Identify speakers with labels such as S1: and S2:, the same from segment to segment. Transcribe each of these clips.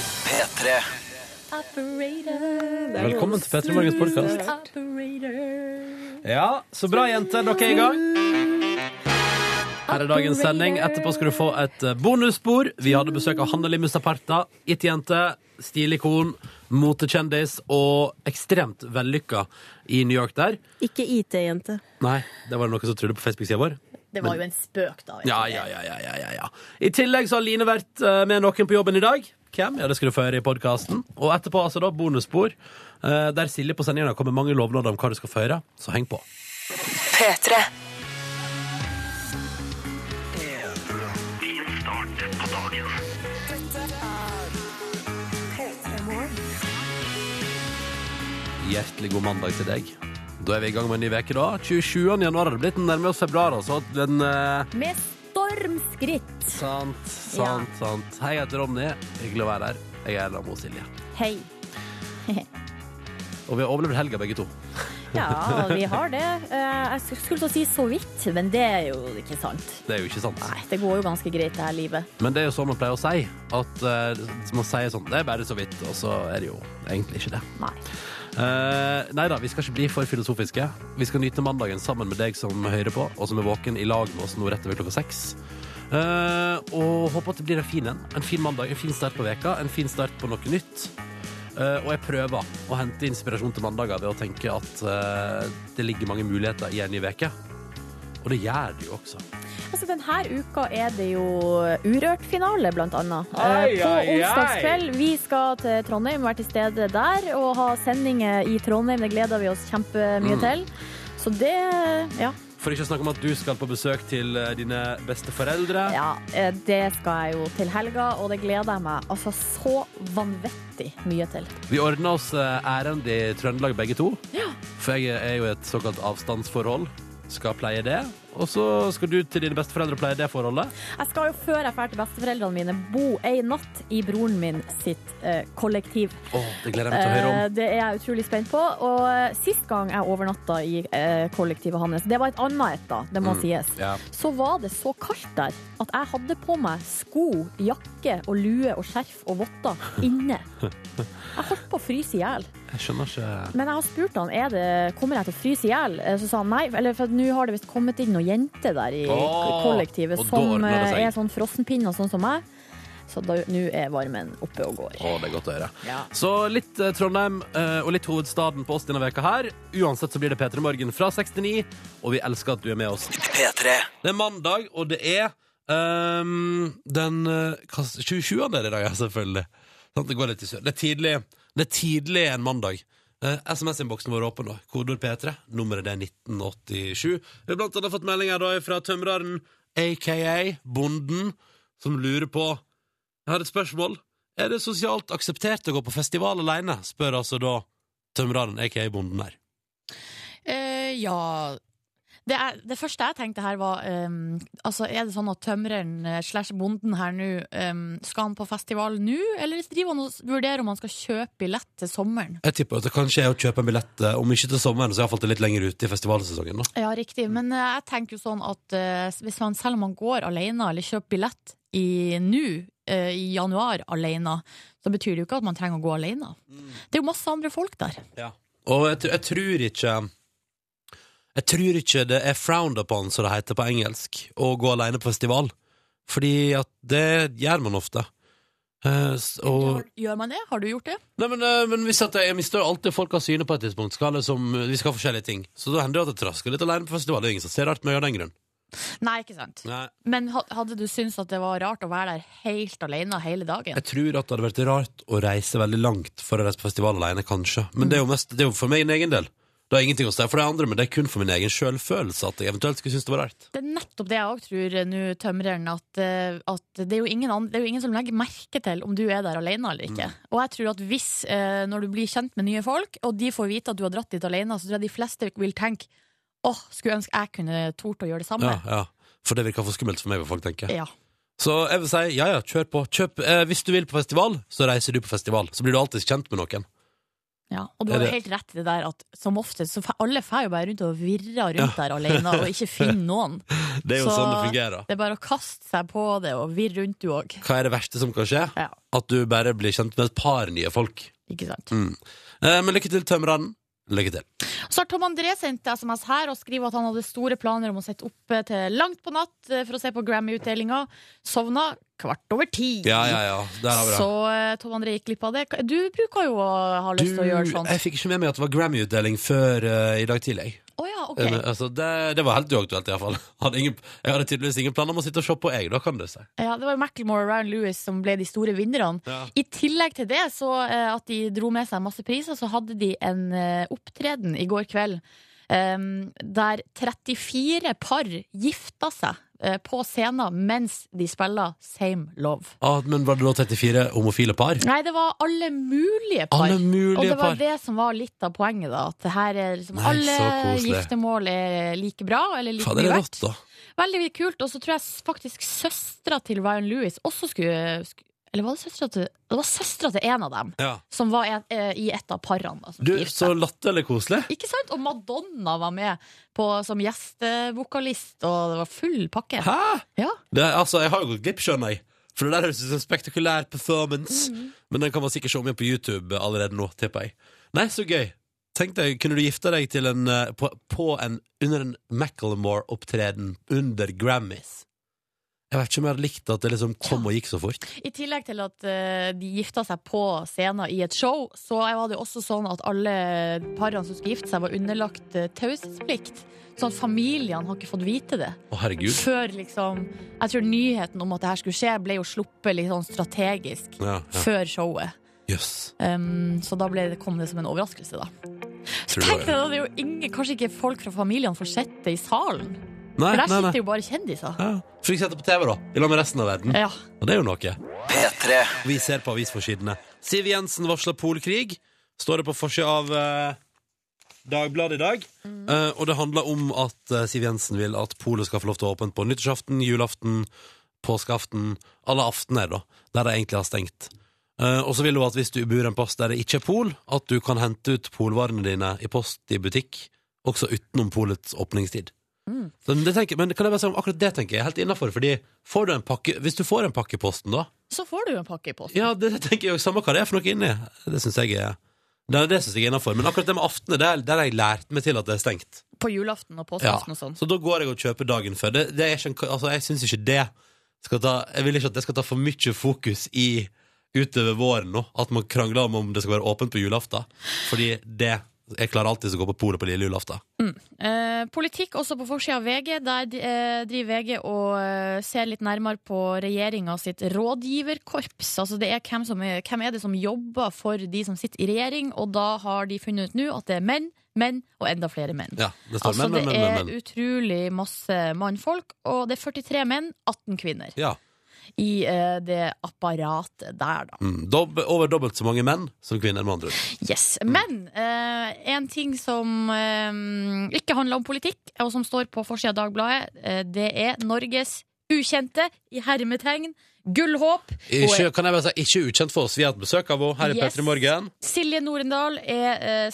S1: P3.
S2: Velkommen til P3 Morgens podkast. Ja, så bra, jenter. Dere er i gang. Her er dagens sending. Etterpå skal du få et eh, bonusspor. Vi hadde besøk av Hanne Limus Aparta. It-jente, stilikon, motekjendis og ekstremt vellykka i New York der.
S3: Ikke IT-jente.
S2: Nei, det var det noen som trodde på Facebook-sida vår.
S4: Det var jo en spøk, da. vet
S2: Ja,
S4: du.
S2: ja, ja, ja, ja, ja, ja. I tillegg så har Line vært eh, med noen på jobben i dag. Hvem? Ja, det skal du få høre i podkasten. Og etterpå altså da bonusspor, eh, der Silje på sendingen har kommet med mange lovnader om hva du skal få høre, så heng på.
S5: P3.
S2: Hjertelig god mandag til deg. Da er vi i gang med en ny uke, da. 27. januar har det blitt. Nærmer oss februar, altså. Den, eh,
S4: Med stormskritt.
S2: sant, sant, sant. Hei, jeg heter Ronny. Hyggelig å være her. Jeg er Lamo Silje.
S4: Hei.
S2: Og vi har overlevd helga, begge to.
S4: Ja, vi har det. Eh, Jeg sk- skulle til å si så vidt, men det er jo ikke sant.
S2: Det er jo ikke sant.
S4: Nei, det går jo ganske greit, det her livet.
S2: Men det er jo sånn man pleier å si. At eh, man sier sånn Det er bare så vidt. Og så er det jo egentlig ikke det.
S4: Nei.
S2: Uh, nei da, vi skal ikke bli for filosofiske. Vi skal nyte mandagen sammen med deg som hører på, og som er våken i lag med oss nå rett over klokka seks. Eh, og håper at det blir en fin en. En fin mandag, en fin start på veka, en fin start på noe nytt. Eh, og jeg prøver å hente inspirasjon til mandager ved å tenke at eh, det ligger mange muligheter i en ny veke. Og det gjør det jo også.
S4: Altså, denne uka er det jo Urørt-finale, blant annet. Eh,
S2: Ai,
S4: På
S2: ai, ai.
S4: onsdagskveld. Vi skal til Trondheim, være til stede der og ha sendinger i Trondheim. Det gleder vi oss kjempemye
S2: Mm.
S4: til. Så det ja,
S2: For ikke å snakke om at du skal på besøk til eh, dine besteforeldre.
S4: ja, eh, det skal jeg jo til helga, og det gleder jeg meg altså så vanvittig mye til.
S2: Vi ordna oss eh, ærend i Trøndelag begge to. For jeg er jo i et såkalt avstandsforhold. Skal pleie det. Og så skal du til dine besteforeldre og pleie det forholdet.
S4: Jeg skal jo før jeg drar til besteforeldrene mine, bo ei natt i broren min sitt eh, kollektiv.
S2: Å, det gleder jeg meg til å høre
S4: Eh,
S2: om.
S4: Det er jeg utrolig spent på. Og eh, sist gang jeg overnatta i eh, kollektivet hans, det var et annet et, da, det må
S6: Eh,
S4: sies,
S2: Mm. Ja.
S4: så var det så kaldt der at jeg hadde på meg sko, jakke og lue og skjerf og votter inne. Jeg holdt på å fryse i hjel.
S2: Jeg skjønner ikke
S4: Men jeg har spurt han er det, kommer jeg til å fryse i hjel. Eh, Så sa han nei, eller for at nå har det visst kommet inn noen jenter der i
S2: Åh,
S4: kollektivet
S2: og da
S4: som
S2: ordner det
S4: eh,
S2: seg.
S4: er sånn frossenpinner, sånn som meg. Så da- nå er varmen oppe og går.
S2: Å, det er godt å høre.
S4: Ja.
S2: Så litt eh, Trondheim eh, og litt hovedstaden på oss denne veka her. Uansett så blir det P3 Morgen fra 69, og vi elsker at du er med oss.
S1: P3.
S2: Det er mandag, og det er ehm, den eh, hva- 27. er det i dag, ja, selvfølgelig. Sånn, det går litt i sør. Det er tidlig, det er tidlig en mandag. Eh, SMS-innboksen vår er åpen nå. Kodord P3. Nummeret det er 1987. Vi har blant annet fått meldinger da fra tømreren, aka Bonden, som lurer på Jeg har et spørsmål. Er det sosialt akseptert å gå på festival alene? Spør altså da tømreren, aka Bonden her.
S6: Eh, ja det, er, det første jeg tenkte her var ehm, Altså, er det sånn at tømreren eh, slash bonden her nå ehm, Skal han på festival nå, eller driver han og s- vurderer om han skal kjøpe billett til sommeren?
S2: Jeg tipper at det kanskje er å kjøpe en billett, eh, om ikke til sommeren, så iallfall til litt lenger ute i festivalsesongen. da.
S6: Ja, riktig, men eh, jeg tenker jo sånn at eh, hvis man, selv om man går alene eller kjøper billett i nå, eh, i januar alene, så betyr det jo ikke at man trenger å gå alene. Det er jo masse andre folk der.
S2: Og jeg, tr- jeg tror ikke Jeg tror ikke det er frowned upon, som det heter på engelsk, å gå alene på festival. Fordi at det gjør man ofte. Eh, s- og,
S6: Gjør man det? Har du gjort det?
S2: nei, men, eh, men hvis at jeg, jeg mister jo alltid folk av syne på et tidspunkt. Skal liksom, vi skal ha forskjellige ting. Så da hender det at jeg trasker litt alene på festival. Det er ingen som ser rart på meg av den grunn.
S6: Nei, ikke sant.
S2: Nei.
S6: Men ha- hadde du syntes at det var rart å være der helt alene hele dagen?
S2: Jeg tror at det hadde vært rart å reise veldig langt for å reise på festival alene, kanskje. Men det er jo, mest, det er jo for min egen del. Det har ingenting å si for de andre, men det er kun for min egen sjølfølelse at jeg eventuelt skulle synes det var rart.
S6: Det er nettopp det jeg òg tror eh, nå, tømreren. At, eh, at det, er jo ingen andre, det er jo ingen som legger merke til om du er der alene eller
S2: Mm.
S6: ikke. Og jeg tror at hvis, eh, når du blir kjent med nye folk, og de får vite at du har dratt dit alene, så tror jeg de fleste vil tenke åh, skulle ønske jeg kunne tort å gjøre det samme.
S2: Ja, ja. For det virker for skummelt for meg, vil folk tenke.
S6: Ja.
S2: Så jeg vil si, ja ja, kjør på. Kjøp, eh, hvis du vil på festival, så reiser du på festival. Så blir du alltid kjent med noen.
S6: Ja, og du
S2: Er
S6: har jo
S2: det-
S6: helt rett i det der at som oftest så fe- alle fer jo bare rundt og virrer rundt der alene og ikke finner noen.
S2: Det er jo
S6: Så-
S2: sånn det fungerer.
S6: Det er bare å kaste seg på det og virre rundt, du òg.
S2: Hva er det verste som kan skje?
S6: Ja,
S2: At du bare blir kjent med et par nye folk.
S6: ikke sant.
S2: Mm. Eh, men lykke til, tømreren. Lykke til.
S6: Så har Tom André sendt SMS her og skriver at han hadde store planer om å sitte oppe til langt på natt eh, for å se på Grammy-utdelinga. Sovna kvart over ti.
S2: Ja, ja, ja. Der har vi det.
S6: Så eh, Tom André gikk glipp av det. Du bruker jo å ha
S2: Du,
S6: lyst til å gjøre sånn. sånt.
S2: jeg fikk ikke med meg at det var Grammy-utdeling før eh, i dag tidlig.
S6: Å ja, ok.
S2: Eh, men, altså, det, det var helt uaktuelt, iallfall. Jeg hadde tydeligvis ingen planer om å sitte og se på, jeg, da, kan du si.
S6: Ja, det var jo Macklemore og Ryan Lewis som ble de store vinnerne.
S2: Ja.
S6: I tillegg til det, så eh, at de dro med seg masse priser, så hadde de en eh, opptreden i går kveld em, der 34 par gifta seg eh, på scenen mens de spilla Same Love.
S2: Ah, men var det da 34 homofile par?
S6: Nei, det var alle mulige par.
S2: Alle
S6: og det
S2: mulige
S6: var
S2: par.
S6: det som var litt av poenget, da. At det her er liksom
S2: Nei,
S6: alle
S2: så koselig.
S6: giftermål er like bra, eller like
S2: Fader,
S6: mye
S2: det er
S6: verdt.
S2: rått, da.
S6: Veldig kult. Og så tror jeg s- faktisk søstera til Ryan Lewis også skulle sk- Eller var det søstera til Det var søstera til en av dem
S2: Ja.
S6: som var en, eh, i et av parene. Da, som
S2: Du,
S6: skulle
S2: så
S6: gifte seg.
S2: latterlig koselig.
S6: Ikke sant? Og Madonna var med på, som gjestevokalist, og det var full pakke.
S2: Hæ?
S6: Ja.
S2: Det, er- altså, jeg har jo gått glipp, skjønner jeg. For det der høres ut som en spektakulær
S6: Mm.
S2: performance.
S6: Mhm.
S2: Men den kan man sikkert se om igjen på YouTube allerede nå, tipper jeg. Nei, så gøy. Tenk deg, kunne du gifte deg til en, eh, på, på en, under en Macklemore-opptreden under Grammys? Jeg vet ikke om jeg hadde likt at det liksom kom og gikk så fort.
S6: I tillegg til at eh, de gifta seg på scenen i et show, så var det også sånn at alle parene som skulle gifte seg, var underlagt eh, taushetsplikt. Sånn at familiene har ikke fått vite det.
S2: Å, herregud.
S6: Før liksom Jeg tror nyheten om at det her skulle skje, ble jo sluppet litt sånn strategisk
S2: Ja, ja.
S6: før showet.
S2: Jøss.
S6: Um, så da ble det, kom det som en overraskelse, da. Så
S2: Tror du
S6: tenk
S2: det
S6: deg da, det er jo ingen, kanskje ikke folk fra familiene får sett det i salen.
S2: Nei,
S6: For der
S2: nei, nei.
S6: sitter jo bare kjendiser.
S2: Ja. Får ikke sette på TV, da. I lag med resten av verden.
S6: Ja.
S2: Og det er jo noe. Vi ser på avisforsidene. Siv Jensen varsler polkrig. Står det på forsida av eh, Dagbladet i dag. Eh, og det handler om at eh, Siv Jensen vil at polet skal få lov til å ha åpent på nyttårsaften, julaften, påskeaften, alle aftener, da, der de egentlig har stengt. Eh, og så vil hun at hvis du bor en plass der det ikke er pol, at du kan hente ut polvarene dine i post i butikk, også utenom polets åpningstid.
S6: Mm.
S2: Så det tenker, men kan jeg bare si om akkurat det tenker jeg er helt innafor, fordi får du en pakke, hvis du får en pakke i posten, da,
S6: Så får du jo en pakke i posten.
S2: ja, det tenker jeg også. Samme hva det er for noe inni. Det syns jeg er det, det synes jeg er innafor. Men akkurat det med aftene, der, der har jeg lært meg til at det er stengt.
S6: På julaften og
S2: Ja.
S6: påskeaften og sånn.
S2: Så da går jeg og kjøper dagen før. Det, det er ikke, en- altså, jeg syns ikke det skal ta, Jeg vil ikke at det skal ta for mye fokus i utover våren nå. At man krangler om om det skal være åpent på julaften. Fordi det Jeg klarer alltid å gå på polet på lille julaften.
S6: Eh, politikk også på forsida av VG. Der de- eh, driver VG og eh, ser litt nærmere på regjeringa sitt rådgiverkorps. Altså det er hvem, som er hvem er det som jobber for de som sitter i regjering, og da har de funnet ut nå at det er menn, menn og enda flere menn.
S2: Ja, det står
S6: Altså
S2: men, men,
S6: Det
S2: men,
S6: er
S2: men, men.
S6: utrolig masse mannfolk, og det er 43 menn, 18 kvinner,
S2: Ja.
S6: i eh, det apparatet der, da.
S2: Mm, dobb, over dobbelt så mange menn som kvinner, med andre ord.
S6: Yes,
S2: Mm.
S6: Men eh, en ting som eh, ikke handler om politikk, og som står på forsida av Dagbladet, eh, det er Norges ukjente, i hermetegn, gullhåp.
S2: Ikke, kan jeg bare si, ikke ukjent for oss. Vi har hatt besøk av henne her i
S6: Yes.
S2: P3 Morgen.
S6: Silje Norendal er eh,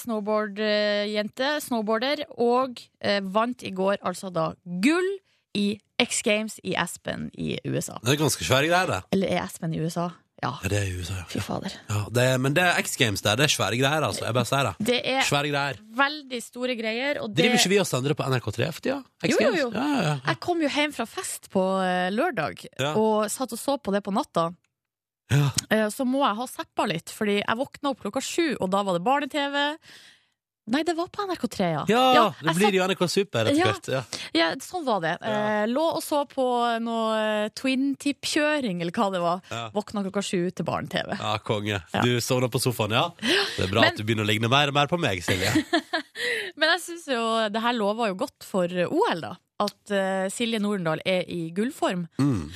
S6: snowboardjente, snowboarder, og eh, vant i går altså da gull i X Games i Aspen i USA.
S2: Det er ganske svære greier, det.
S6: Eller er Aspen i USA? Ja,
S2: Ja, det er i USA, ja.
S6: fy fader.
S2: ja det er, men det er X Games der. Det er svære greier, altså. Jeg bare sier det.
S6: Det er
S2: Svære greier.
S6: veldig store greier, og det
S2: Driver ikke vi og sender det på NRK3 for tida? X
S6: Jo, jo,
S2: Games?
S6: jo.
S2: Ja, ja, ja.
S6: Jeg kom jo hjem fra fest på eh, lørdag
S2: Ja.
S6: og satt og så på det på natta.
S2: Ja.
S6: Eh, Så må jeg ha zappa litt, fordi jeg våkna opp klokka sju, og da var det barne-TV. Nei, det var på NRK3, ja.
S2: Ja,
S6: jeg
S2: det blir jo NRK Super etter
S6: Ja.
S2: hvert. Ja.
S6: satt, ja sånn var det. Eh, lå og så på noe eh, twin tip-kjøring, eller hva det var.
S2: Ja.
S6: Våkna klokka sju til barne-TV.
S2: ja, konge.
S6: Ja.
S2: Du sovna på sofaen, ja? Det er bra
S6: Men-
S2: at du begynner å ligne mer og mer på meg, Silje.
S6: Men jeg syns jo det her lover jo godt for eh, OL, da. At eh, Silje Nordendal er i gullform.
S2: Mm.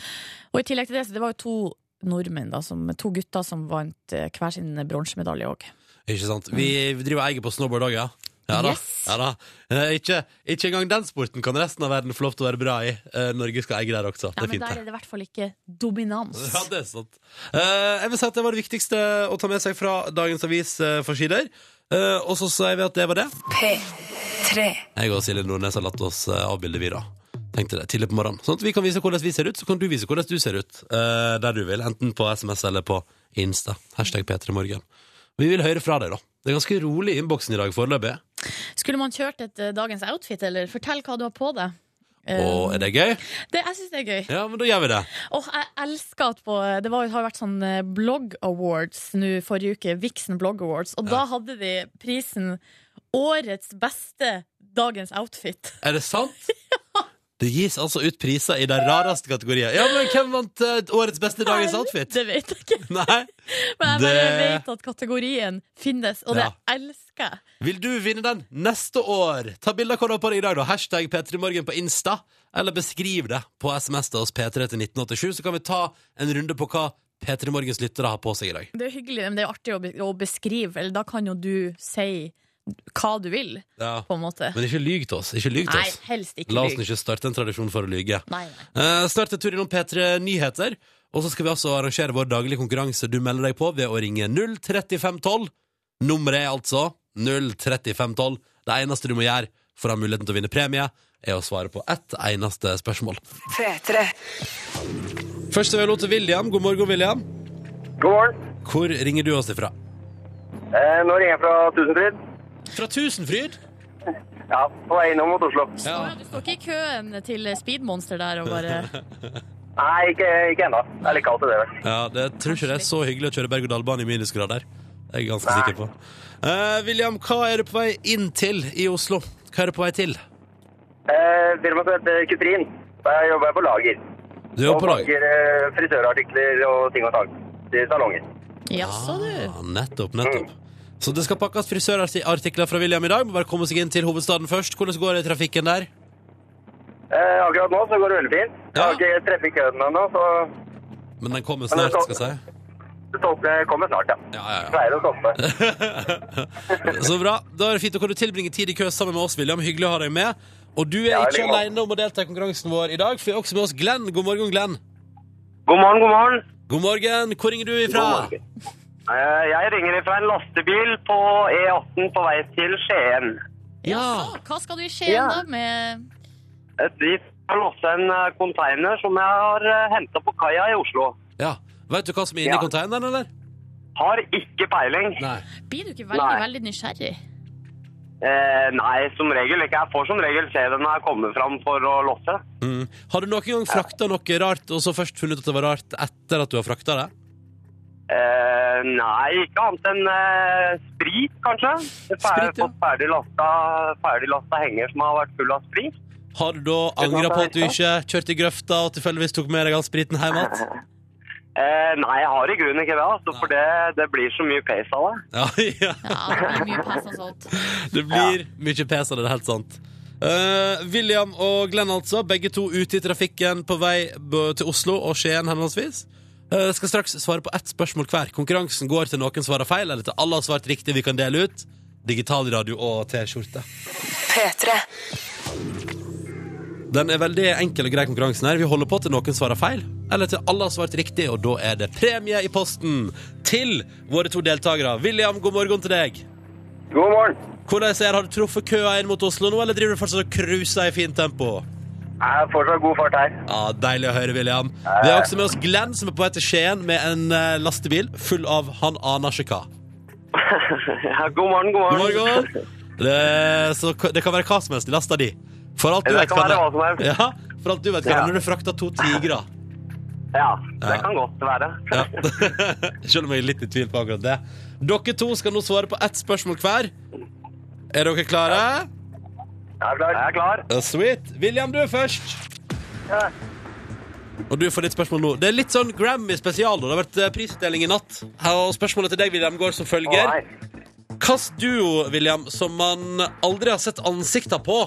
S6: Og i tillegg til det, så det var jo to nordmenn, da, som, to gutter som vant eh, hver sin bronsemedalje òg.
S2: Ikke sant? Vi vi driver og eier på snowboard òg, ja. Ja da.
S6: Yes.
S2: Ja, da. Eh, Ikke, ikke engang den sporten kan resten av verden få lov til å være bra i. Eh, Norge skal eie det her også.
S6: Ja,
S2: det er
S6: men
S2: fint. det.
S6: der er det i hvert fall ikke dominans.
S2: Ja, det er sant. Eh, jeg vil si at det var det viktigste å ta med seg fra dagens avis eh, for sider. Eh, og så sier vi at det var det.
S1: P3.
S2: Jeg og Silje Nordnes har latt oss eh, avbilde, vi da. Tenkte det, tidlig på morgenen. Sånn at vi kan vise hvordan vi ser ut, så kan du vise hvordan du ser ut eh, der du vil. Enten på SMS eller på Insta. Hashtag P3morgen. Vi vil høre fra deg, da. Det er ganske rolig i innboksen i dag foreløpig.
S6: Skulle man kjørt et eh, dagens outfit, eller? Fortell hva du har på deg.
S2: Og
S6: Eh,
S2: er det gøy?
S6: det, jeg syns det er gøy.
S2: Ja, men da gjør vi det.
S6: Og jeg elsker at på Det var, har vært sånn eh, blogg awards nå forrige uke. Vixen blogg awards. Og da hadde de prisen Årets beste dagens outfit.
S2: Er det sant? Det gis altså ut priser i de rareste kategorier. Ja, men hvem vant eh, årets beste dagens outfit?
S6: Det vet jeg ikke,
S2: Nei?
S6: men jeg bare
S2: Det-
S6: vet at kategorien finnes, og det
S2: Ja.
S6: elsker jeg.
S2: Vil du vinne den neste år? Ta bilde av hva du har på deg i dag, da. Hashtag P3morgen på Insta. Eller beskriv det på SMS til oss P3 til 1987, så kan vi ta en runde på hva P3 Morgens lyttere har på seg i dag.
S6: Det er hyggelig, men det er jo artig å, be- å beskrive, eller da kan jo du si hva du vil,
S2: Ja.
S6: på en måte.
S2: Men ikke lyg til oss. Ikke lyg til
S6: Nei,
S2: oss.
S6: helst ikke
S2: La oss nå
S6: lyv.
S2: ikke starte en tradisjon for å lyge.
S6: Nei, nei.
S2: Eh, snart en tur innom P3 Nyheter. Og så skal vi altså arrangere vår daglige konkurranse du melder deg på ved å ringe 03512. Nummeret er altså 03512. Det eneste du må gjøre for å ha muligheten til å vinne premie, er å svare på ett eneste spørsmål.
S1: P3.
S2: Først vil jeg lov til William. God morgen, William.
S3: God morgen.
S2: Hvor ringer du oss ifra?
S3: Eh, nå ringer jeg fra Tusenfryd.
S2: Fra Tusenfryd.
S3: Ja, på vei innom mot Oslo.
S6: Å ja, Du står ikke i køen til Speedmonster der og bare
S3: Nei, ikke, ikke ennå. Det er litt kaldt i det, vel.
S2: Ja, det, tror ikke det er så hyggelig å kjøre berg-og-dal-bane i minusgrader. Det er jeg ganske
S3: Nei.
S2: sikker på. Eh, William, hva er du på vei inn til i Oslo? Hva er du på vei til?
S3: Eh, firmaet som heter Kuprin. Der jobber jeg på lager.
S2: Du er
S3: og
S2: på lag.
S3: pakker eh, frisørartikler og ting og tang til salongen.
S6: Jaså, du.
S2: Ah, nettopp, nettopp. Så det skal pakkes frisørartikler fra William i dag. Må bare komme seg inn til hovedstaden først. Hvordan går det i trafikken der?
S3: Eh, akkurat nå så går det veldig fint. Jeg har
S2: Ja.
S3: ikke treffet køen ennå, så
S2: Men den kommer snart, skal jeg si.
S3: det stopper- kommer snart, ja.
S2: Ja, ja, ja.
S3: Pleier å stoppe.
S2: Så bra. Da er det fint. Da kan du tilbringe tid i kø sammen med oss, William. Hyggelig å ha deg med. Og du er
S3: Ja,
S2: ikke
S3: like godt.
S2: alene om å delta i konkurransen vår i dag, for vi har også med oss Glenn. God morgen, Glenn.
S3: God morgen, god morgen.
S2: God morgen. Hvor ringer du ifra?
S3: God morgen. Eh, jeg ringer fra en lastebil på E18 på vei til Skien.
S2: Ja.
S6: Jaså, Hva skal du i Skien
S3: Ja.
S6: da med
S3: De har låst en eh, container som jeg har henta på kaia i Oslo.
S2: ja. Vet du hva som er inni
S3: Ja.
S2: konteineren, eller?
S3: Har ikke peiling.
S2: Nei.
S6: Blir du ikke veldig,
S3: Nei.
S6: veldig nysgjerrig?
S3: Eh, nei, som regel ikke. Jeg får som regel se den jeg kommer fram for å losse.
S2: Mm. Har du noen gang frakta noe rart, og så først funnet ut at det var rart etter at du har frakta det?
S3: Eh, nei, ikke annet enn eh, sprit, kanskje. Fer
S2: Sprit, ja.
S3: Fått ferdig lasta, ferdig lasta henger som har vært full av sprit.
S2: Har du da angra på at du ikke kjørte i grøfta og tilfeldigvis tok med deg all spriten hjem igjen?
S3: Eh, nei, jeg har i grunnen ikke det, altså, for det, det blir så mye pace av det.
S2: Ja, ja.
S6: Ja, det blir mye pes og sånt.
S2: Det blir mye pes av det, det er helt sant. Eh, William og Glenn, altså. Begge to ute i trafikken på vei b- til Oslo og Skien henholdsvis. Eh, skal straks svare på ett spørsmål hver. Konkurransen går til noen svarer feil, eller til alle har svart riktig vi kan dele ut. Digitalradio og T-skjorte.
S1: P3.
S2: Den er veldig enkel og grei konkurransen her. Vi holder på til noen svarer feil, eller til alle har svart riktig, og da er det premie i posten til våre to deltakere. William, god morgen til deg.
S3: God morgen.
S2: Hvordan er det? Har du truffet køa inn mot Oslo nå, eller driver du fortsatt og cruiser i fint tempo?
S3: Jeg er fortsatt god fart her.
S2: Ja, Deilig å høre, William. Vi har også med oss Glenn, som er på vei til Skien med en eh, lastebil full av han aner ikke hva.
S3: ja, god morgen, god
S2: God
S3: morgen.
S2: morgen. Det, så k- det kan være hva som helst i lasta di. For alt du
S3: Det
S2: vet,
S3: kan
S2: kan det
S3: være hva som helst.
S2: Ja, for alt du vet, kan
S3: Ja.
S2: det når du frakter to tigre.
S3: Ja, det
S2: Ja.
S3: kan godt være.
S2: Ja. Selv om jeg er litt i tvil på akkurat det. Dere to skal nå svare på ett spørsmål hver. Er dere klare?
S3: Jeg er klar. Jeg er klar.
S2: Uh, Sweet. William, du er først.
S3: Ja.
S2: Og du får ditt spørsmål nå. Det er litt sånn Grammy-spesial. da. Det har vært eh, prisutdeling i natt. Her, og spørsmålet til deg, William, går som
S3: Å,
S2: følger.
S3: nei.
S2: Hvilken duo, William, som man aldri har sett ansikter på,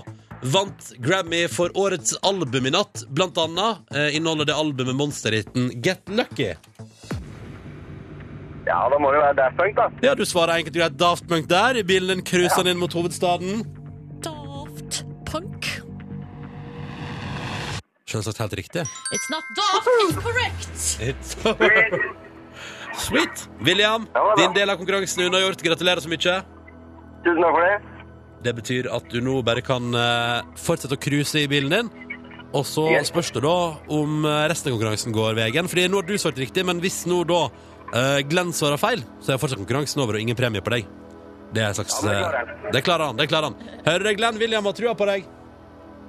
S2: vant Grammy for årets album i natt? Blant annet eh, inneholder det albumet monsterhiten Get Lucky.
S3: Ja, da må det jo være Daft Punk, da.
S2: Ja, du svarer enkelt og greit Daft Punk der, i bilen cruiser han inn mot hovedstaden.
S6: Daft Punk.
S2: Selvsagt helt riktig.
S6: It's not daft, it's correct!
S2: It's Sweet! William,
S3: Ja, det er bra.
S2: din del av konkurransen er unnagjort. Gratulerer så mye.
S3: Tusen takk for det.
S2: Det betyr at du nå bare kan eh, fortsette å cruise i bilen din. Og så
S3: Yes.
S2: spørs det da om eh, resten av konkurransen går veien. Fordi nå har du svart riktig, men hvis nå da eh, Glenn svarer feil, så er fortsatt konkurransen over og ingen premie på deg. Det er en slags
S3: Ja, men det klarer
S2: eh, Det klarer han. det klarer han Hører deg, Glenn William har trua på deg.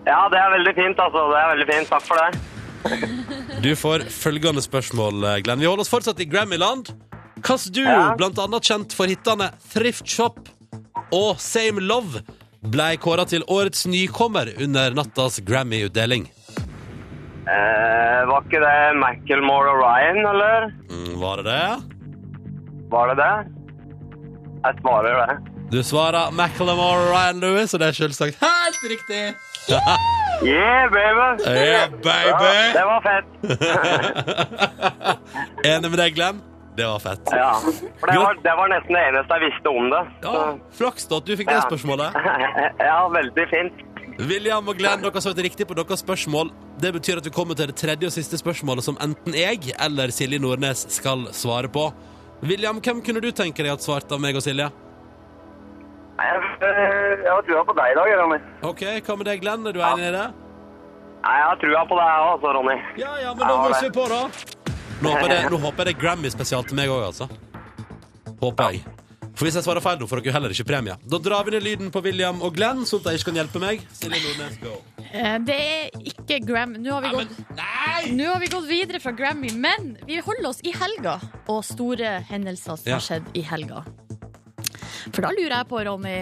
S3: Ja, det er veldig fint, altså. Det er veldig fint. Takk for det.
S2: Du får følgende spørsmål, eh, Glenn. Vi holder oss fortsatt i Grammyland. Hvilken duo,
S3: Ja.
S2: blant annet kjent for hitene Thrift Shop og Same Love, ble kåra til årets nykommer under nattas Grammy-utdeling?
S3: Eh, var ikke det Macklemore og Ryan, eller?
S2: Mm, Var det det?
S3: Var det det? Jeg svarer det.
S2: Du svarer Macklemore og Ryan Lewis, og det er selvsagt helt riktig!
S3: Yeah, baby!
S2: Yeah,
S3: Ja, det
S2: baby!
S3: var fett.
S2: Enig med deg, Glenn. Det var fett.
S3: Ja. For det var, det var nesten det eneste jeg visste om det.
S2: Ja, Flaks da at du fikk det
S3: Ja.
S2: spørsmålet.
S3: Ja, veldig fint.
S2: William og Glenn, dere har svart riktig på deres spørsmål. Det betyr at vi kommer til det tredje og siste spørsmålet som enten jeg eller Silje Nordnes skal svare på. William, hvem kunne du tenke deg at svarte av meg og Silje?
S3: Nei, Jeg eh, jeg har trua på deg i dag, Ronny.
S2: Ok, Hva med deg, Glenn? Er du enig i det?
S3: Nei, Jeg har trua på deg også, Ronny.
S2: Ja, ja, men da
S3: Ja,
S2: mosser
S3: det.
S2: vi på, da. Nå håper jeg det, nå håper jeg det er Grammy-spesial til meg òg, altså. Håper jeg. For hvis jeg svarer feil nå, får dere heller ikke premie. Da drar vi ned lyden på William og Glenn, sånn at de ikke kan hjelpe meg. Silje Nordnes, go.
S6: Eh, Det er ikke Grammy. Nå har vi gått
S2: Nei!
S6: Nå har vi gått videre fra Grammy, men vi holder oss i helga og store hendelser som
S2: Ja.
S6: har skjedd i helga. For da lurer jeg på, Ronny,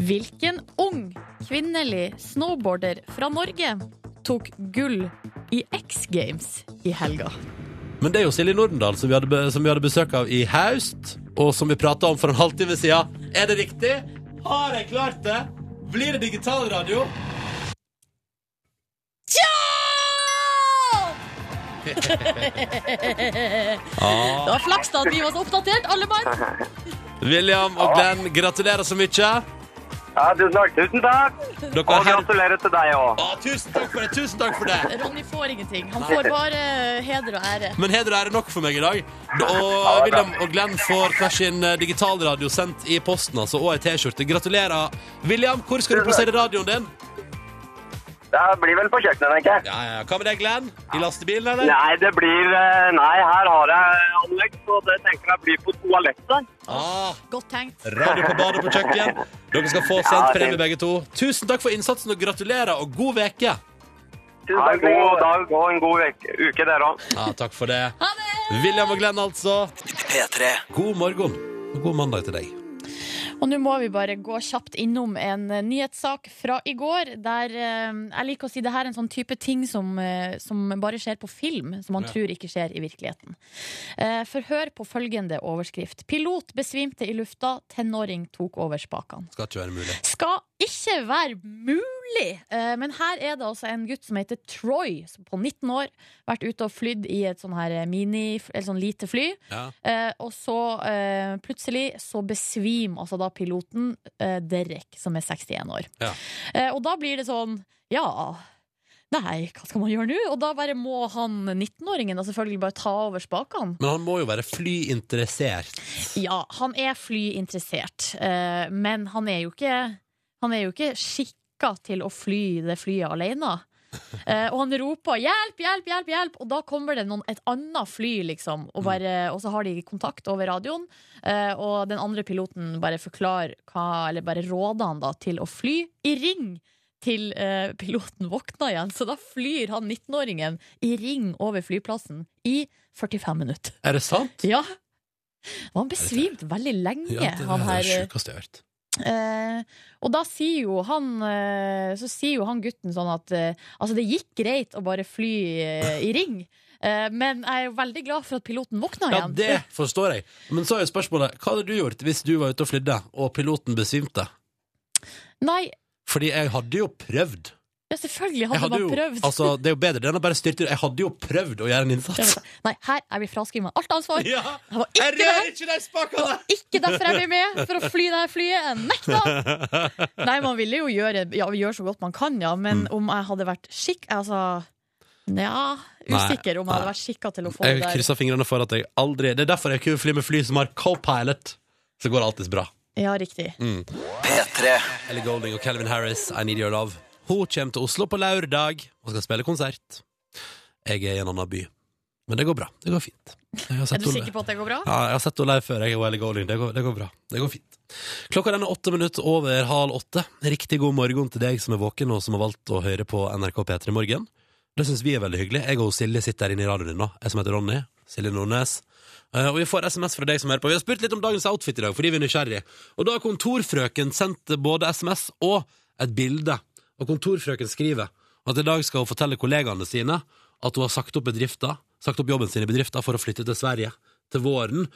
S6: hvilken ung kvinnelig snowboarder fra Norge tok gull i X Games i helga?
S2: Men det er jo Silje Nordendal som vi hadde, be- som vi hadde besøk av i haust, og som vi prata om for en halvtime siden. Er det riktig? Har jeg klart det? Blir det digitalradio?
S6: Ja!
S2: Ah.
S6: Det var flaks da at vi var så oppdatert, alle mann.
S2: William og Glenn, gratulerer så mye.
S3: Ja, tusen takk. Tusen takk.
S2: Dere
S3: Og
S2: har her...
S3: gratulerer til deg òg.
S2: Ah, tusen takk for det! Tusen takk for det!
S6: Ronny får ingenting. Han får bare heder og ære.
S2: Men heder og ære nok for meg i dag. Og William og Glenn får hver sin eh, digitalradio sendt i posten altså, og ei T-skjorte. Gratulerer. William, hvor skal du plassere radioen din?
S3: Det blir vel på kjøkkenet, tenker jeg.
S2: Ja, ja, Hva med deg, Glenn? I lastebilen, eller?
S3: Nei, det blir eh, Nei, her har jeg anlegg, så det tenker jeg blir på toalettet.
S2: Ah,
S6: Godt tenkt.
S2: radio på badet på kjøkken. Dere skal få
S3: Ja,
S2: sendt
S3: fint.
S2: premie, begge to. Tusen takk for innsatsen, og gratulerer, og god veke
S3: Ha en god dag og en god uke, uke dere òg.
S2: Ja, takk for det.
S6: Ha det!
S2: William og Glenn, altså. God morgen. og God mandag til deg.
S6: Og nå må vi bare gå kjapt innom en eh, nyhetssak fra i går. Der eh, Jeg liker å si det her er en sånn type ting som, eh, som bare skjer på film, som man
S2: Ja.
S6: tror ikke skjer i virkeligheten. Eh, for hør på følgende overskrift. Pilot besvimte i lufta, tenåring tok over spakene.
S2: Skal ikke være mulig.
S6: Skal ikke være mulig! Eh, men her er det altså en gutt som heter Troy, som på 19 år. Vært ute og flydd i et sånn her mini, eller sånn lite fly.
S2: Ja.
S6: Eh, og så eh, plutselig så besvimer altså da piloten eh, Derek, som er 61 år.
S2: Ja.
S6: Eh, og da blir det sånn Ja, nei, hva skal man gjøre nå? Og da bare må han 19-åringen da selvfølgelig bare ta over spakene.
S2: Men han må jo være flyinteressert.
S6: Ja, han er flyinteressert, eh, men han er jo ikke Han er jo ikke skikka til å fly det flyet alene. Eh, og han roper 'hjelp, hjelp, hjelp', hjelp og da kommer det noen, et annet fly, liksom. Og, bare, og så har de kontakt over radioen, eh, og den andre piloten bare forklarer hva Eller bare råder han da til å fly i ring. Til eh, piloten våkner igjen, så da flyr han 19-åringen i ring over flyplassen i 45 minutter.
S2: Er det sant?
S6: Ja. Og han besvimte veldig lenge,
S2: Ja, det
S6: han
S2: er det
S6: her.
S2: sjukeste jeg har hørt.
S6: Eh, og da sier jo han eh, Så sier jo han gutten sånn at eh, Altså, det gikk greit å bare fly eh, i ring, eh, men jeg er jo veldig glad for at piloten våkna
S2: Ja,
S6: igjen.
S2: det forstår jeg. Men så er jo spørsmålet hva hadde du gjort hvis du var ute og flydde, og piloten besvimte?
S6: Nei,
S2: Fordi jeg hadde jo prøvd.
S6: Ja, selvfølgelig
S2: Jeg
S6: hadde
S2: hadde
S6: man
S2: jo,
S6: prøvd.
S2: altså, det er jo bedre det enn å bare styrte Jeg hadde jo prøvd å gjøre en innsats.
S6: Nei, her er vi fraskriva alt ansvar.
S2: Ja!
S6: Det var
S2: Jeg
S6: ikke det
S2: rører
S6: her!
S2: ikke de spakene!
S6: Ikke derfor jeg ble med, for å fly det her flyet. Jeg Nekta! Nei, man ville jo gjøre, ja, gjøre så godt man kan, ja, men
S2: Mm.
S6: om jeg hadde vært skikk... Altså Nja, usikker om jeg hadde
S2: nei.
S6: vært skikka til å få
S2: Jeg
S6: det der.
S2: krysser fingrene for at jeg aldri Det er derfor jeg kunne fly med fly som har co-pilot. Så går det alltids bra.
S6: Ja, riktig.
S2: Ellie Golding og Calvin Harris, I Need Your Love. Hun kommer til Oslo på lørdag og skal spille konsert. Jeg er i en annen by. Men det går bra. Det går fint. Jeg har sett
S6: Er du
S2: henne-
S6: sikker på at det går bra?
S2: Ja, jeg har sett henne live før. Jeg og Ellie Golding. Det går, det går bra. Det går fint. Klokka den er åtte minutter over halv åtte. Riktig god morgen til deg som er våken og som har valgt å høre på NRK P3 i morgen. Det syns vi er veldig hyggelig. Jeg og Silje sitter her inne i radioen din nå. Jeg som heter Ronny. Silje Nordnes. Eh, Og vi får SMS fra deg som hører på. Vi har spurt litt om dagens outfit i dag, fordi vi er nysgjerrige. Og da har kontorfrøken sendt både SMS og et bilde. Og kontorfrøken skriver at i dag skal hun fortelle kollegaene sine at hun har sagt opp bedrifter, sagt opp jobben sin i bedrifter for å flytte til Sverige til våren.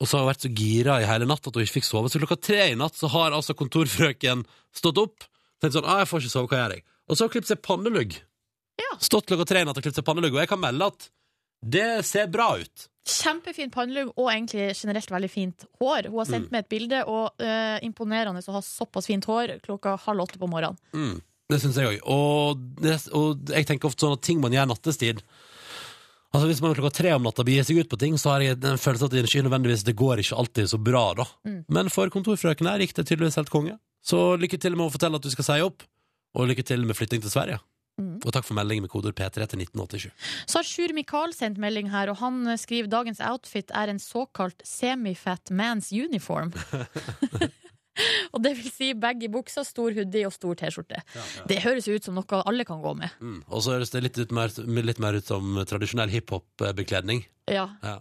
S2: Og så har hun vært så gira i hele natt at hun ikke fikk sove. Så klokka tre i natt så har altså kontorfrøken stått opp. Tenkt sånn, ah, jeg får ikke sove, hva gjør jeg? Og så har hun klippet seg pannelugg. Stått klokka tre i natt og klippet seg pannelugg. Og jeg kan melde at det ser bra ut.
S6: Kjempefin pannelugg og egentlig generelt veldig fint hår. Hun har sendt
S2: Mm.
S6: meg et bilde, og eh, imponerende å ha såpass fint hår klokka halv åtte på morgenen.
S2: Mm. Det syns jeg òg. Og, det- og jeg tenker ofte sånn at ting man gjør nattestid Altså Hvis man klokka tre om natta begir seg ut på ting, så har jeg en følelse at det ikke nødvendigvis det går ikke alltid så bra. da
S6: Mm.
S2: Men for kontorfrøken her gikk det tydeligvis helt konge. Så lykke til med å fortelle at du skal si opp, og lykke til med flytting til Sverige.
S6: Mm.
S2: Og takk for melding med koder P3 til 1987.
S6: Så har Sjur Mikael sendt melding her, og han eh, skriver dagens outfit er en såkalt semifat man's uniform. og det vil si baggy bukser, stor hoodie og stor T-skjorte. Det høres jo ut som noe alle kan gå med.
S2: Mm. Og så høres det litt, ut mer, litt mer ut som tradisjonell hiphop-bekledning.
S6: Ja.
S2: Ja.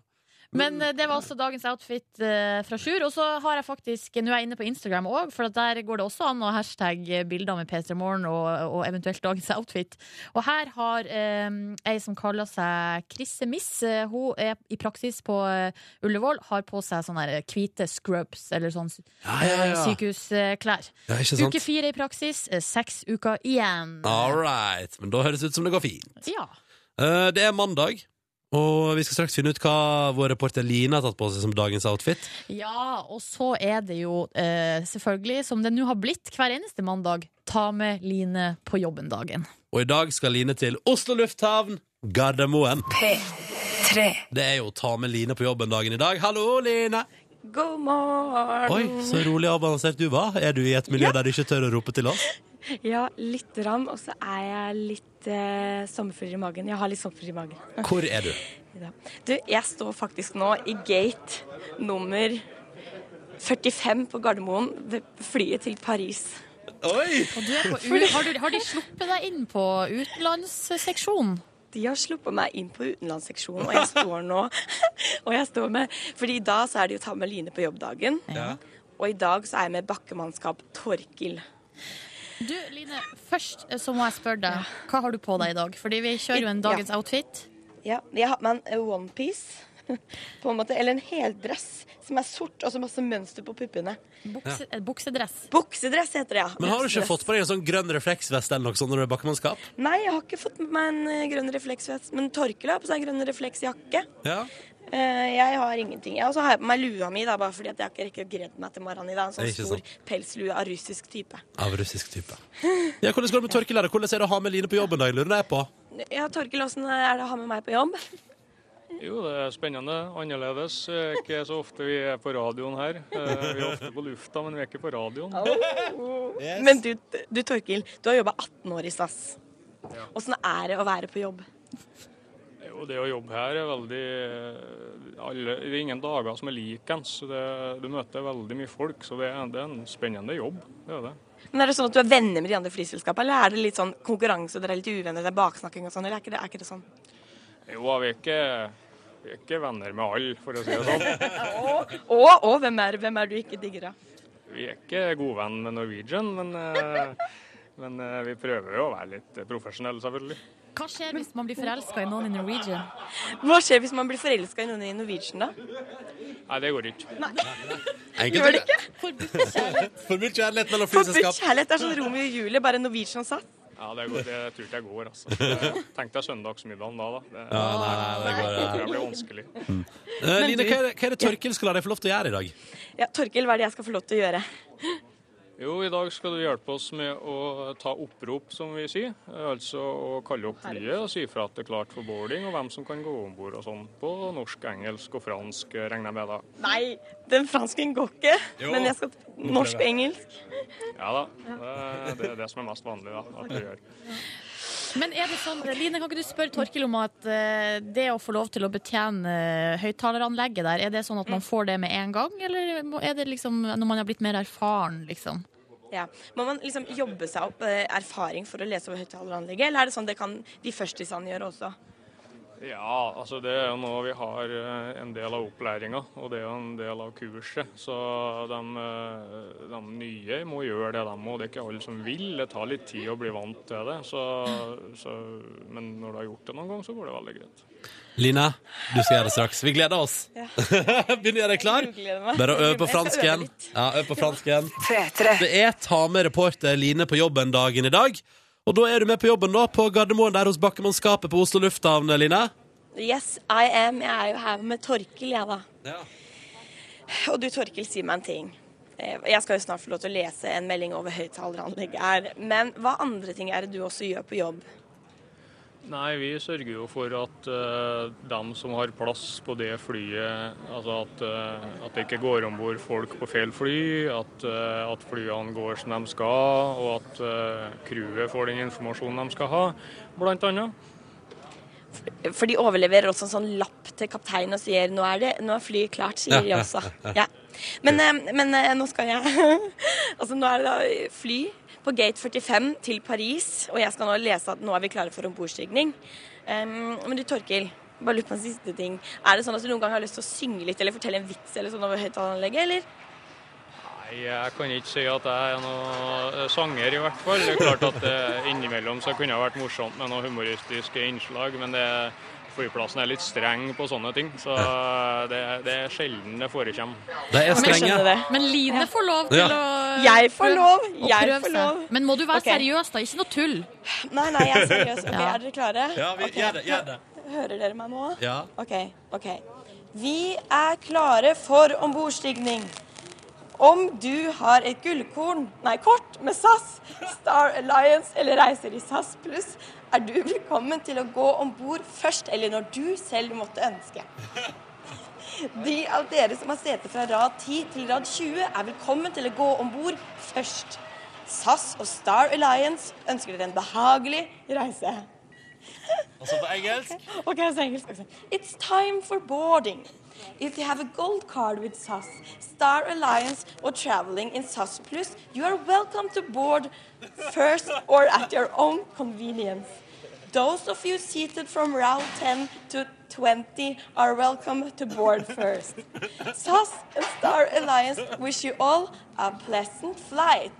S6: Men eh, det var altså dagens outfit eh, fra Sjur. Og så har jeg faktisk, nå er jeg inne på Instagram òg, for at der går det også an å hashtagge bilder med P3 Morgen og, og eventuelt dagens outfit. Og her har eh, ei som kaller seg Krisse Miss, eh, hun er i praksis på eh, Ullevål, har på seg sånne her hvite scrubs, eller sånn
S2: Ah, Ja, ja,
S6: eh,
S2: ja.
S6: sykehusklær.
S2: ja, ikke sant? Ah.
S6: Uke fire i praksis, eh, seks uker igjen.
S2: All right. Men da høres det ut som det går fint.
S6: Ja.
S2: Eh, Det er mandag, og vi skal straks finne ut hva vår reporter Line har tatt på seg som dagens outfit.
S6: Ja, og så er det jo eh, selvfølgelig, som det nå har blitt hver eneste mandag, ta med Line på jobben-dagen.
S2: Og i dag skal Line til Oslo lufthavn, Gardermoen.
S1: P3.
S2: Det er jo å ta med Line på jobben dagen i dag. Hallo, Line!
S1: God morgen.
S2: Oi, så rolig og avansert du var. Er du i et miljø der du ikke tør å rope til oss?
S5: Ja, lite grann. Og så er jeg litt eh, sommerfugl i magen. Jeg har litt sommerfugl i magen.
S2: Hvor er du?
S5: Ja. Du, jeg står faktisk nå i gate nummer 45 på Gardermoen ved flyet til Paris.
S2: Oi!
S6: Og du er på U har, du, har de sluppet deg inn på utenlandsseksjonen?
S5: De har sluppet meg inn på utenlandsseksjonen, og jeg står nå og jeg står med, fordi i dag så er det jo ta med Line på jobbdagen.
S2: Ja.
S5: Og i dag så er jeg med bakkemannskap Torkil.
S6: Du, Line, først eh, så må jeg spørre deg, hva har du på deg i dag? Fordi vi kjører jo en
S5: Ja.
S6: dagens outfit.
S5: Ja, jeg har på meg en onepiece. På en måte, eller en heldress som er sort, og så masse mønster på puppene.
S6: Bukse, eh, Buksedress.
S5: Buksedress heter det, ja.
S2: Men har du ikke
S5: Buksedress.
S2: fått på deg en sånn grønn refleksvest eller noe sånt når du er bakkemannskap?
S5: Nei, jeg har ikke fått med meg en eh, grønn refleksvest, men Torkel har på seg en grønn refleksjakke.
S2: Ja.
S5: Eh, jeg har ingenting. Jeg- Og så har jeg på meg lua mi, da, bare fordi at jeg ikke rekker å gredde meg til morgenen i dag. En sånn
S2: Det er ikke
S5: stor pelslue av russisk type.
S2: Av russisk type. Ja, hvordan går det med Torkelærer? Hvordan er det å ha med Line på jobben? da? Jeg lurer jeg på.
S5: Ja, Torkel, åssen er det å ha med meg på jobb?
S7: Jo, det er spennende. Annerledes. Eh, Ikke så ofte vi er på radioen her. Eh, Vi er ofte på lufta, men vi er ikke på radioen.
S5: Oh. Men du, du Torkel, du har jobba 18 år i SAS. Åssen er det å være på jobb?
S7: Jo, det å jobbe her er veldig eh, alle, Det er ingen dager som er likens. så det- Du møter veldig mye folk, så det er, det er en spennende jobb. Det er det.
S5: Men Er det sånn at du er venner med de andre flyselskapene, eller er det litt sånn konkurranse og dere er litt uvenner, det er baksnakking og sånn, eller er ikke det, er ikke det sånn?
S7: Jo, vi er ikke, vi er ikke venner med alle, for å si det sånn.
S5: Å, å, hvem er, hvem er du ikke digger av?
S7: Vi er ikke god venn med Norwegian, men, eh, men eh, vi prøver jo å være litt eh, profesjonelle, selvfølgelig.
S6: Hva skjer hvis man blir forelska i noen i Norwegian?
S5: Hva skjer hvis man blir forelska i noen i Norwegian, da?
S7: Nei, det går ikke.
S2: Enkelt,
S5: Gjør det ikke?
S6: Forbudt kjærlighet.
S2: For mye kjærlighet mellom
S5: Forbudt
S2: flyselskap.
S5: kjærlighet er sånn Romeo og Julie, bare Norwegian satt.
S7: Ja, det, går, det tror ikke jeg går, altså. Tenk deg søndagsmiddagen da, da. Det,
S2: Ja, nei, nei, det går,
S7: det
S2: ja.
S7: tror jeg blir vanskelig.
S2: Eh, Line, hva er, det, hva er det Torkil skal la deg få lov til å gjøre i dag?
S5: Ja, Torkil, hva er det jeg skal få lov til å gjøre?
S7: Jo, i dag skal du hjelpe oss med å ta opprop, som vi sier. Altså å kalle opp flyet og si fra at det er klart for boarding, og hvem som kan gå om bord og sånn. På norsk, engelsk og fransk, eh, regner jeg med da.
S5: Nei, den fransken går ikke.
S2: Jo.
S5: Men jeg skal norsk og engelsk.
S7: Ja da. Det, det er det som er mest vanlig, da. At vi gjør.
S6: Men er det sånn, Line, kan ikke du spørre Torkil om at eh, det å få lov til å betjene eh, høyttaleranlegget der, er det sånn at man får det med en gang, eller må- er det liksom når man har blitt mer erfaren, liksom?
S5: Ja. Må man liksom jobbe seg opp eh, erfaring for å lese over høyttaleranlegget, eller er det sånn det kan de førstisene gjøre også?
S7: Ja, altså det er jo noe vi har eh, en del av opplæringa, og det er jo en del av kurset. Så de, eh, de nye må gjøre det, de må. Det er ikke alle som vil. Det tar litt tid å bli vant til det. Så, så, men når du har gjort det noen gang, så går det veldig greit.
S2: Line, du skal gjøre det straks. Vi gleder oss. Begynner jeg deg klar?
S5: Grunngleder meg.
S2: Bare å øve på
S5: Jeg skal øve
S2: fransken.
S5: litt.
S2: Ja, øve på fransken.
S1: P3.
S2: Det er ta med reporter Line på jobben dagen i dag. Og da er du med på jobben da, på Gardermoen der hos Bakkemannskapet på Oslo lufthavn, Line.
S5: Yes, I am. Jeg er jo her med Torkil, jeg, da.
S2: Ja.
S5: Og du, Torkil, si meg en ting. Eh, Jeg skal jo snart få lov til å lese en melding over høyttaleranlegget her. Men hva andre ting er det du også gjør på jobb?
S7: Nei, vi sørger jo for at uh, dem som har plass på det flyet, altså at, eh, at det ikke går om bord folk på feil fly, at, eh, at flyene går som de skal, og at eh, crewet får den informasjonen de skal ha, blant annet.
S5: For de overleverer også en sånn lapp til kapteinen og sier nå er, det, nå er flyet klart, sier de også. Ja. Men, eh, men eh, nå skal jeg Altså nå er det da fly på gate 45 til Paris, og jeg skal nå lese at nå er vi klare for ombordstigning. Um, men du, Torkil, bare lurer på en siste ting. Er det sånn at du noen gang har lyst til å synge litt eller fortelle en vits eller sånn over høyttaleranlegget, eller?
S7: Nei, jeg kan ikke si at jeg er noen eh, sanger, i hvert fall. Det er klart at eh, innimellom så kunne det vært morsomt med noen humoristiske innslag, men det, flyplassen er litt streng på sånne ting, så det, det er sjelden det forekommer.
S2: De er
S5: Men jeg skjønner
S2: strenge.
S5: det.
S6: Men Line får lov til
S2: Ja.
S6: å
S5: Jeg får
S6: prøve-
S5: lov,
S6: å
S5: jeg
S6: prøve
S5: får
S6: seg.
S5: lov.
S6: Men må du være
S5: Ok.
S6: seriøs, da? Ikke noe tull.
S5: Nei, nei, jeg er seriøs. Ok, Er dere klare?
S2: Ja, vi,
S5: Ok.
S2: gjør det, gjør det.
S5: Hører dere meg nå?
S2: Ja.
S5: OK. ok. Vi er klare for ombordstigning. Om du har et gullkorn, nei, kort med SAS, Star Alliance eller reiser i SAS pluss, er du velkommen til å gå om bord først eller når du selv måtte ønske. De av dere som har sete fra rad 10 til rad 20, er velkommen til å gå om bord først. SAS og Star Alliance ønsker dere en behagelig reise.
S2: Og så Altså, på engelsk.
S5: Okay, it's English. Okay. It's time for boarding. If you have a gold card with SAS, Star Alliance, or traveling in SAS Plus, you are welcome to board first or at your own convenience. Those of you seated from round 10 to 20 are welcome to board first. SAS and Star Alliance wish you all a pleasant flight.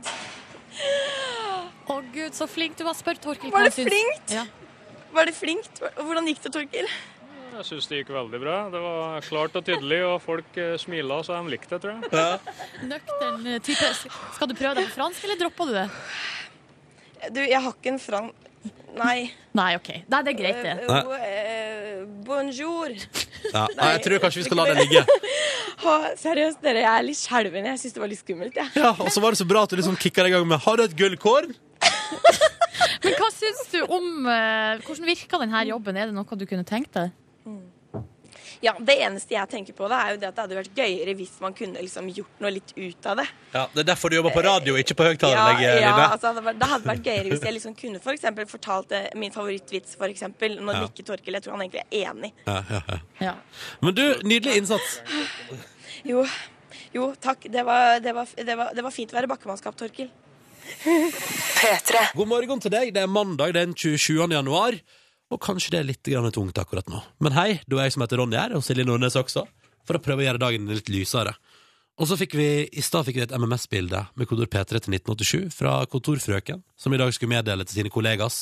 S6: Å gud, så flink du var. Spør Torkil.
S5: Var
S6: hva
S5: det
S6: han syns.
S5: flinkt?
S6: Ja.
S5: Var det flinkt? Hvordan gikk det, Torkil?
S7: Jeg syns det gikk veldig bra. Det var klart og tydelig, og folk eh, smila, så de likte det, tror jeg.
S6: Nøktern eh, type. Skal du prøve deg på fransk, eller dropper du det?
S5: Du, jeg har ikke en fran... Nei.
S6: Nei, OK. Nei, det er greit, det.
S5: Eh, bo- eh, Bonjour.
S2: Ja. Nei, jeg tror kanskje vi skal la det ligge.
S5: Ha, seriøst, dere, jeg er litt skjelven. Jeg syns det var litt skummelt. Jeg.
S2: Ja, Og så var det så bra at du liksom kicka i gang med Har du et gullkorn?
S6: Men hva syns du om eh, Hvordan virker denne jobben? Er det noe du kunne tenkt deg?
S5: Ja, Det eneste jeg tenker på, da, er jo det at det hadde vært gøyere hvis man kunne liksom gjort noe litt ut av det.
S2: Ja, Det er derfor du jobber på radio, ikke på
S5: Ja,
S2: høyttalerlegget,
S5: ja,
S2: Line.
S5: altså, det hadde vært- det hadde vært gøyere hvis jeg liksom kunne for eksempel, fortalt eh, min favorittvits, for eksempel. Nå nikker Torkil. Jeg tror han egentlig er enig.
S2: Ja, ja, ja.
S6: Ja.
S2: Men du, nydelig innsats.
S5: Jo, jo takk. Det var, det, var, det, var, det var fint å være bakkemannskap, Torkil.
S1: P3.
S2: God morgen til deg. Det er mandag den 27. januar. Og kanskje det er litt grann tungt akkurat nå. Men hei, det er jeg som heter Ronny her, og Silje Nordnes også, for å prøve å gjøre dagen litt lysere. Og så fikk vi, I stad fikk vi et MMS-bilde med kodord P3 til 1987 fra kontorfrøken, som i dag skulle meddele til sine kollegas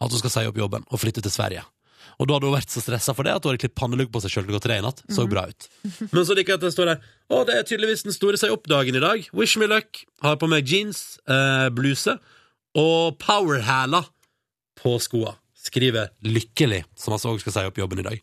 S2: at hun skal si opp jobben og flytte til Sverige. Og da hadde hun vært så stressa for det at hun hadde klippet pannelugg på seg sjøl klokka tre i natt. Så bra ut. Men så liker jeg at det står der Å, det er tydeligvis den store seg opp-dagen i dag. Wish me luck. Har på meg jeans, eh, bluse og powerhæler på skoa. Skriver 'lykkelig', som altså òg skal si opp jobben i dag.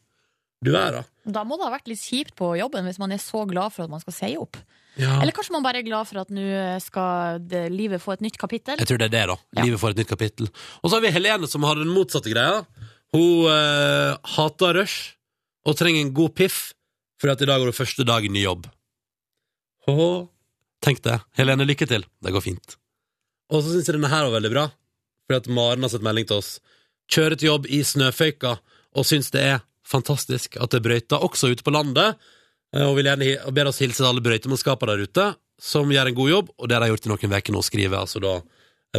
S2: Du er da.
S6: Da må det ha vært litt kjipt på jobben hvis man er så glad for at man skal si opp.
S2: Ja.
S6: Eller kanskje man bare er glad for at nå skal det, livet få et nytt kapittel.
S2: Jeg tror det er det, da.
S6: Ja.
S2: Livet får et nytt kapittel. Og så har vi Helene, som har den motsatte greia. Hun eh, hater rush og trenger en god piff, fordi at i dag er det første dag i ny jobb. Åh, tenk det. Helene, lykke til. Det går fint. Og så syns jeg denne her var veldig bra, fordi at Maren har sett melding til oss. Kjører til jobb i snøføyka og syns det er fantastisk at det brøyter også ute på landet. eh, Og vil gjerne hi- og ber oss hilse til alle brøytemannskaper der ute, som gjør en god jobb, og det har de gjort i noen uker nå, skriver altså da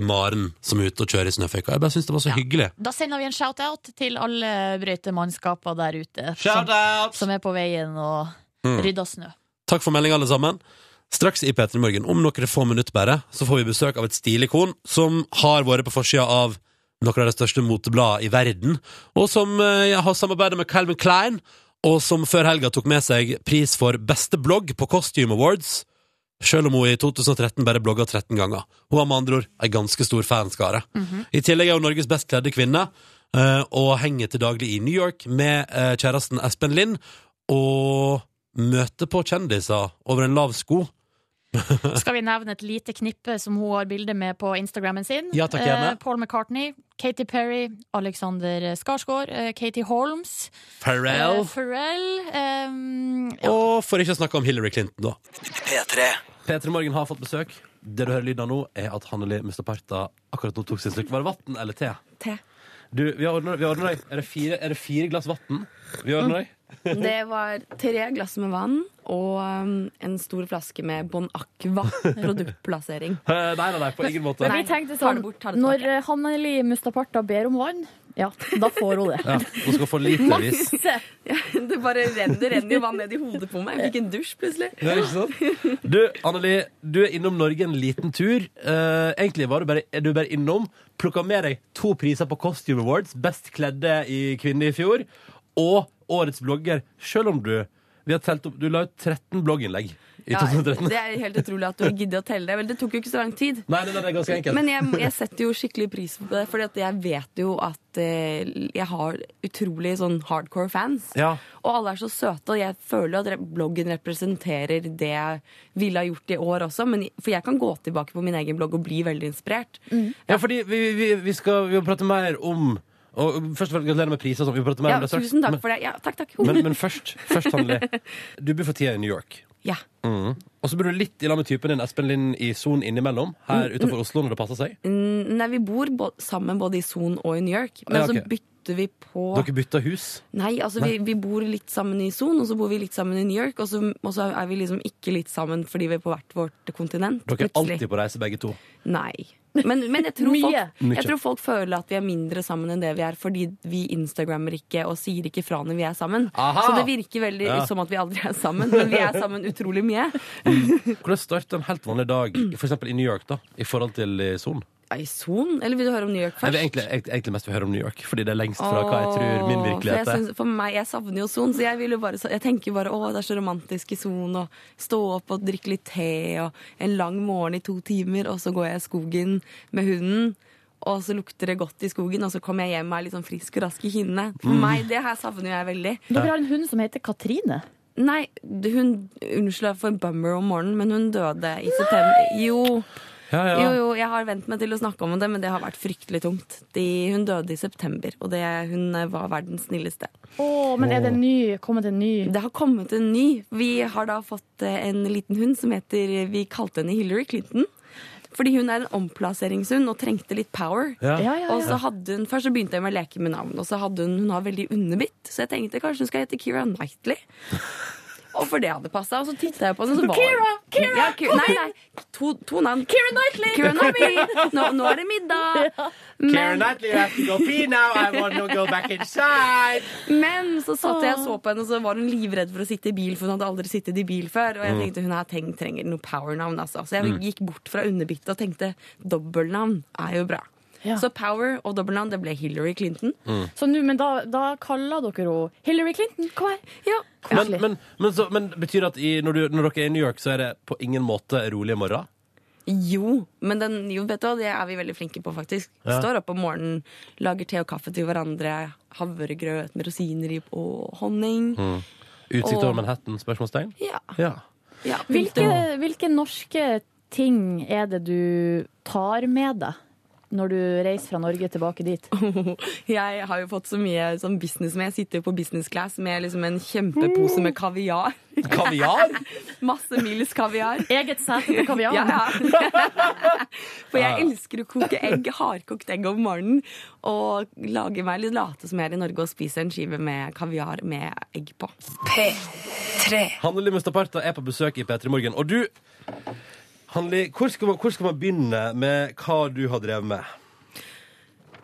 S2: Maren som er ute og kjører i snøføyka. Jeg bare syns det var så
S6: Ja.
S2: hyggelig.
S6: Da sender vi en shout-out til alle brøytemannskaper der ute som,
S2: Shout-out! Mm.
S6: som er på veien og rydder snø.
S2: Takk for meldinga, alle sammen. Straks i P3 Morgen, om noen få minutter bare, så får vi besøk av et stilikon som har vært på forsida av noen av de største motebladene i verden, og som eh, har samarbeidet med Calvin Klein, og som før helga tok med seg pris for beste blogg på Costume Awards, selv om hun i 2013 bare blogga 13 ganger. Hun var med andre ord ei ganske stor fanskare. I tillegg er hun Norges best kledde kvinne, eh, og henger til daglig i New York med eh, kjæresten Espen Lind, og møter på kjendiser over en lav sko.
S6: Skal vi nevne et lite knippe som hun har bilde med på Instagrammen sin?
S2: Ja, takk, gjerne.
S6: Eh, Paul McCartney, Katy Perry, Alexander Skarsgård, eh, Katie Holmes, eh,
S2: Pharrell.
S6: Pharrell eh, ja.
S2: Og for ikke å snakke om Hillary Clinton, da.
S1: P3.
S2: Peter Morgen har fått besøk. Det du hører lyden av nå, er at Hanneli Mustaparta akkurat nå tok sin slurk. Var det vann eller te?
S8: Te.
S2: Du, vi har ordna vi har ordnet deg. Er det fire, er det fire glass vann? Vi har ordna deg.
S8: Det var tre glass med vann og um, en stor flaske med Bon Aqua produktplassering.
S2: Eh, Nei, nei, nei, på ingen måte.
S4: Vi tenkte
S8: Ta
S4: sånn,
S8: det bort, ta det tilbake.
S4: når eh, Hanneli Mustaparta ber om vann, ja, da får hun det.
S2: Ja, hun skal få litervis.
S4: Se,
S8: Det bare renner, det renner jo vann ned i hodet på meg. Jeg fikk en dusj plutselig.
S2: Det er liksom ikke sant? Du, Anneli, du er innom Norge en liten tur. Eh, egentlig var du bare, er du bare innom. Plukka med deg to priser på Costume Awards, best kledde i kvinne i fjor, og årets blogger, selv om du vi har telt opp, Du la ut 13 blogginnlegg i
S8: Ja,
S2: 2013.
S8: det er helt utrolig at du gidder å telle det. Vel, det tok jo ikke så lang tid.
S2: Nei, nei, nei, det er ganske enkelt.
S8: Men jeg, jeg setter jo skikkelig pris på det, Fordi at jeg vet jo at eh, jeg har utrolig sånn hardcore fans.
S2: Ja.
S8: Og alle er så søte, og jeg føler at re- bloggen representerer det jeg ville ha gjort i år også. Men, for jeg kan gå tilbake på min egen blogg og bli veldig inspirert.
S2: Ja, fordi vi, vi, vi skal vi må prate mer om og Først og fremst gratulerer med priser. og sånn, Vi prater mer
S8: Ja,
S2: om det straks.
S8: tusen takk for det. Ja, takk, takk.
S2: Men, men, men først, først Anneli. Du bor for tida i New York.
S8: ja.
S2: Og så bor du litt i lag med typen din Espen Lind i Son innimellom, her utenfor Oslo når det passer seg.
S8: Mm, Nei, vi bor bo sammen både i Son og i New York, men
S2: Ja, ok.
S8: så bytter vi på
S2: Dere bytter hus.
S8: Nei, altså Vi, vi bor litt sammen i Son, og så bor vi litt sammen i New York, og så, og så er vi liksom ikke litt sammen fordi vi er på hvert vårt kontinent.
S2: Dere er
S8: plutselig.
S2: alltid på reise, begge to.
S8: Nei. Men, men jeg, tror
S4: Mye.
S8: folk,
S2: Mye.
S8: jeg tror folk føler at vi er mindre sammen enn det vi er, fordi vi instagrammer ikke og sier ikke fra når vi er sammen.
S2: Aha!
S8: Så det virker veldig
S2: Ja.
S8: som at vi aldri er sammen, men vi er sammen utrolig mye.
S2: Hvordan starter en helt vanlig dag for eksempel i New York da, i forhold til eh, Son?
S8: Ja, I Son? Eller vil du høre om New York
S2: Jeg
S8: først?
S2: vil egentlig, eg- egentlig mest vil høre om New York, fordi det er lengst fra hva jeg tror min
S8: Åh,
S2: virkelighet
S8: For, jeg
S2: er.
S8: synes, for meg, jeg savner jo Son, så jeg, vil jo bare, jeg tenker bare å, det er så romantisk i Son, og stå opp og drikke litt te, og en lang morgen i to timer, og så går jeg i skogen med hunden, og så lukter det godt i skogen, og så kommer jeg hjem og er litt sånn frisk og rask i kinnene.
S2: Mm.
S8: For meg, det her savner jeg veldig.
S4: dere har en hund som heter Katrine.
S8: Nei, hun, unnskyld for en bummer om morgenen, men hun døde i september. Jo,
S2: Ja, ja.
S8: jo, jo, jeg har vent meg til å snakke om det, men det har vært fryktelig tungt. De, hun døde i september, og det, hun eh, var verdens snilleste.
S4: Å, men er det en ny? Kommet en ny?
S8: Det har kommet en ny. Vi har da fått eh, en liten hund som heter Vi kalte henne Hillary Clinton. Fordi hun er en omplasseringshund og trengte litt power.
S2: Ja.
S4: Ja, ja,
S8: Og
S4: ja.
S8: så hadde hun, Først så begynte jeg med å leke med navn, og så hadde hun, hun har veldig underbitt. Så jeg tenkte kanskje hun skal hete Kira Knightley. Og for det hadde passa. Og så titta jeg på henne, og så var Kira! Kira! Ja, Kira nei, nei. To, to navn. Kira Knightley! Kira Knightley. Nå, nå er det middag. Men- Men så satt jeg og så på henne, og så var hun livredd for å sitte i bil, for hun hadde aldri sittet i bil før. Og jeg tenkte hun her treng, trenger noe powernavn, altså. Så jeg gikk bort fra underbittet og tenkte dobbeltnavn er jo bra.
S4: Ja.
S8: Så power og dobbeltnavn, det ble Hillary Clinton.
S4: Så nå, men da, da kaller dere henne Hillary Clinton. Kom her.
S8: Ja,
S2: Men, men, men, så, men betyr det at i, når, du, når dere er i New York, så er det på ingen måte rolig morgen?
S8: Jo, men den, jo, vet du hva, det er vi veldig flinke på, faktisk.
S2: Ja.
S8: Står opp om morgenen, lager te og kaffe til hverandre, havregrøt med rosiner i og honning.
S2: Utsikt over
S8: Åh.
S2: Manhattan? Spørsmålstegn?
S8: Ja,
S2: Ja.
S8: ja.
S6: Hvilke, hvilke norske ting er det du tar med deg når du reiser fra Norge tilbake dit?
S8: Jeg har jo fått så mye sånn business med. Jeg sitter jo på business class med liksom en kjempepose med kaviar.
S2: Kaviar?
S8: Masse Mils kaviar.
S6: Eget sete på kaviar?
S8: Ja, ja. For jeg elsker å koke egg, hardkokt egg om morgenen. Og lage meg litt late som jeg er i Norge og spise en skive med kaviar med egg på.
S9: P3.
S2: Hanne Lim Mustaparta er på besøk i P3 Morgen. Og du, Hanli, hvor skal, man, hvor skal man begynne med hva du har drevet med?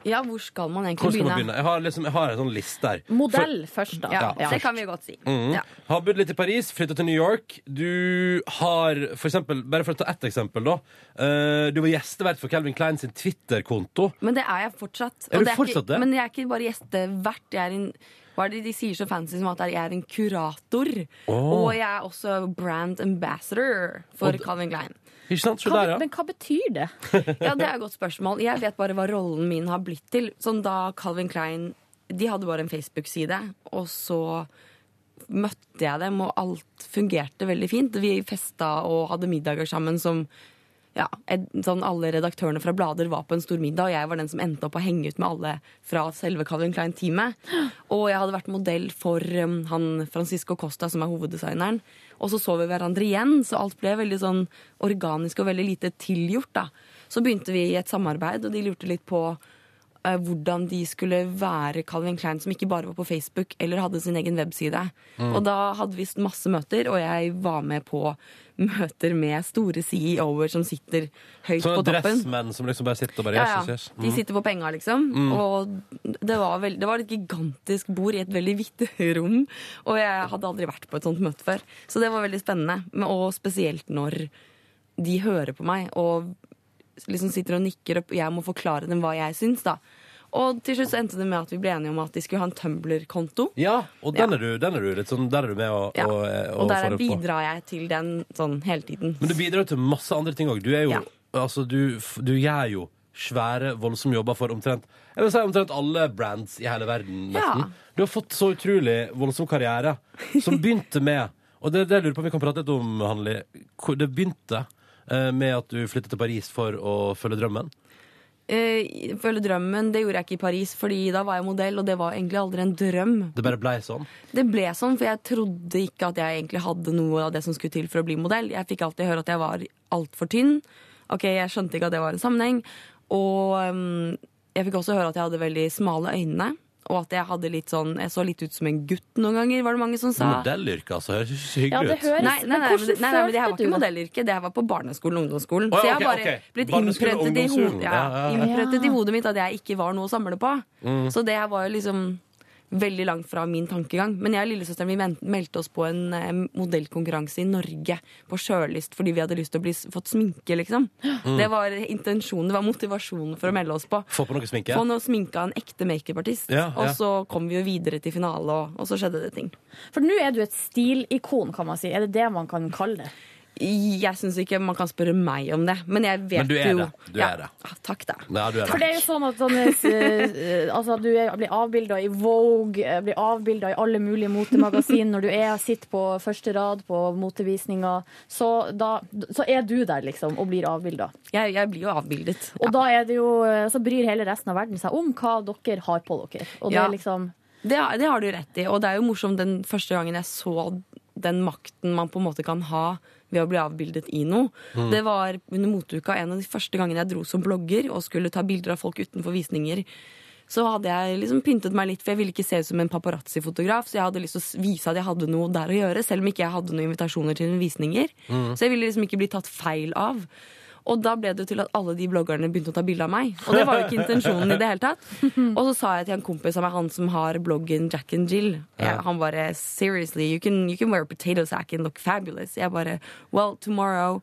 S8: Ja, hvor skal man egentlig
S2: Hvor skal man
S8: begynne?
S2: begynne? Jeg har, liksom, jeg har en sånn liste her.
S6: Modell først, da.
S8: Ja,
S6: Ja.
S8: Det kan vi jo godt si. Ja.
S2: Har bodd litt i Paris, flytta til New York. Du har for eksempel, Bare for å ta ett eksempel, da. eh, du var gjestevert for Calvin Klein sin Twitter-konto.
S8: Men det er jeg fortsatt.
S2: Er du
S8: det
S2: fortsatt
S8: ikke,
S2: det?
S8: Men jeg er ikke bare gjestevert. Jeg er en, hva er det de sier så fancy som at jeg er en kurator? Og jeg er også brand ambassador for Calvin Klein.
S2: Ikke sant? Se
S6: Hva,
S2: der, ja.
S6: men hva betyr det?
S8: Ja, det er et godt spørsmål. Jeg vet bare hva rollen min har blitt til. Sånn da Calvin Klein De hadde bare en Facebook-side, og så møtte jeg dem, og alt fungerte veldig fint. Vi festa og hadde middager sammen som ja, ed, sånn alle redaktørene fra blader var på en stor middag, og jeg var den som endte opp å henge ut med alle fra selve Calvin Klein-teamet. Og jeg hadde vært modell for um, han Francisco Costa, som er hoveddesigneren. Og så så vi hverandre igjen, så alt ble veldig sånn organisk og veldig lite tilgjort. da. Så begynte vi i et samarbeid, og de lurte litt på eh, hvordan de skulle være Calvin Klein, som ikke bare var på Facebook eller hadde sin egen webside. Og da hadde vi masse møter, og jeg var med på møter med store CEO-er som sitter høyt
S2: Sånne
S8: på toppen.
S2: dressmenn som liksom bare sitter og bare
S8: Ja,
S2: yes,
S8: ja.
S2: yes, Mm. yes.
S8: De sitter på penga, liksom. Og det var, veld, det var et gigantisk bord i et veldig hvitt rom. Og jeg hadde aldri vært på et sånt møte før. Så det var veldig spennende. Men- Og spesielt når de hører på meg og liksom sitter og nikker, og jeg må forklare dem hva jeg syns. da. Og til slutt så endte det med at vi ble enige om at de skulle ha en Tumblr-konto.
S2: Ja, og den er, du, den er du litt sånn Der er du med og,
S8: Ja.
S2: og, eh,
S8: Og der
S2: får det på.
S8: bidrar jeg til den sånn hele tiden.
S2: Men du bidrar jo til masse andre ting òg. Du er jo
S8: Ja.
S2: Altså, du, f- du gjør jo svære, voldsomme jobber for omtrent Jeg vil si omtrent alle brands i hele verden, nesten.
S8: Ja.
S2: Du har fått så utrolig voldsom karriere, som begynte med Og det, det jeg lurer på om vi kan prate litt om, Hanli. hvor Det begynte eh, med at du flyttet til Paris for å følge drømmen.
S8: Eh, Følge drømmen, det gjorde jeg ikke i Paris, Fordi da var jeg modell, og det var egentlig aldri en drøm.
S2: Det bare blei sånn.
S8: Det ble sånn, for jeg trodde ikke at jeg egentlig hadde noe av det som skulle til for å bli modell. Jeg fikk alltid høre at jeg var altfor tynn. Ok, Jeg skjønte ikke at det var en sammenheng. Og øhm, jeg fikk også høre at jeg hadde veldig smale øyne. Og at jeg hadde litt sånn, jeg så litt ut som en gutt noen ganger, var det mange som sa.
S2: Modellyrket, altså. Høres ikke så
S6: Ja,
S2: hyggelig
S6: det
S2: ut.
S6: høres,
S8: Nei, nei, nei,
S6: men
S8: men, det-
S6: hvordan
S8: nei, nei, men det her var
S6: følte
S8: ikke
S6: du det?
S8: modellyrke. Det her var på barneskolen og ungdomsskolen.
S2: Å, ja,
S8: så jeg har
S2: ok,
S8: bare
S2: ok.
S8: blitt
S2: Barneskolen og
S8: innprentet i, ho
S2: ungdomsskolen.
S8: ja,
S2: Ja, Mm. ja, ja.
S8: innprentet
S6: Ja.
S8: i hodet mitt at jeg ikke var noe å samle på. Så det her var jo liksom veldig langt fra min tankegang. Men jeg og lillesøsteren min men- meldte oss på en eh, modellkonkurranse i Norge på sjølyst fordi vi hadde lyst til å bli, s- fått sminke, liksom. Det var intensjonen, det var motivasjonen for å melde oss
S2: Mm.
S8: på.
S2: Få på noe sminke.
S8: Få noe sminke av en ekte makeupartist.
S2: Ja, ja.
S8: Og så kom vi jo videre til finale, og, og så skjedde det ting.
S6: For nå er du et stilikon, kan man si. Er det det man kan kalle det?
S8: Jeg syns ikke man kan spørre meg om det, men jeg vet
S2: Men du er
S8: jo
S2: det. Du
S8: ja.
S2: er det.
S8: Ah, Takk, da.
S2: Nei, du er
S6: For det
S2: det.
S6: er jo sånn at sånne, eh, altså, du er, blir avbilda i Vogue, eh, blir avbilda i alle mulige motemagasin når du er, sitter på første rad på motevisninger. Så, da, så er du der, liksom, og blir avbilda.
S8: Jeg, jeg blir jo avbildet.
S6: Og da er det jo, eh, så bryr hele resten av verden seg om hva dere har på dere. Og det
S8: Ja.
S6: er liksom
S8: Det, har- det har du rett i, og det er jo morsomt den første gangen jeg så den makten man på en måte kan ha ved å bli avbildet i noe.
S2: Mm.
S8: Det var under moteuka en av de første gangene jeg dro som blogger og skulle ta bilder av folk utenfor visninger. Så hadde jeg liksom pyntet meg litt, for jeg ville ikke se ut som en paparazzi-fotograf. Så jeg hadde lyst til å s- vise at jeg hadde noe der å gjøre, selv om ikke jeg hadde noen invitasjoner til noen visninger.
S2: Mm.
S8: Så jeg ville liksom ikke bli tatt feil av. Og da ble det til at alle de bloggerne begynte å ta bilde av meg. Og det var jo ikke intensjonen i det hele tatt. Og så sa jeg til en kompis av meg, han som har bloggen Jack and Jill jeg, Han bare 'seriously, you can, you can wear a potato sack and look fabulous'. Jeg bare 'well, tomorrow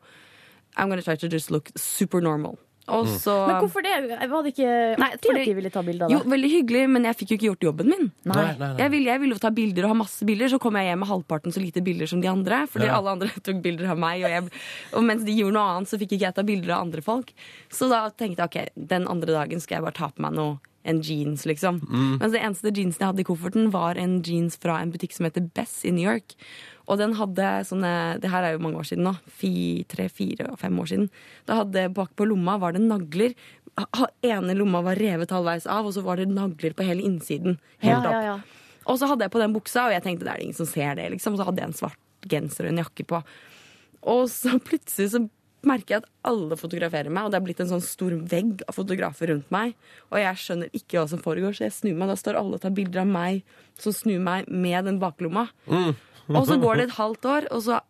S8: I'm gonna try to just look super normal'. Og så
S6: Men hvorfor det? Var det ikke
S8: Nei,
S6: artig
S8: fordi-
S6: at de ville ta bilde av
S8: Jo,
S6: deg?
S8: veldig hyggelig, men jeg fikk jo ikke gjort jobben min.
S6: Nei.
S8: Jeg ville, jeg ville jo ta bilder og ha masse bilder, så kom jeg hjem med halvparten så lite bilder som de andre. Fordi
S2: Ja.
S8: alle andre tok bilder av meg, og, jeg, og mens de gjorde noe annet, så fikk ikke jeg ta bilder av andre folk. Så da tenkte jeg ok, den andre dagen skal jeg bare ta på meg noe. En jeans, liksom.
S6: Mm.
S8: Mens det eneste jeansen jeg hadde i kofferten, var en jeans fra en butikk som heter Bess i New York. Og den hadde sånne Det her er jo mange år siden nå. Fi, tre, fire, fem år siden. Da hadde bak på lomma var det nagler. Ha- ha- Ene lomma var revet halvveis av, og så var det nagler på hele innsiden.
S6: Ja,
S8: Helt opp.
S6: ja, ja.
S8: Og så hadde jeg på den buksa, og jeg tenkte det er det ingen som ser det. liksom. Så hadde jeg en svart genser og en jakke på. Og så plutselig så merker jeg at alle fotograferer meg, og det er blitt en sånn stor vegg av fotografer rundt meg. Og jeg skjønner ikke hva som foregår, så jeg snur meg. Da står alle og tar bilder av meg som snur meg med den baklomma. og så går det et halvt år, og så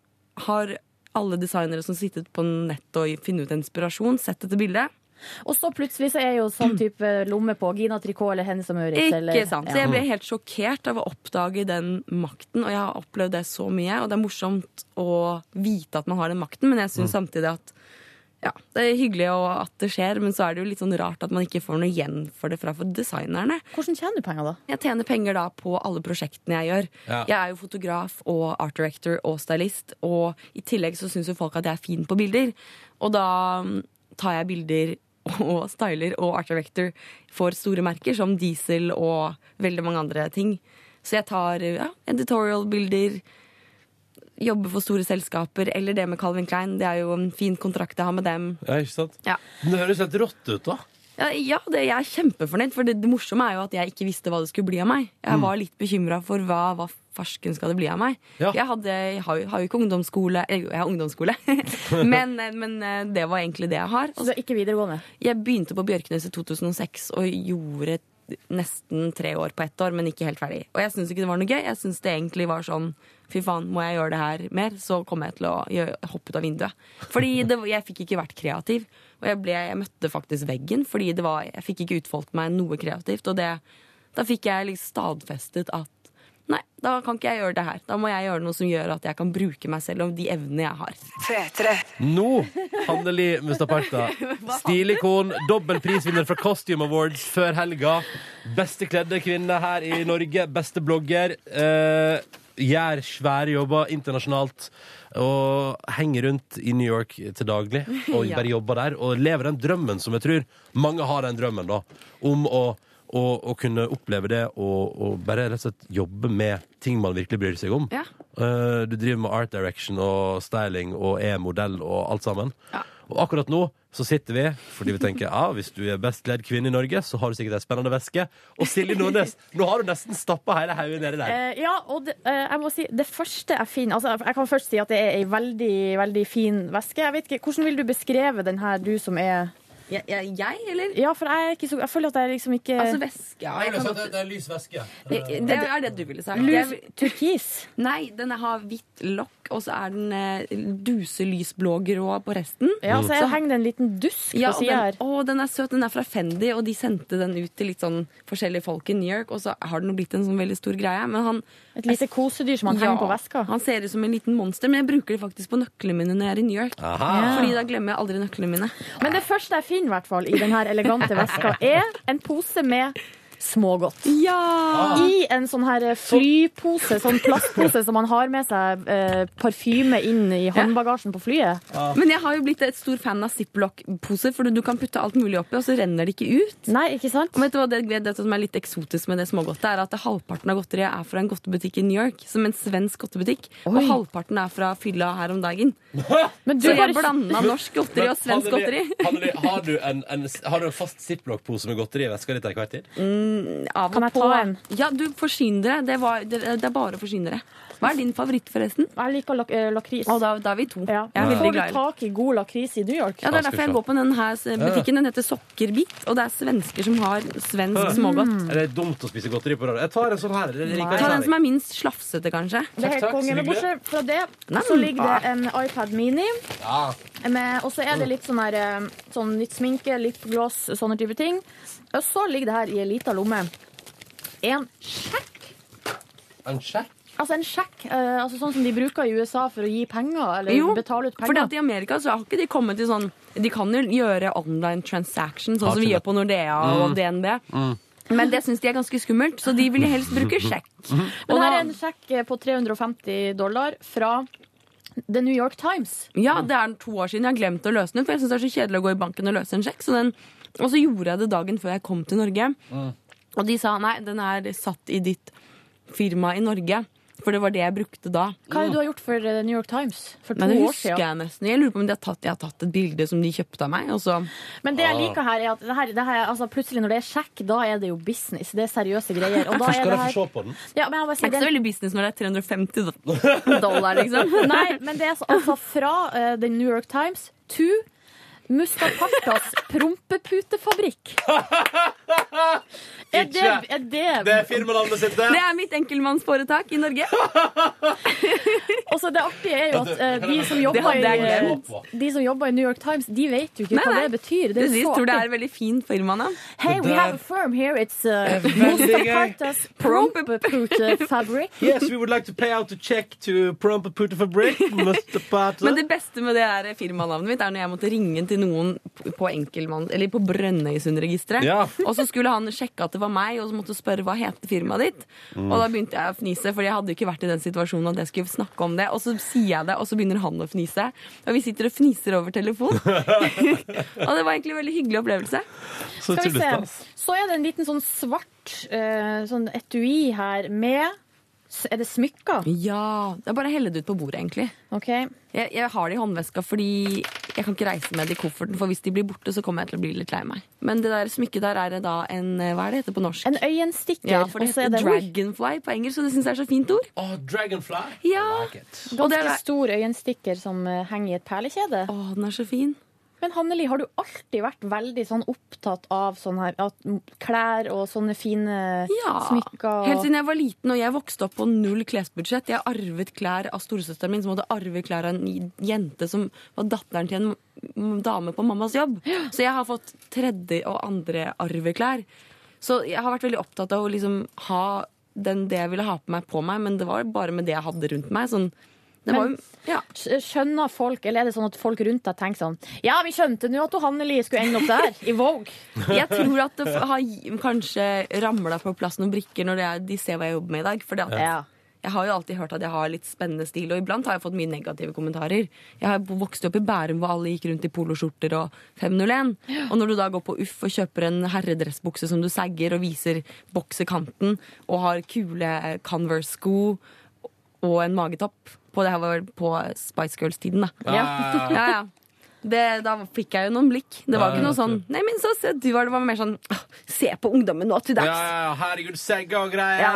S8: har alle designere som sittet på nettet og funnet ut inspirasjon, sett dette bildet.
S6: Og så plutselig så er jo sånn type lomme på Gina Tricot eller Hennes og Maurits. eller,
S8: Ikke sant. Så
S6: Ja.
S8: jeg ble helt sjokkert av å oppdage den makten, og jeg har opplevd det så mye. Og det er morsomt å vite at man har den makten, men jeg syns
S6: Mm.
S8: samtidig at ja, det er hyggelig og at det skjer, men så er det jo litt sånn rart at man ikke får noe igjen for det fra for designerne.
S6: Hvordan tjener du penger, da?
S8: Jeg tjener penger da på alle prosjektene jeg gjør.
S2: Ja.
S8: Jeg er jo fotograf og art director og stylist, og i tillegg så syns jo folk at jeg er fin på bilder. Og da mm, tar jeg bilder og styler og art director for store merker som Diesel og veldig mange andre ting. Så jeg tar ja, editorial-bilder, jobber for store selskaper, eller det med Calvin Klein. Det er jo en fin kontrakt jeg har med dem.
S2: Ja, ikke sant?
S8: Ja.
S2: Men Det høres helt rått ut, da.
S8: Ja, ja det, jeg er kjempefornøyd. For det, det morsomme er jo at jeg ikke visste hva det skulle bli av meg. Jeg var litt bekymra for hva, hva farsken skal det bli av meg.
S2: Ja.
S8: Jeg, hadde, jeg har, jo- har jo ikke ungdomsskole. eller Jo, jeg har ungdomsskole, men, men eh, det var egentlig det jeg har. Og
S6: Så du er ikke videregående?
S8: jeg begynte på Bjørknes i 2006 og gjorde nesten tre år på ett år, men ikke helt ferdig. Og jeg syns ikke det var noe gøy. Jeg syns det egentlig var sånn fy faen, må jeg gjøre det her mer, så kommer jeg til å gjø- hoppe ut av vinduet. Fordi det, jeg fikk ikke vært kreativ. Og jeg, ble, jeg møtte faktisk veggen, fordi det var, jeg fikk ikke utfoldt meg noe kreativt. Og det, da fikk jeg liksom stadfestet at nei, da kan ikke jeg gjøre det her. Da må jeg gjøre noe som gjør at jeg kan bruke meg selv og de evnene jeg har.
S10: P3.
S2: Nå, Hanneli Mustaparta. Stilikon, dobbel prisvinner fra Costume Awards før helga. Beste kledde kvinne her i Norge. Beste blogger. Eh, gjør svære jobber internasjonalt. Og henger rundt i New York til daglig og
S8: Ja.
S2: bare jobber der. Og lever den drømmen som jeg tror mange har den drømmen, da. Om å å, å kunne oppleve det og, og bare rett og slett jobbe med ting man virkelig bryr seg om.
S8: Ja.
S2: Eh, Du driver med art direction og styling og er modell og alt sammen. Og akkurat nå så sitter vi fordi vi tenker ja, hvis du er best kledd kvinne i Norge, så har du sikkert ei spennende veske. Og Silje Nordnes, nå har du nesten stappa hele haugen nedi der.
S6: Eh, ja, og det, eh, jeg må si det første jeg finner altså, Jeg kan først si at det er ei veldig, veldig fin veske. Jeg vet ikke, Hvordan vil du beskrive den her, du som er
S8: Jeg, jeg, jeg eller?
S6: Ja, for jeg, er ikke så, jeg føler at jeg liksom ikke
S8: Altså veske. Ja, jeg kan godt-
S2: er lys veske.
S8: Det, Eh, det er det du ville sagt.
S6: Lus,
S8: Jeg,
S6: turkis.
S8: nei, den har hvitt lokk, og så er den eh, duselysblå grå på resten.
S6: Ja, så jeg henger det en liten dusk
S8: Ja,
S6: på
S8: og
S6: sida
S8: den,
S6: her.
S8: å, den er søt. Den er fra Fendi, og de sendte den ut til litt sånn forskjellige folk i New York. Og så har den jo blitt en sånn veldig stor greie. Men han,
S6: Et lite kosedyr som han
S8: ja,
S6: henger på veska.
S8: han ser ut som en liten monster, men jeg bruker det faktisk på nøklene mine når jeg er i New York.
S2: Aha.
S8: Fordi da glemmer jeg aldri nøklene mine.
S6: Men det første jeg finner i hvert fall i den her elegante veska, er en pose med smågodt.
S8: Ja! Ah.
S6: I en sånn her flypose, sånn plastpose som man har med seg eh, parfyme inn i håndbagasjen på flyet.
S8: Men jeg har jo blitt et stor fan av ziplock-poser, for du kan putte alt mulig oppi, og så renner det ikke ut.
S6: Nei, ikke sant?
S8: Og vet du hva, det, det som er litt eksotisk med det smågodtet, er at halvparten av godteriet er fra en godtebutikk i New York, som en svensk godtebutikk, og halvparten er fra fylla her om dagen.
S6: Men du
S8: Så jeg
S6: bare
S8: blanda norsk godteri og svensk godteri.
S2: Hanneli, har, du en, en, har du en fast ziplock-pose med godteri i veska di til enhver tid?
S8: Av og
S6: Kan jeg ta
S8: på.
S6: en?
S8: Ja, du, forsyn dere. Det, var, det, det er bare å forsyne dere. Hva er din favoritt, forresten?
S6: Jeg liker lak eh, lakris.
S8: Og da, da er vi to.
S6: Ja.
S8: Jeg er veldig
S6: Får du
S8: glad i det.
S6: tak i god lakris i New York?
S8: Ja, Det er derfor jeg går på denne butikken. Den heter Sokkerbit, og det er svensker som har svensk smågodt.
S2: Er det dumt å spise godteri på rad? Jeg tar en sånn her. Mm. Det liker jeg
S8: Mm. Ta den
S2: særlig.
S8: som er minst slafsete, kanskje.
S6: Det er
S2: Takk,
S6: helt
S2: takk, så
S6: konge. Men
S2: hyggelig.
S6: bortsett fra det,
S8: Nei,
S6: så
S8: men
S6: ligger det en iPad Mini. Med- Og så er
S2: Mm.
S6: det litt sånn her eh, sånn nytt sminke, lipgloss, sånne type ting. Og så ligger det her i ei lita lomme. En
S2: En sjekk?
S6: Altså en sjekk, eh, altså sånn som de bruker i USA for å gi penger, eller
S8: Jo,
S6: betale ut
S8: Fordi
S6: penger.
S8: at I Amerika så har ikke de kommet til sånn De kan jo gjøre online transaction, sånn som vi gjør på Nordea og DNB. Men det syns de er ganske skummelt, så de vil helst bruke sjekk.
S6: Men her er en sjekk eh, på 350 dollar fra The New York Times.
S8: Ja, det er to år siden jeg har glemt å løse den, for jeg syns det er så kjedelig å gå i banken og løse en sjekk. Så den, og så gjorde jeg det dagen før jeg kom til Norge. Og de sa nei, den er satt i ditt firma i Norge. For det var det jeg brukte da.
S6: Hva er det du har gjort for eh, The New York Times for to
S8: Nei, det
S6: år
S8: husker
S6: siden?
S8: jeg nesten. Jeg lurer på om de har tatt, jeg har tatt et bilde som de kjøpte av meg. Og så
S6: Men det
S11: Ah.
S6: jeg liker her, er at det her, det her, altså plutselig når det er sjekk, da er det jo business. Det er seriøse greier. Og da er
S11: Skal
S6: det
S11: jeg
S6: her
S11: få se på den?
S6: ja, men jeg må bare
S8: det
S6: si,
S8: er ikke
S6: det,
S8: så veldig business når det er 350 do- dollar, liksom.
S6: Nei, men det er så- altså fra eh, The New York Times to Mustapartas prompeputefabrikk. Er det, er det,
S11: Det er firmanavnet sitt, det!
S8: Det er mitt enkeltmannsforetak i Norge.
S6: altså, det artige er jo at eh, de,
S8: Det
S6: som jobber
S8: hadde jeg
S6: i,
S8: glemt.
S6: de som jobber i New York Times, de vet jo ikke
S8: Nei,
S6: hva
S8: nei.
S6: det betyr. Det
S8: De
S6: er jo så
S8: tror det
S6: artig.
S8: er veldig fin firmanavn.
S6: Hey,
S11: Det
S6: we
S11: der-
S6: have a firm here. It's uh,
S11: veldig gøy.
S6: Mustapartas prompeputefabrikk.
S2: Yes, we would like to pay out a check to Prompa Puta for break. Mr. Pata.
S8: Men det beste med det her firmanavnet mitt er når jeg måtte ringe til noen på enkeltmann, eller på Brønnøysundregisteret.
S2: Ja.
S8: Og så skulle han sjekke at det var meg, og så måtte spørre hva heter firmaet ditt. Og da begynte jeg å fnise, for jeg hadde jo ikke vært i den situasjonen at jeg skulle snakke om det. Og så sier jeg det, og så begynner han å fnise. Og vi sitter og fniser over telefon. og det var egentlig en veldig hyggelig opplevelse.
S2: Så
S6: Skal vi
S2: tullestas.
S6: se. Så er det en liten sånn svart eh, sånn etui her med s- Er det smykker?
S8: Ja, Det er bare å helle det ut på bordet, egentlig.
S6: OK.
S8: Jeg, jeg har det i håndveska fordi jeg kan ikke reise med det i kofferten, for hvis de blir borte, så kommer jeg til å bli litt lei meg. Men det der smykket der er det da en eh, Hva er det heter på norsk?
S6: En øyenstikker.
S8: ja, for det
S6: og så
S8: heter
S6: er det
S8: dragonfly på engelsk, og det syns jeg er så fint ord.
S11: Å, Dragonfly.
S8: Ja. Og det er
S6: ganske stor øyenstikker som eh, henger i et perlekjede.
S8: Å, den er så fin.
S6: Men Hanneli, har du alltid vært veldig sånn opptatt av sånn her at m- klær og sånne fine
S8: Ja.
S6: smykker?
S8: Helt
S6: Og...
S8: siden jeg var liten og jeg vokste opp på null klesbudsjett. Jeg arvet klær av storesøsteren min, som hadde arvet klær av en jente som var datteren til en m- dame på mammas jobb. Så jeg har fått tredje og andre arveklær. Så jeg har vært veldig opptatt av å liksom ha den, det jeg ville ha på meg, på meg, men det var bare med det jeg hadde rundt meg. Sånn, det var jo, ja.
S6: Sk- Skjønner folk, eller er det sånn at folk rundt deg tenker sånn Ja, vi skjønte nå at hun Hanneli skulle ende opp der, i Vogue.
S8: Jeg tror at det har gi- kanskje ramla på plass noen brikker når det er, de ser hva jeg jobber med i dag. For at
S6: Ja.
S8: jeg har jo alltid hørt at jeg har litt spennende stil, og iblant har jeg fått mye negative kommentarer. Jeg har vokst opp i Bærum hvor alle gikk rundt i poloskjorter og 501. Og når du da går på Uff og kjøper en herredressbukse som du sagger og viser boksekanten, og har kule eh, Converse-sko og en magetopp på Det her var vel på Spice Girls-tiden, da.
S2: Ja.
S8: ja, ja. Det, da fikk jeg jo noen blikk. Det
S2: Ja,
S8: var ikke
S2: ja,
S8: noe sånn Nei, men så se du var Det var mer sånn «Åh, Se på ungdommen nå til
S2: Ja,
S8: dags.
S2: ja, ja, herregud, segga og greier.
S8: Ja,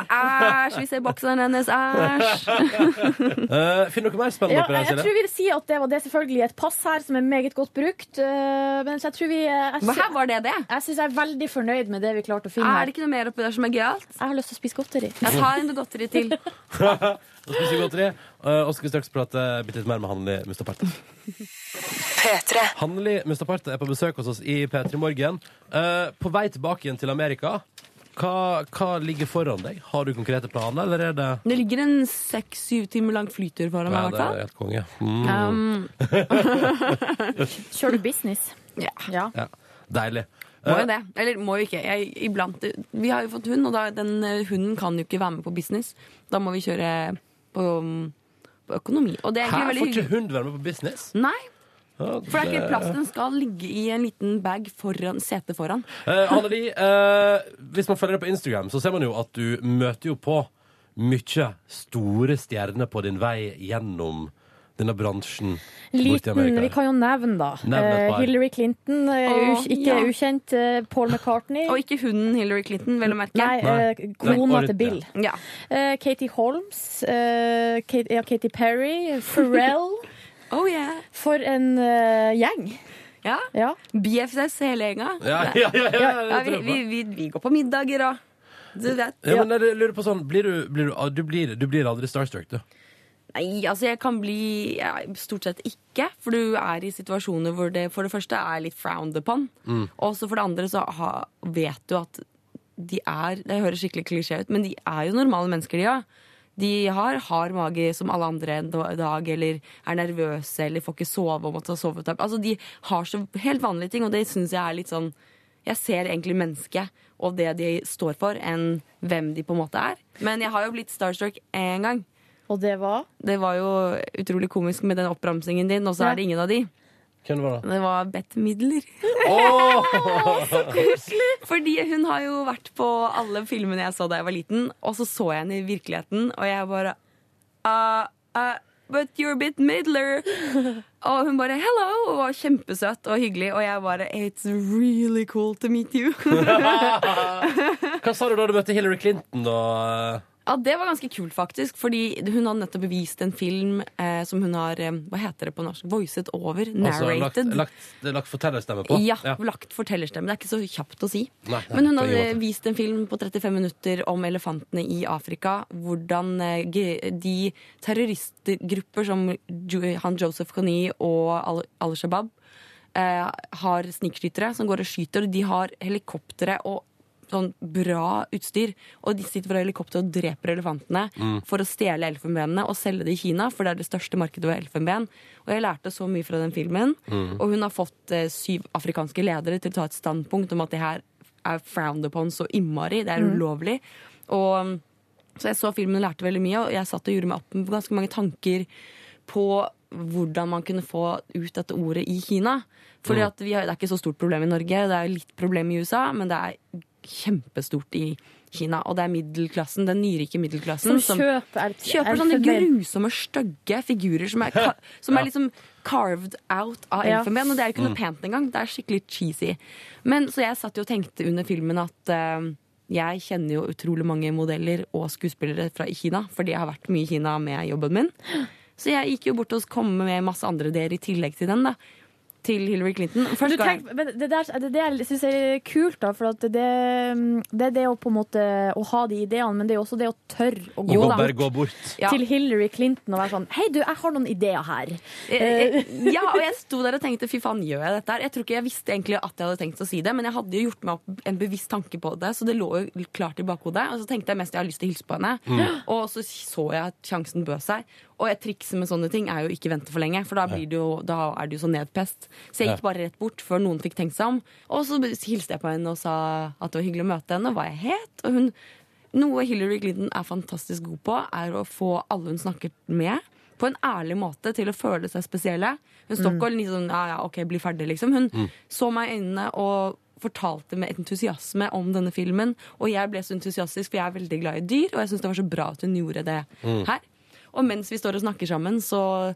S8: æsj, vi ser bokseren hennes, æsj.
S2: Eh, Finn noe mer spennende
S6: Ja,
S2: oppi der,
S6: jeg, tror
S2: Silje.
S6: vi vil si at det var det selvfølgelig et pass her som er meget godt brukt. øh, Men så jeg tror vi øh, Jeg,
S8: Hva Sånn her var det det?
S6: jeg syns jeg er veldig fornøyd med det vi klarte å finne
S8: Er
S6: her.
S8: det ikke noe mer oppi der som er gøyalt?
S6: Jeg har lyst til å spise godteri.
S8: Jeg tar en godteri til.
S2: Da skal vi si godteri, eh, og så skal vi straks prate bitte litt mer med Hanneli Mustaparte.
S12: P3.
S2: Hanneli Mustaparte er på besøk hos oss i P3 Morgen. Eh, på vei tilbake igjen til Amerika. Hva, hva ligger foran deg? Har du konkrete planer, eller er det
S8: Det ligger en seks-syv timer lang flytur foran meg, i hvert
S2: det er
S8: fall.
S2: helt konge. Mm.
S8: Um,
S6: Kjører du business?
S8: ja,
S6: Ja.
S2: Ja. Deilig.
S8: må jo det. Eller må jo ikke. Jeg, iblant, vi har jo fått hund, og da, den eh, hunden kan jo ikke være med på business. Da må vi kjøre på, på økonomi. Og det er
S2: Her får
S8: egentlig veldig
S2: ikke
S8: hyggelig.
S2: hund være med på business.
S8: Nei,
S2: Ja,
S8: For det er ikke plass. Den skal ligge i en liten bag foran setet foran.
S2: Eh, Anneli, eh, hvis man følger deg på Instagram, så ser man jo at du møter jo på mye store stjerner på din vei gjennom denne bransjen. bort i
S6: Liten,
S2: Amerika.
S6: vi kan jo nevne, da.
S2: Nevn et
S6: Eh,
S2: par.
S6: Hillary Clinton, eh,
S8: Å,
S6: u- ikke
S8: ja.
S6: ukjent. eh, Paul McCartney.
S8: Og ikke hunden Hillary Clinton, vel å merke.
S6: Nei, eh, kona
S2: Nei,
S6: til Bill.
S8: Ja.
S6: Eh, Katie Holmes. eh, Kate, ja, Katy Perry. Pharrell.
S8: Oh yeah.
S6: For en eh, gjeng.
S8: Ja.
S6: Ja.
S8: BFS hele gjenga.
S2: Ja, ja, ja, ja, ja,
S8: Ja,
S2: det
S8: vi,
S2: tror jeg på.
S8: vi, vi, vi går på middager og du vet.
S2: ja, men jeg lurer på sånn Blir du, blir du, du, blir, du blir aldri starstruck, du.
S8: Nei, altså jeg kan bli ja, Stort sett ikke. For du er i situasjoner hvor det for det første er litt frowned upon. Og så for det andre så ha, vet du at de er Det høres skikkelig klisjé ut, men de er jo normale mennesker, de òg. de har hard mage som alle andre en da- dag, eller er nervøse, eller får ikke sove og måtte ha sovetap. Altså, de har så helt vanlige ting, og det syns jeg er litt sånn Jeg ser egentlig mennesket og det de står for, enn hvem de på en måte er. Men jeg har jo blitt starstruck én gang.
S6: Og det var?
S8: Det var jo utrolig komisk med den oppramsingen din, og så er det ingen av de.
S2: Hvem var det?
S8: Det var Bette Midler. Fordi hun har jo vært på alle filmene jeg så da jeg var liten, og så så jeg henne i virkeligheten, og jeg bare «Ah, ah, But you're a bit middler. Og hun bare hello, og var kjempesøt og hyggelig, og jeg bare It's really cool to meet you.
S2: Hva sa du da du møtte Hillary Clinton, da?
S8: Ja, Det var ganske kult, faktisk. Fordi hun har nettopp vist en film eh, som hun har eh, Hva heter det på norsk? Voicet over.
S2: Altså, lagt,
S8: Narrated.
S2: lagt, lagt fortellerstemme på?
S8: Ja, lagt fortellerstemme. Det er ikke så kjapt å si.
S2: Nei, nei,
S8: Men hun
S2: på ingen
S8: hadde
S2: måte.
S8: vist en film på 35 minutter om elefantene i Afrika. Hvordan eh, ge- de terroristgrupper som Ju- han Joseph Kony og Al- Al Shabaab eh, har snikskytere som går og skyter. og De har helikoptre og sånn bra utstyr. Og de sitter fra helikopter og dreper elefantene for å stjele elfenbenene og selge det i Kina, for det er det største markedet for elfenben. Og jeg lærte så mye fra den filmen. Og hun har fått eh, syv afrikanske ledere til å ta et standpunkt om at det her er frowned upon så innmari. Det er
S6: Mm.
S8: ulovlig. Og um, så jeg så filmen og lærte veldig mye, og jeg satt og gjorde meg opp med ganske mange tanker på hvordan man kunne få ut dette ordet i Kina. Fordi at vi har, Det er ikke så stort problem i Norge, det er litt problem i USA, men det er kjempestort i Kina. Og det er middelklassen, den nyrike middelklassen.
S6: Som kjøper er,
S8: Kjøper sånne grusomme, stygge figurer som er, ka- som er liksom carved out av
S6: Ja.
S8: elfenben. Og det er jo ikke noe pent engang. Det er skikkelig cheesy. Men Så jeg satt jo og tenkte under filmen at eh, jeg kjenner jo utrolig mange modeller og skuespillere fra i Kina, fordi jeg har vært mye i Kina med jobben min. Så jeg gikk jo bort og kom med masse andre der i tillegg til den, da. Til Hillary Clinton.
S6: Du,
S8: Først ga jeg-
S6: tenk, men det, der, det, det jeg synes er kult, da, for at det, det er det å på en måte å ha de ideene, men det er jo også det å tørre å
S2: Og
S6: gå
S2: gå,
S6: da,
S2: bare gå bort.
S8: Ja.
S6: til Hillary Clinton og være sånn Hei, du, jeg har noen ideer her.
S8: Eh, eh, ja, og jeg sto der og tenkte fy faen, gjør jeg dette her? Jeg tror ikke jeg visste egentlig at jeg hadde tenkt å si det, men jeg hadde jo gjort meg opp en bevisst tanke på det, så det lå jo klart i bakhodet. Og så tenkte jeg mest jeg har lyst til å hilse på henne. Og så så jeg at sjansen bød seg. Og jeg trikset med sånne ting er jo ikke vente for lenge, for da, blir det jo, da er du jo så nedpest. Så jeg gikk bare rett bort før noen fikk tenkt seg om. Og så hilste jeg på henne og sa at det var hyggelig å møte henne, og hva jeg het. Og hun noe Hillary Clinton er fantastisk god på, er å få alle hun snakker med, på en ærlig måte til å føle seg spesielle. Hun står ikke og liksom, ja, ja, ok, bli ferdig, liksom. Hun så meg i øynene og fortalte med entusiasme om denne filmen. Og jeg ble så entusiastisk, for jeg er veldig glad i dyr, og jeg syns det var så bra at hun gjorde det her. Og mens vi står og snakker sammen, så,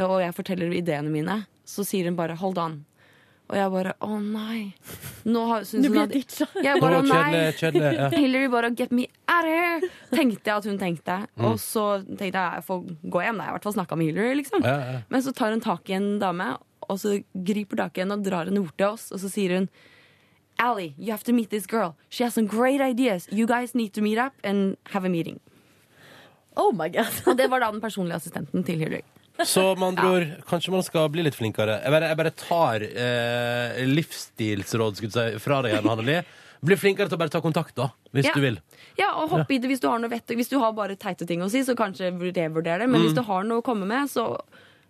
S8: og jeg forteller ideene mine, så sier hun bare 'hold on'. Og jeg bare 'å nei'. Nå har, synes
S6: Nå
S8: hun
S6: blir
S8: at-
S6: jeg ditcha.
S8: Jeg
S2: Å,
S8: bare, å
S2: kjedelig,
S8: nei.
S2: kjedelig. Ja.
S8: Hillary bare 'get me out of here', tenkte jeg at hun tenkte.
S2: Mm.
S8: Og så tenkte jeg jeg får gå hjem, da. Jeg har i hvert fall snakka med Hillary, liksom.
S2: Ja, ja.
S8: Men så tar hun tak i en dame, og så griper tak i henne og drar henne bort til oss, og så sier hun Ally, you have to meet this girl. She has some great ideas. You guys need to meet up and have a meeting.
S6: Oh my god.
S8: Og det var da den personlige assistenten til Hillary.
S2: Så med andre ord, kanskje man skal bli litt flinkere. Jeg bare, jeg bare tar eh, livsstilsråd skulle jeg si, fra deg, Anne Hanneli. Bli flinkere til å bare ta kontakt, da, hvis
S8: Ja.
S2: du vil.
S8: Ja, og hopp i det hvis du har noe vett Hvis du har bare teite ting å si, så kanskje revurder det. Men hvis du har noe å komme med, så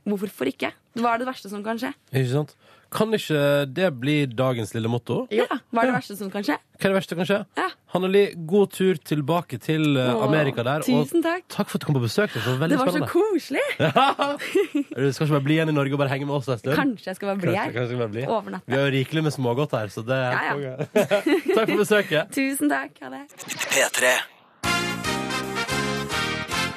S8: hvorfor ikke? Hva er det verste som kan skje?
S2: Ikke sant? Kan ikke det bli dagens lille motto?
S8: Ja, Hva er det verste som kan skje?
S2: Hva er det verste som kan skje?
S8: Ja.
S2: Hanneli, god tur tilbake til eh,
S8: Åh,
S2: Amerika der.
S8: tusen takk.
S2: Og takk for at du kom på besøk. Det var
S8: Det
S2: veldig
S8: var så
S2: spennende.
S8: koselig!
S2: Du skal ikke bare bli igjen i Norge og bare henge med oss en stund?
S8: Kanskje jeg skal bare bli
S2: Kanskje,
S8: her.
S2: kanskje bare bli.
S8: Overnatte.
S2: Vi har jo rikelig med smågodt her, så det
S8: Ja,
S2: Takk for besøket.
S8: Tusen takk. Ha det.
S13: P3.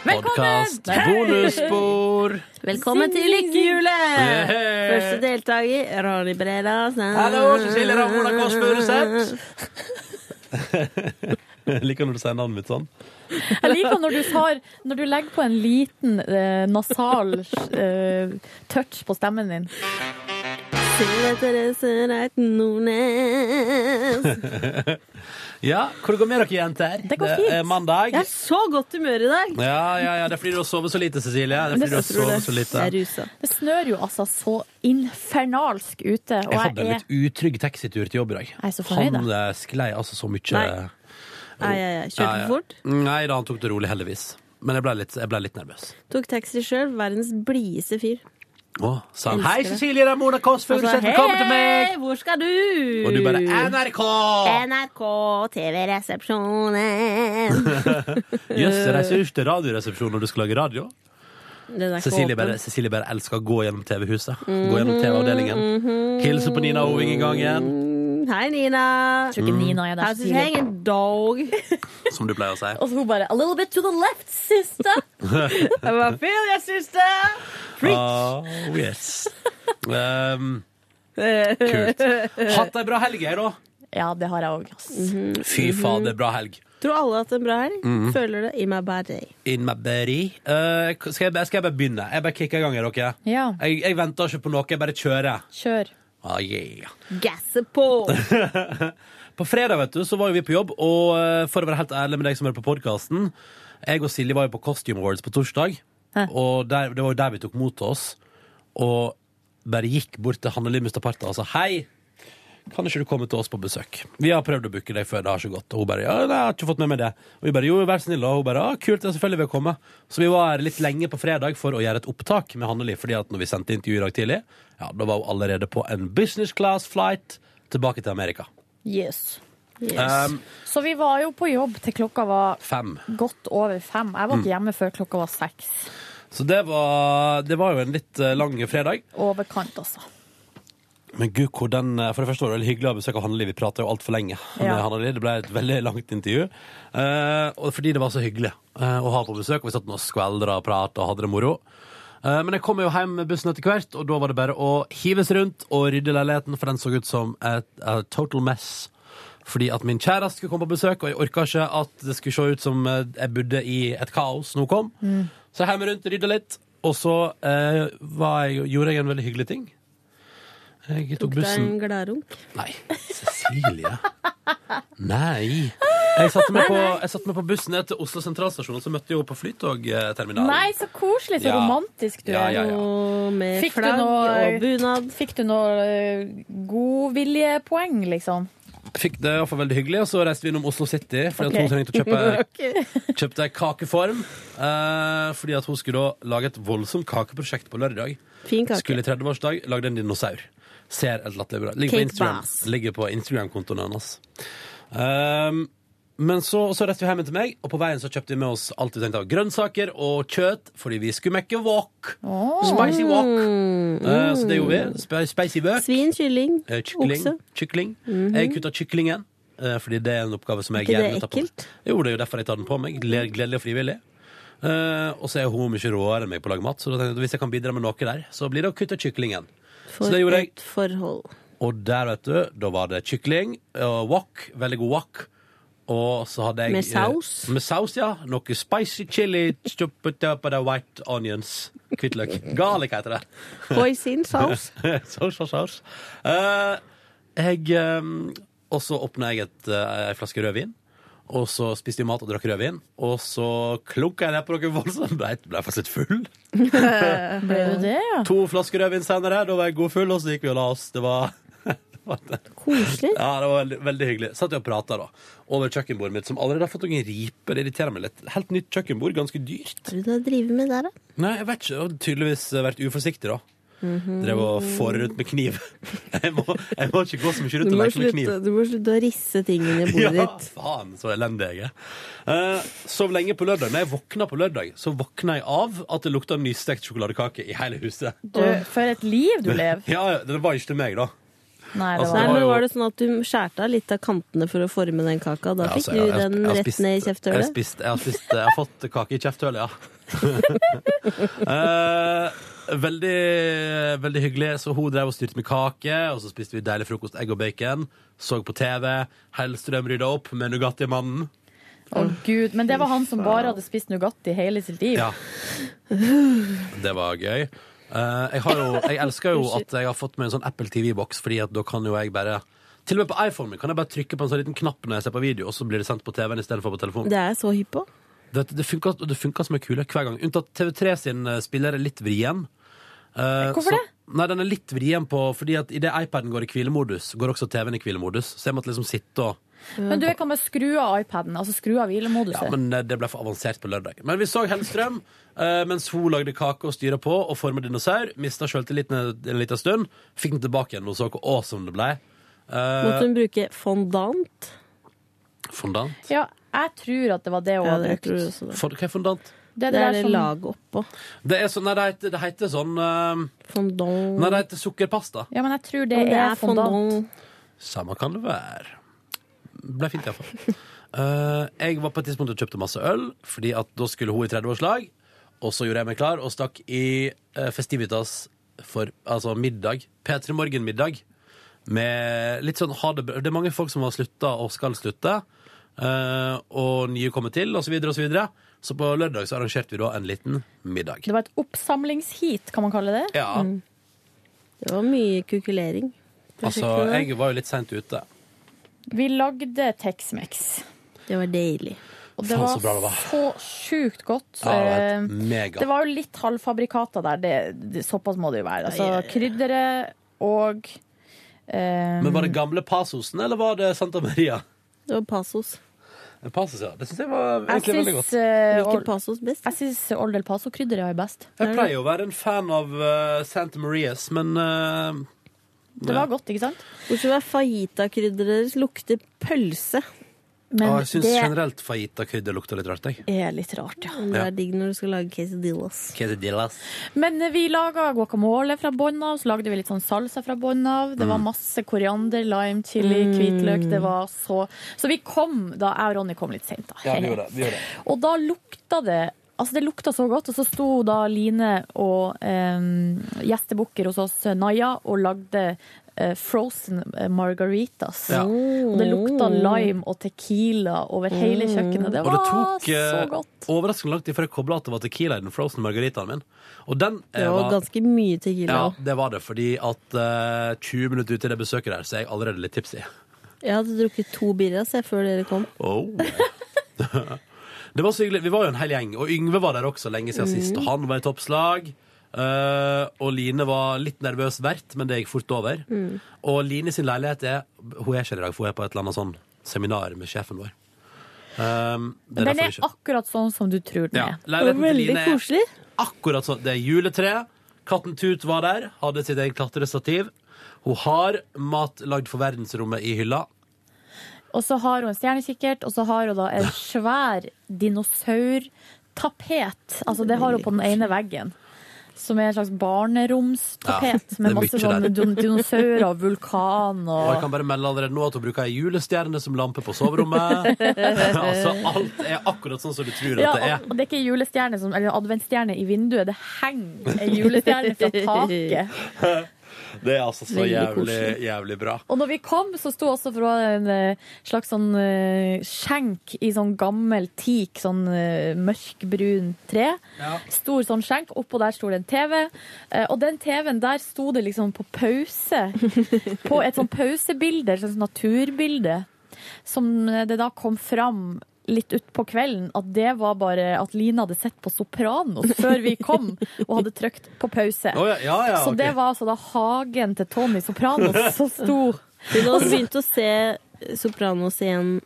S2: Podkast, bonusspor
S10: Velkommen til lykkehjulet!
S2: Hey!
S10: Første deltaker, Ronny altså. Bredalsen.
S2: Jeg liker når du sier navnet mitt sånn.
S6: Jeg liker når du, tar, når du legger på en liten eh, nasal eh, touch på stemmen din.
S10: Silje Therese Reiten Nordnes.
S2: Ja, Hvor går med dere, jenter?
S6: Det går fint.
S2: er mandag.
S10: Jeg er så godt humør i dag.
S2: Ja, ja, ja, Det er fordi du har sovet så lite, Cecilie. Det er fordi du har sovet så lite.
S10: Jeg er rusa.
S6: Det snør jo altså så infernalsk ute, og
S2: Jeg hadde
S6: jeg
S2: en
S6: er
S2: litt utrygg taxitur til jobb i dag.
S6: Jeg er så fornøyd,
S2: Han eh, sklei altså så mye
S10: Nei. Nei, jeg, jeg
S2: Nei,
S10: kjørte for fort.
S2: Nei da, han tok det rolig, heldigvis. men jeg ble litt, jeg ble litt nervøs.
S10: Tok taxi sjøl. Verdens blideste fyr.
S2: Å, sa han
S10: Elsker
S2: hei,
S10: det.
S2: Cecilie, det er Mona Kåss
S10: Altså,
S2: Furuseth, velkommen til meg!
S10: Hei, hvor skal du?
S2: Og du bare NRK!
S10: NRK TV-resepsjonen.
S2: Jøss, jeg reiser jo ikke til Radioresepsjonen når du skal lage radio.
S10: Den er ikke
S2: Cecilie
S10: åpen.
S2: bare, Cecilie bare elsker å gå gjennom TV-huset. Gå gjennom TV-avdelingen. Hilse på Nina Oving i gangen,
S10: Mm, Hei, Nina.
S6: Tror
S2: Mm.
S6: ikke Nina er der
S10: How's
S6: så
S10: it
S6: tidlig.
S10: hanging, dog?
S2: som du pleier å si.
S10: Og så hun bare A little bit to the left, sister. Jeg bare Feel you, sister.
S2: Oh, yes. Um, kult. Hatt ei bra helg, jeg, da.
S6: Ja, det har jeg òg.
S2: Fy fader, bra helg.
S10: Tror alle har hatt en bra helg?
S2: Mm.
S10: Føler det in my body.
S2: In my body. Eh, skal, jeg, bare- skal jeg bare begynne? Jeg bare kicker i gang, her, dere.
S6: Ja,
S2: Jeg, jeg venter ikke på noe, jeg bare kjører.
S6: kjør.
S2: Ah, yeah.
S10: Gasse på!
S2: På fredag vet du, så var jo vi på jobb, og eh, for å være helt ærlig med deg som hører på podkasten Jeg og Silje var jo på Costume Awards på torsdag,
S6: Hæ?
S2: og der, det var jo der vi tok mot oss. Og bare gikk bort til Hanne Lim Mustaparta og sa hei. Kan ikke du komme til oss på besøk? Vi har prøvd å booke deg før, det har ikke gått. Og hun bare ja, nei, jeg har ikke fått med meg det. Og vi bare jo, vær snill, da. Og hun bare ja, kult, ja, selvfølgelig vil jeg komme. Så vi var her litt lenge på fredag for å gjøre et opptak med Hanne Li, fordi at når vi sendte intervju i dag tidlig, ja, da var hun allerede på en business class flight tilbake til Amerika.
S6: Yes.
S2: Um,
S6: Så vi var jo på jobb til klokka var
S2: Fem.
S6: godt over fem. Jeg var
S2: Mm.
S6: ikke hjemme før klokka var seks.
S2: Så det var, det var jo en litt eh, lang fredag.
S6: Overkant, altså.
S2: Men gud, hvor den, eh, for det første var det veldig hyggelig å besøke Hanneli. Vi prata jo altfor lenge. med
S6: Ja.
S2: Hanneli. Det ble et veldig langt intervju. Eh, og fordi det var så hyggelig eh, å ha på besøk. og Vi satt nå og skveldra og prata og hadde det moro. Eh, men jeg kom jo hjem med bussen etter hvert, og da var det bare å hives rundt og rydde leiligheten, for den så ut som et a total mess. Fordi at min kjæreste skulle komme på besøk, og jeg orka ikke at det skulle se ut som eh, jeg bodde i et kaos når hun kom. Så jeg hjem rundt, rydda litt, og så eh, var jeg, gjorde jeg en veldig hyggelig ting. Jeg tok
S10: Det er
S2: bussen
S10: en gladrunk.
S2: Nei, Cecilie. Nei. Jeg satte meg på, jeg satte meg på bussen ned til Oslo sentralstasjon, så møtte jeg henne på flytogterminalen.
S6: Nei, så koselig! Så
S2: Ja.
S6: romantisk du
S2: Ja,
S6: er.
S2: ja, ja.
S10: Og med
S6: Fikk du
S10: flagg
S6: noe-
S10: og bunad.
S6: Fikk du noe eh, godviljepoeng, liksom?
S2: Fikk det i hvert fall veldig hyggelig, og så reiste vi innom Oslo City, fordi at hun trengte å kjøpe kjøpte ei kakeform. eh, fordi at hun skulle da lage et voldsomt kakeprosjekt på lørdag.
S10: Fin kake.
S2: Skulle i 30-årsdag, lagde en dinosaur. Ser helt latterlig bra. Ligger på
S10: Cake
S2: Instagram.
S10: boss.
S2: Ligger på Instagram-kontoen hennes. Ehm, men så, så reiste vi hjem til meg, og på veien så kjøpte vi med oss alt vi tenkte av grønnsaker og kjøtt, fordi vi skulle mekke wok. Spicy wok. Eh, så det gjorde vi. Sp spicy wok.
S10: Svin, kylling,
S2: Eh, Kykling.
S10: okse. Mhm.
S2: kykling. Jeg kutta kyklingen, eh, fordi det er en oppgave som jeg
S10: Ikke det
S2: gjerne tar på meg.
S10: ekkelt?
S2: Jo, det er jo derfor jeg tar den på meg. Gled- Gledelig og frivillig. Eh, og så er hun mye råere enn meg på å lage mat, så da tenkte jeg at hvis jeg kan bidra med noe der, så blir det å kutte kyklingen. Så
S10: For
S2: det gjorde jeg.
S10: et forhold.
S2: Og der, vet du, da var det kykling eh, og wok. Veldig god wok. Og så hadde jeg
S10: Med saus?
S2: eh, Med saus, ja. Noe spicy chili. chopped up and White onions. Hvitløk. Garlic heter det.
S10: Hoisin saus.
S2: saus, saus, saus. Eh, jeg eh, Og så åpna jeg et, eh, ei flaske rødvin. Og så spiste vi mat og drakk rødvin. Og så klunka jeg ned på noe voldsomt. Ble, ble faktisk litt full.
S6: Ble du det, ja?
S2: To flasker rødvin senere, da var jeg god full, og så gikk vi og la oss. Det var
S10: Koselig.
S2: Ja, det var veldig, veldig hyggelig. Satt jeg og prata da, over kjøkkenbordet mitt, som allerede har fått noen riper. Det irriterer meg litt. Helt nytt kjøkkenbord, ganske dyrt.
S10: Hva er det du har drevet med der, da?
S2: Nei, jeg vet ikke. Jeg har tydeligvis vært uforsiktig, da.
S10: Mhm.
S2: Drev og fåret rundt med kniv. Jeg må, jeg må ikke gå så mye rundt og
S10: Du må,
S2: leke med kniv.
S10: slutte, du må slutte å risse tingene i bordet
S2: Ja,
S10: ditt.
S2: faen, så elendig jeg er. Eh, sov lenge på lørdag. Når jeg våkna på lørdag, så våkna jeg av at det lukta nystekt sjokoladekake i hele huset.
S6: Du, for et liv du lever.
S2: Ja, ja, det var ikke til meg, da.
S6: Nei, det
S2: Altså,
S10: Nei,
S2: det var
S6: var
S10: men
S2: jo-
S10: Var det sånn at du skjærte av litt av kantene for å forme den kaka? Da
S2: Ja,
S10: fikk
S2: altså, jeg-
S10: du
S2: jeg-
S10: den
S2: jeg har
S10: rett
S2: spist-
S10: ned i
S2: Jeg har,
S10: kjefthølet?
S2: spist, jeg, har spist, jeg har fått kake i kjefthølet, ja. Eh, veldig, veldig hyggelig. Så hun drev og styrte med kake, og så spiste vi deilig frokost, egg og bacon. Så på TV. Hellstrøm rydda opp med Nugatti-mannen.
S6: Å, Gud. Men det var han som bare hadde spist Nugatti hele sitt liv.
S2: Ja. Det var gøy. Eh, jeg, har jo, jeg elsker jo at jeg har fått meg en sånn Apple TV-boks, Fordi at da kan jo jeg bare Til og med på iPhone min kan jeg bare trykke på en sånn liten knapp når jeg ser på video, og så blir det sendt på TV-en istedenfor på telefonen.
S10: Det er jeg så hypp på.
S2: Det, det, funka, og det funka som en kule hver gang. Unntatt TV3 sin eh, spiller er litt vrien. Eh,
S6: Hvorfor
S2: så,
S6: det?
S2: Nei, den er litt vrien på Fordi at idet iPaden går i hvilemodus, går også TV-en i hvilemodus. Så jeg måtte liksom sitte og
S6: Men du jeg kan bare skru av iPaden, altså skru av hvilemoduset.
S2: Ja, men eh, det ble for avansert på lørdag. Men vi så Hellstrøm eh, mens hun lagde kake og styra på og forma dinosaur. Mista sjøltilliten en liten stund. Fikk den tilbake igjen da hun så hvor awesome det ble. Eh,
S10: Måtte hun bruke fondant?
S2: fondant?
S6: Ja, jeg tror at det var det hun
S10: Ja,
S6: hadde
S10: det tror jeg
S6: brukt.
S10: også. Det,
S2: For, hva er fondant?
S6: Det,
S10: det er
S6: der
S10: det
S6: som-
S10: laget oppå.
S2: Det, er sånn, nei, det, heter, det heter sånn eh,
S10: Fondant.
S2: Nei, det heter sukkerpasta.
S6: Ja, men jeg tror det,
S10: Ja, men
S6: er, fondant.
S2: Samme kan det være. Ble fint, iallfall. Uh, jeg var på et tidspunkt og kjøpte masse øl, Fordi at da skulle hun i 30-årslag. Og så gjorde jeg meg klar og stakk i eh, Festivitas for altså middag. P3 Morgen-middag. Med litt sånn ha det bra. Det er mange folk som har slutta og skal slutte. eh, og nye kommer til, osv., osv. Så, videre. så på lørdag så arrangerte vi da en liten middag.
S6: Det var et oppsamlingsheat, kan man kalle Mm, det.
S2: Ja,
S10: Det var mye kukulering.
S2: altså, jeg var jo litt seint ute.
S6: Vi lagde Tex-Mex.
S10: Det var deilig.
S6: Og det
S2: Faen,
S6: var
S2: så bra det var.
S6: så sjukt godt.
S2: Ja, det var
S6: Eh,
S2: et mega.
S6: Det var jo litt halvfabrikata der, det, det, såpass må det jo være. Altså krydderet og eh,
S2: Men var det gamle Pasosen, eller var det Santa Maria?
S10: Det var Pasos.
S2: Pasos, ja. Det syns jeg var
S6: Jeg
S2: egentlig veldig godt.
S6: syns, eh,
S10: Hvilken
S6: Ol-
S10: Pasos best?
S6: jeg syns Old El Paso-krydderet er best.
S2: Jeg pleier jo å være en fan av eh, Santa Marias, men eh,
S6: Det var godt, ikke sant?
S10: Bortsett fra fajita-krydderet deres lukter pølse.
S6: Men
S2: å, Ah, jeg syns
S6: det
S2: generelt fajitakrydder lukter litt rart, jeg.
S6: er litt rart, ja.
S10: Men Det
S2: Ja.
S10: er digg når du skal lage quesadillas.
S2: Quesadillas.
S6: Men eh, vi laga guacamole fra bånn av, så lagde vi litt sånn salsa fra bånn
S2: Mm.
S6: av. Det var masse koriander, lime, chili, hvitløk. Det var så Så vi kom da Jeg og Ronny kom litt seint, da.
S2: Ja, vi gjorde det. Vi gjorde det.
S6: Og da lukta det Altså, det lukta så godt, og så sto da Line og eh, gjestebukker hos oss, Naya, og lagde eh, frozen margaritas.
S2: Ja.
S6: Og det lukta lime og tequila over hele kjøkkenet. Det
S2: Og
S6: var
S2: det tok
S6: så
S2: eh,
S6: godt.
S2: overraskende lang tid før jeg kobla at det var Tequila i den frozen margaritaen min. Og den eh,
S10: Det var ganske mye tequila.
S2: ja, det var det, fordi at eh, 20 minutter ut i det besøket der, så er jeg allerede litt tipsy.
S10: Jeg hadde drukket to birras jeg, før dere kom.
S2: Oh. det var så hyggelig. Vi var jo en hel gjeng, og Yngve var der også lenge siden sist. Og han var i toppslag. Eh, og Line var litt nervøs vert, men det gikk fort over. Og Line sin leilighet er Hun er ikke her i dag, for hun er på et eller annet sånn seminar med sjefen vår. Um, det er
S6: Den
S2: derfor
S6: er
S2: ikke
S6: akkurat sånn som du tror den
S2: ja.
S6: er.
S10: Det var
S2: Leiligheten til
S10: veldig
S2: Line er
S10: koselig.
S2: akkurat sånn. Det er juletre. Katten Tut var der, hadde sitt eget klatrestativ. Hun har mat lagd for verdensrommet i hylla.
S6: Og så har hun en stjernekikkert, og så har hun da en svær dinosaurtapet. Altså det har hun på den ene veggen. Som er en slags barneromstapet
S2: Ja, det
S6: med
S2: er
S6: masse
S2: mye
S6: sånn
S2: der.
S6: din- dinosaurer og vulkan
S2: Og jeg
S6: og
S2: kan bare melde allerede nå at hun bruker ei julestjerne som lampe på soverommet. altså, alt er akkurat sånn som du tror
S6: ja,
S2: at det
S6: og
S2: er.
S6: og det er ikke julestjerne som, eller adventstjerne i vinduet, det henger en julestjerne fra taket.
S2: Det er altså så
S10: Veldig
S2: jævlig,
S10: koselig.
S2: jævlig bra.
S6: Og når vi kom, så sto også fra en eh, slags sånn eh, skjenk i sånn gammel teak, sånn eh, mørkbrun tre. Stor sånn skjenk. Oppå der sto det en TV. Eh, og den TV-en der sto det liksom på pause. på et sånn pausebilde, et slags naturbilde, som eh, det da kom fram litt utpå kvelden at det var bare at Line hadde sett på Sopranos før vi kom, og hadde trykt på pause.
S2: Å, ja, ja, ja,
S6: Så
S2: ok.
S6: det var altså da hagen til Tony Sopranos som sto
S10: Hun har begynt å se eh, Sopranos igjen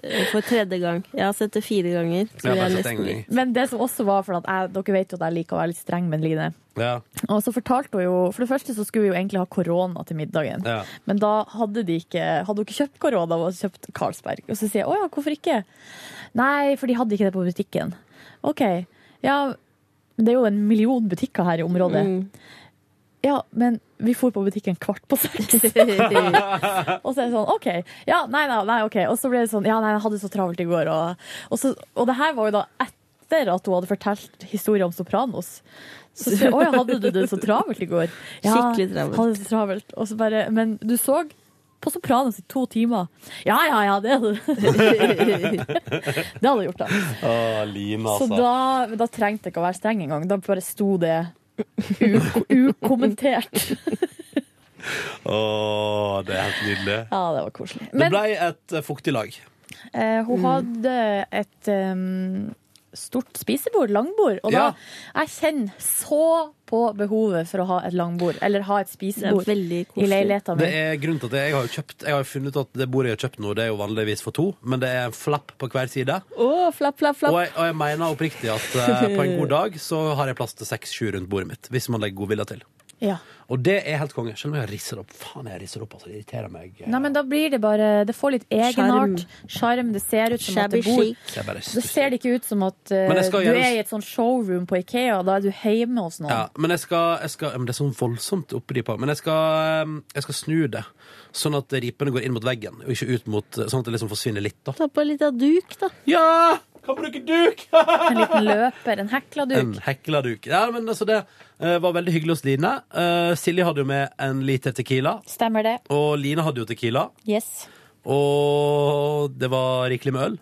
S10: eh, for tredje gang. Jeg har sett det fire ganger.
S2: Ja,
S10: Så vi
S2: bare
S10: er
S2: sett en
S10: nesten
S2: gang.
S10: likt.
S6: Men det som også var, for at jeg, dere vet jo at jeg liker å være litt streng med Line.
S2: Ja,
S6: Og så fortalte hun jo, For det første så skulle vi jo egentlig ha korona til middagen.
S2: ja.
S6: Men da hadde de ikke, hadde hun ikke kjøpt korona, hun hadde kjøpt Carlsberg. Og så sier jeg å ja, hvorfor ikke? Nei, for de hadde ikke det på butikken. OK. Ja, men det er jo en million butikker her i området.
S10: Mm.
S6: Ja, men vi for på butikken kvart på seks. og så er det sånn, ok. Ja, nei, nei, nei, ok. Og så ble det sånn, ja, nei, jeg hadde så travelt i går. Og, og, så, og det her var jo da etter at hun hadde fortalt historien om Sopranos. Så sier jeg, åja, hadde du det så travelt i går? Ja,
S10: Skikkelig travelt.
S6: hadde det så travelt. Og så bare, men du så på Sopranos i to timer. Ja, ja, ja, det hadde Det hadde jeg gjort da.
S2: Å, Line,
S6: Så
S2: altså.
S6: da, da trengte jeg ikke å være streng engang. Da bare sto det u- ukommentert.
S2: Å, det er helt nydelig.
S6: Ja, det var koselig.
S2: Det
S6: Men Mm.
S2: ble et eh, fuktig lag.
S6: eh, hun hadde et um, stort spisebord, langbord. Og da
S14: Ja.
S6: jeg kjenner så på behovet for å ha et langbord, eller ha et spisebord
S10: Det er veldig koselig.
S6: i leiligheten
S2: Det
S6: min.
S2: er grunnen til at jeg har jo kjøpt Jeg har jo funnet ut at det bordet jeg har kjøpt nå, det er jo vanligvis for to, men det er en flapp på hver side.
S6: Å, flapp, flapp,
S2: Og
S6: flapp.
S2: jeg, og jeg mener oppriktig at eh, på en god dag så har jeg plass til seks-sju rundt bordet mitt, hvis man legger godvilja til.
S6: Ja.
S2: Og det er helt konge. Selv om jeg risser opp. Faen, jeg risser opp, altså. Det irriterer meg. eh,
S6: Nei, men da blir det bare Det får litt egenart. Sjarm. Det ser ut som at
S10: Shabby
S6: det bor
S10: chic.
S2: jeg bare
S6: Da ser det ikke ut som at eh,
S2: Men jeg
S6: du
S2: skal gjøre-
S6: er i et sånn showroom på Ikea. Da er du hjemme hos noen.
S2: Ja, men jeg skal, jeg skal ja, men Det er sånn voldsomt oppi de par- Men jeg skal, um, jeg skal snu det, sånn at ripene går inn mot veggen, og ikke ut mot Sånn at det liksom forsvinner litt, da.
S10: Ta på litt av duk, da.
S2: Ja! Kan bruke duk!
S6: En liten løper, en hekla
S2: en
S6: duk.
S2: hekla duk. Ja, men altså, det eh, var veldig hyggelig hos Line. Eh, Silje hadde jo med en liter tequila,
S6: Stemmer det.
S2: og Line hadde jo tequila.
S6: Yes.
S2: Og det var rikelig med øl.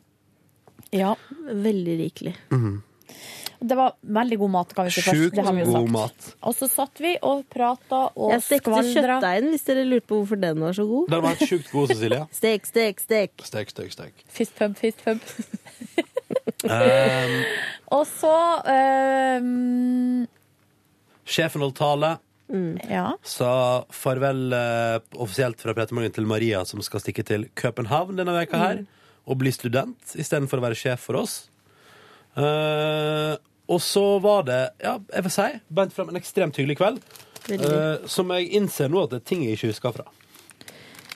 S6: Ja.
S10: Veldig rikelig.
S6: Mhm. Det var veldig god mat, kan vi si først.
S2: Sjukt
S6: Det har vi jo
S2: god
S6: sagt.
S2: mat.
S6: Og så satt vi og prata og
S10: Jeg stekte
S6: skvaldra.
S10: kjøttdeigen, hvis dere lurte på hvorfor den var så god.
S2: Den var sjukt god, Cecilie.
S10: Stek, stek, stek.
S2: Stek, stek, stek.
S6: Fist pump, fist pump.
S10: Um.
S2: Eh,
S6: Og så ehm,
S2: sjefen holdt tale,
S6: Ja.
S2: sa farvel eh, offisielt fra Petermangen til Maria, som skal stikke til København denne veka her,
S10: Mm.
S2: og bli student istedenfor å være sjef for oss. Eh, og så var det, ja, jeg vil si, beint fram en ekstremt hyggelig kveld.
S10: Veldig.
S2: Eh, som jeg innser nå at det er ting jeg ikke husker fra.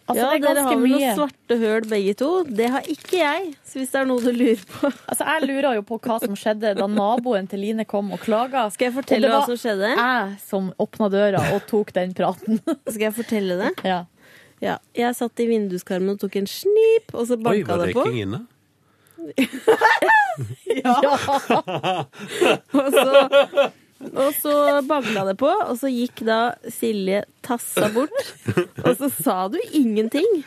S6: Altså,
S10: ja,
S6: det er
S10: dere
S6: ganske
S10: har vel
S6: mye.
S10: noen svarte høl begge to. Det har ikke jeg, så hvis det er noe du lurer på
S6: Altså, jeg lurer jo på hva som skjedde da naboen til Line kom og klaga.
S10: Skal jeg fortelle
S6: Og det
S10: hva
S6: var
S10: som skjedde?
S6: Jeg som åpna døra og tok den praten.
S10: Skal jeg fortelle det?
S6: ja.
S10: Ja. Jeg satt i vinduskarmen og tok en snip, og så
S2: Oi,
S10: banka
S2: var
S10: det på.
S2: røyking inne?
S10: Og så, og så banka det på, og så gikk da Silje tassa bort. Og så sa du ingenting.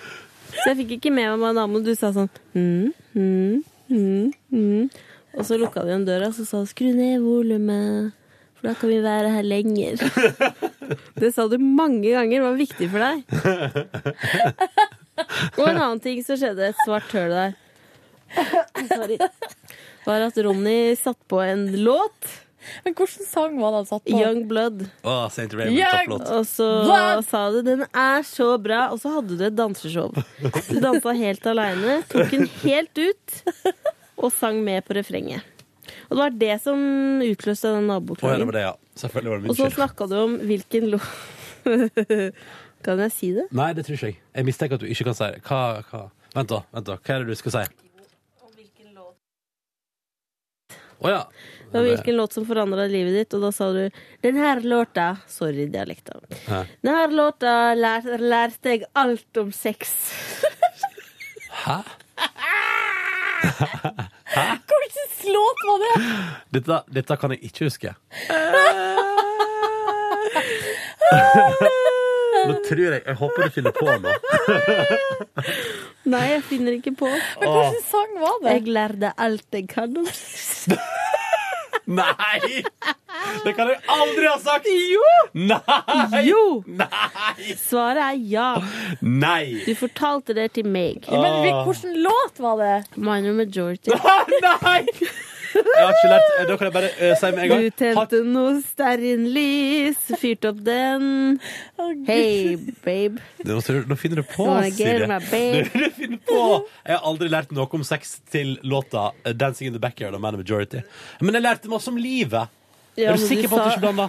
S10: Så jeg fikk ikke med meg hva damen Du sa sånn mm, mm, mm, mm. Og så lukka du igjen døra, og så sa du 'skru ned volumet', for da kan vi være her lenger. Det sa du mange ganger var viktig for deg. Og en annen ting som skjedde, et svart høl der, Sorry. var at Ronny satt på en låt.
S6: Men hvilken sang var det han satt på?
S10: Young Blood.
S2: Å, St. Raymond,
S6: Jeg-
S2: topp låt.
S10: Og så
S6: Blood!
S10: sa du 'den er så bra', og så hadde du et danseshow. Du dansa helt aleine, tok den helt ut, og sang med på refrenget. Og det var det som utløste
S2: Å,
S10: den
S2: ja, det
S10: naboklagen.
S2: var det, ja. Selvfølgelig var det min
S10: Og så
S2: skyld.
S10: snakka du om hvilken låt Kan jeg si det?
S2: Nei, det tror ikke jeg. Jeg mistenker at du ikke kan si det. Hva, hva? Vent, da. vent da, Hva er det du skal si? Å ja.
S10: Det var hvilken låt som forandra livet ditt, og da sa du 'Den her låta' Sorry, dialekta.
S2: Ja.
S10: 'Den her låta lær, lærte jeg alt om sex'.
S2: Hæ?
S6: Hvilken låt var det?
S2: Dette, dette kan jeg ikke huske. Nå tror jeg Jeg håper du finner på nå.
S10: Nei, jeg finner ikke på.
S6: Men hvilken sang var det?
S10: Jeg lærte alt jeg kan om sex.
S2: Nei! Det kan jeg aldri ha sagt! Jo! Nei!
S10: Jo!
S2: Nei!
S10: Svaret er ja.
S2: Nei!
S10: Du fortalte det til meg.
S6: Men hvil- hvilken låt var det?
S10: Minor majority.
S2: Nei! Jeg har ikke lært Da kan jeg bare eh, si med en gang.
S10: Du tente noe stearinlys, fyrte opp den. Hey, babe.
S2: Nå, tror du- nå finner du på,
S10: Wanna
S2: Silje.
S10: get my babe.
S2: Du finner på. Jeg har aldri lært noe om sex til låta eh, 'Dancing in the Backyard' av Man of Majority. Men jeg lærte masse om livet.
S10: Ja,
S2: er du
S10: men
S2: sikker på at du ikke blanda?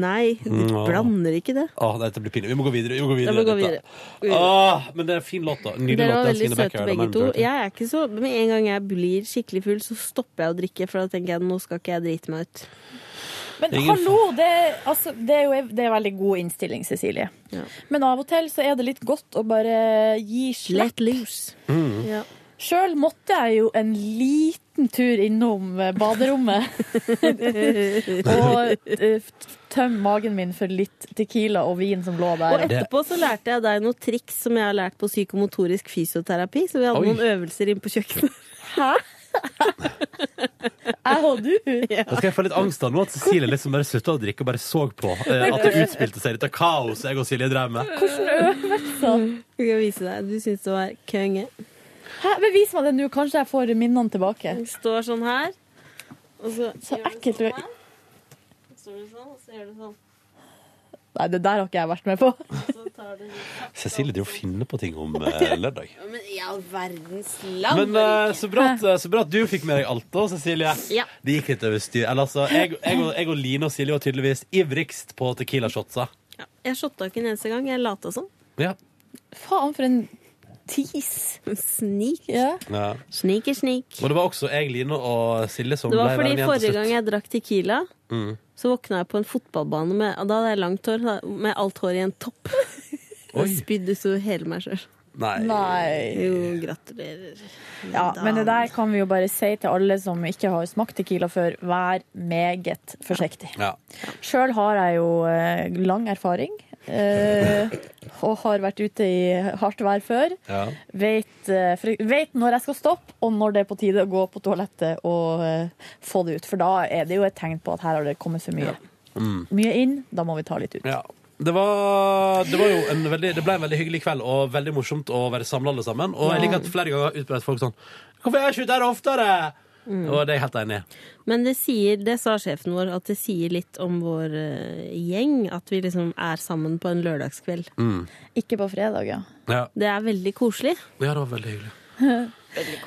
S10: Nei, du
S2: Nå.
S10: blander ikke det.
S2: Åh, dette blir pinlig. Vi må gå videre. Vi må gå videre,
S10: Ja, vi går
S2: i dette.
S10: videre.
S2: Åh, men det er en fin låt, da. Nydelig
S10: Dere
S2: låt. 'Dancing
S10: var veldig
S2: in the
S10: søte
S2: Backyard' av
S10: begge
S2: Man of
S10: to.
S2: Majority.
S10: Jeg er ikke så, Med en gang jeg blir skikkelig full, så stopper jeg å drikke. For da tenker jeg nå skal ikke jeg drite meg ut.
S6: Men
S2: Ingen
S6: hallo, det, altså, det er jo det er en veldig god innstilling, Cecilie.
S10: Ja.
S6: Men av og til så er det litt godt å bare gi slett.
S10: Let loose.
S2: Mm.
S10: Ja.
S6: Sjøl måtte jeg jo en liten tur innom eh, baderommet og eh, f- tømme magen min for litt Tequila og vin som lå
S10: Og
S6: der.
S10: etterpå så lærte jeg deg noen triks som jeg har lært på psykomotorisk fysioterapi. Så vi hadde
S2: Oi.
S10: noen øvelser inne på kjøkkenet.
S6: Jeg og du!
S2: Da skal jeg få litt angst av nå at Cecilie liksom bare slutta å drikke og bare så på eh, at det utspilte seg dette kaoset jeg og Silje drev med.
S10: Vi kan vise deg. Du syns det var konge.
S6: Hæ, bevis meg det nå, kanskje jeg får minnene tilbake.
S10: Står sånn her. Og så,
S6: Så
S10: gjør du
S6: ekkelt
S10: sånn
S6: du-
S10: her. Så gjør du sånn, og så gjør du sånn.
S6: Nei, det der har ikke jeg vært med på.
S10: Og så tar du litt
S2: Cecilie driver og finner på ting om eh, lørdag.
S10: Ja, Men i all verdens land!
S15: Men eh, så, bra at, så bra at du fikk med deg alt da, Cecilie.
S10: Ja.
S15: Det gikk litt over styr. Eller, altså, jeg, jeg, og- jeg og Line og Silje var tydeligvis ivrigst på tequila-shotsa.
S10: Ja, jeg shotta ikke en eneste gang. Jeg lata som.
S15: Ja.
S16: Faen, for en tis.
S10: Snik.
S16: Ja.
S15: Ja.
S10: Sniker, snik.
S15: Men det var også jeg, Line og Silje som
S10: Det var
S15: ble
S10: fordi
S15: venn igjen til
S10: forrige
S15: slutt.
S10: gang jeg drakk Tequila,
S15: Mm.
S10: så våkna jeg på en fotballbane med og Da hadde jeg langt hår, da- med alt håret i en topp.
S15: Oi.
S10: Og spydde så hele meg sjøl.
S15: Nei.
S16: Nei.
S10: Jo, gratulerer.
S6: Ja, men det der kan vi jo bare si til alle som ikke har smakt Tequila før, vær meget forsiktig.
S2: Ja.
S6: Sjøl har jeg jo eh, lang erfaring. eh, og har vært ute i hardt vær før.
S2: Ja.
S6: Vet, eh, for- vet når jeg skal stoppe, og når det er på tide å gå på toalettet og eh, få det ut. For da er det jo et tegn på at her har det kommet for mye.
S2: Mm.
S6: Mye inn, da må vi ta litt ut.
S2: Ja. Det var, det var jo en veldig, det ble en veldig hyggelig kveld, og veldig morsomt å være samla alle sammen. Og jeg liker at flere ganger har utbredt folk sånn Hvorfor er jeg ikke ute her oftere?
S10: Mm.
S2: Og det er jeg helt enig i.
S10: Men det sier, det sa sjefen vår, at det sier litt om vår eh, gjeng. At vi liksom er sammen på en lørdagskveld.
S6: Ikke på fredag, ja.
S2: Ja.
S10: Det er veldig koselig.
S2: ja, det var veldig hyggelig.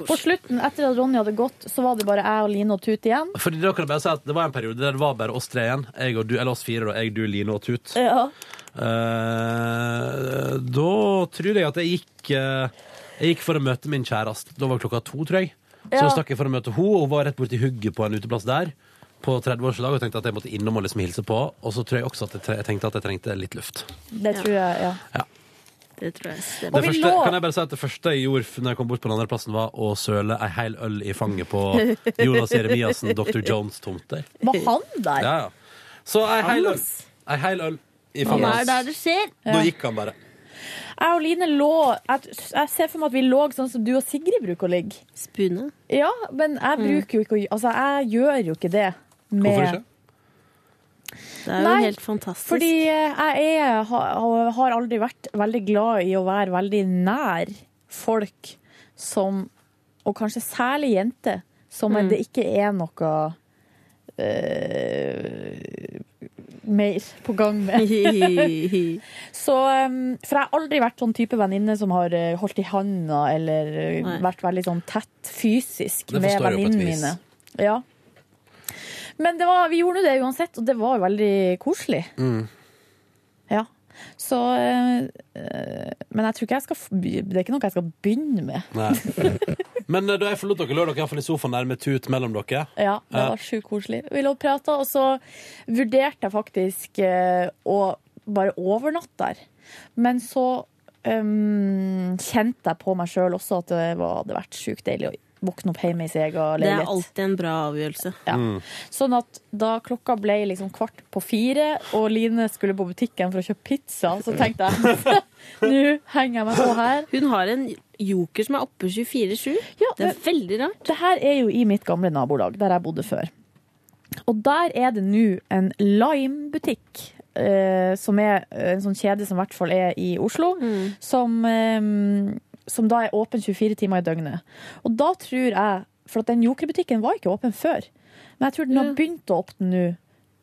S6: På slutten, etter at Ronny hadde gått, så var det bare jeg og Line og Tut igjen.
S2: Fordi da kan jeg bare si at Det var en periode der det var bare oss tre igjen. Jeg og du, eller oss fire, da. Jeg, du, Line og Tut.
S6: Ja.
S2: Eh, da tror jeg at jeg gikk eh, Jeg gikk for å møte min kjæreste. Da var klokka to, tror jeg. Så
S6: Ja.
S2: stakk jeg for å møte henne, og hun var rett borti hugget på en uteplass der. På 30-årsdag og tenkte at jeg måtte innom og liksom hilse på. Og så tror jeg også at jeg, tre jeg tenkte at jeg trengte litt luft.
S6: Det tror jeg, ja.
S10: Det tror jeg
S2: Det
S10: stemmer.
S6: vi
S2: første,
S6: lå-
S2: kan jeg bare si at det første jeg gjorde f- Når jeg kom bort på den andre plassen, var å søle ei hel øl i fanget på Jonas Jeremiassen, Dr. Jones' tomt der.
S6: Var han der?
S2: Ja, ja. Så ei hel øl, ei hel øl i
S10: Det
S2: fanget
S10: er der
S2: hans.
S10: det skjer.
S2: Da gikk han bare.
S6: Jeg og Line lå jeg, jeg ser for meg at vi lå sånn som du og Sigrid bruker å ligge.
S10: Spune.
S6: Ja, men jeg bruker jo ikke å Altså, jeg gjør jo ikke det. med-
S2: Hvorfor ikke?
S10: Det er jo
S6: Nei,
S10: helt fantastisk.
S6: Fordi jeg er, har, har aldri vært veldig glad i å være veldig nær folk som Og kanskje særlig jenter, som
S10: Mm.
S6: det ikke er noe eh, mer på gang med. Så, um, for jeg har aldri vært sånn type venninne som har eh, holdt i handa eller eh,
S10: Nei.
S6: vært veldig sånn tett fysisk
S2: Det
S6: med
S2: forstår jeg jo på et
S6: venninnene
S2: vis.
S6: mine. Ja. Men det var, vi gjorde nå det uansett, og det var veldig koselig.
S2: Mm.
S6: Ja. Så eh, eh, Men jeg tror ikke jeg skal f- Det er ikke noe jeg skal begynne med.
S2: Nei. Men eh, da jeg forlot dere, lå dere iallfall i sofaen der med tut mellom dere.
S6: Ja, det
S2: Ja.
S6: var sjukt koselig. Vi lå og prata, og så vurderte jeg faktisk eh, å bare overnatte der. Men så ehm, kjente jeg på meg sjøl også at det var, hadde vært sjukt deilig å våkne opp hjemme i sin egen
S10: Det er
S6: leilighet.
S10: alltid en bra avgjørelse.
S6: Ja. Sånn at da klokka ble liksom kvart på fire, og Line skulle på butikken for å kjøpe pizza, så tenkte jeg nå henger jeg meg på her.
S10: Hun har en joker som er oppe 24-7.
S6: Ja,
S10: Det er veldig rart.
S6: Det her er jo i mitt gamle nabolag, der jeg bodde før. Og der er det nå en Lime-butikk, eh, som er en sånn kjede som i hvert fall er i Oslo,
S10: Mm.
S6: som, eh, som da er åpen 24 timer i døgnet. Og da tror jeg, for at den jokerbutikken var ikke åpen før, men jeg tror den har begynt å åpne nå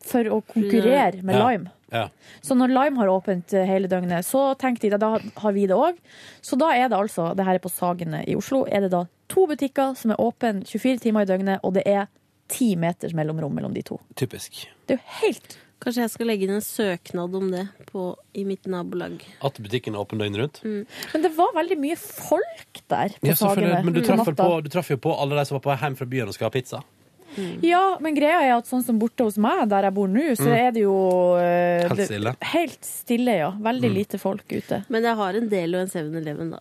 S6: for å konkurrere med
S2: Ja.
S6: Lime.
S2: Ja.
S6: Så når Lime har åpent eh, hele døgnet, så tenkte de at da har vi det òg. Så da er det altså, det her er på Sagene i Oslo, er det da to butikker som er åpne 24 timer i døgnet, og det er ti meters mellomrom mellom de to.
S2: Typisk.
S6: Det er jo helt
S10: Kanskje jeg skal legge inn en søknad om det på, i mitt nabolag.
S2: At butikken er åpen døgnet
S6: Mm.
S2: rundt.
S6: Men det var veldig mye folk der på
S2: Ja, selvfølgelig.
S6: Sagene
S2: Men du
S6: på
S2: traff, vel
S6: Mm, natta.
S2: på, du traff jo på alle de som var på vei hjem fra byen og skal ha pizza.
S6: Ja, men greia er at sånn som borte hos meg, der jeg bor nå, så er det jo eh,
S2: Mm. Helt
S6: det-
S2: stille. Mm.
S6: Helt stille, ja. Veldig lite folk ute.
S10: Men jeg har en del og en 7-Eleven, da.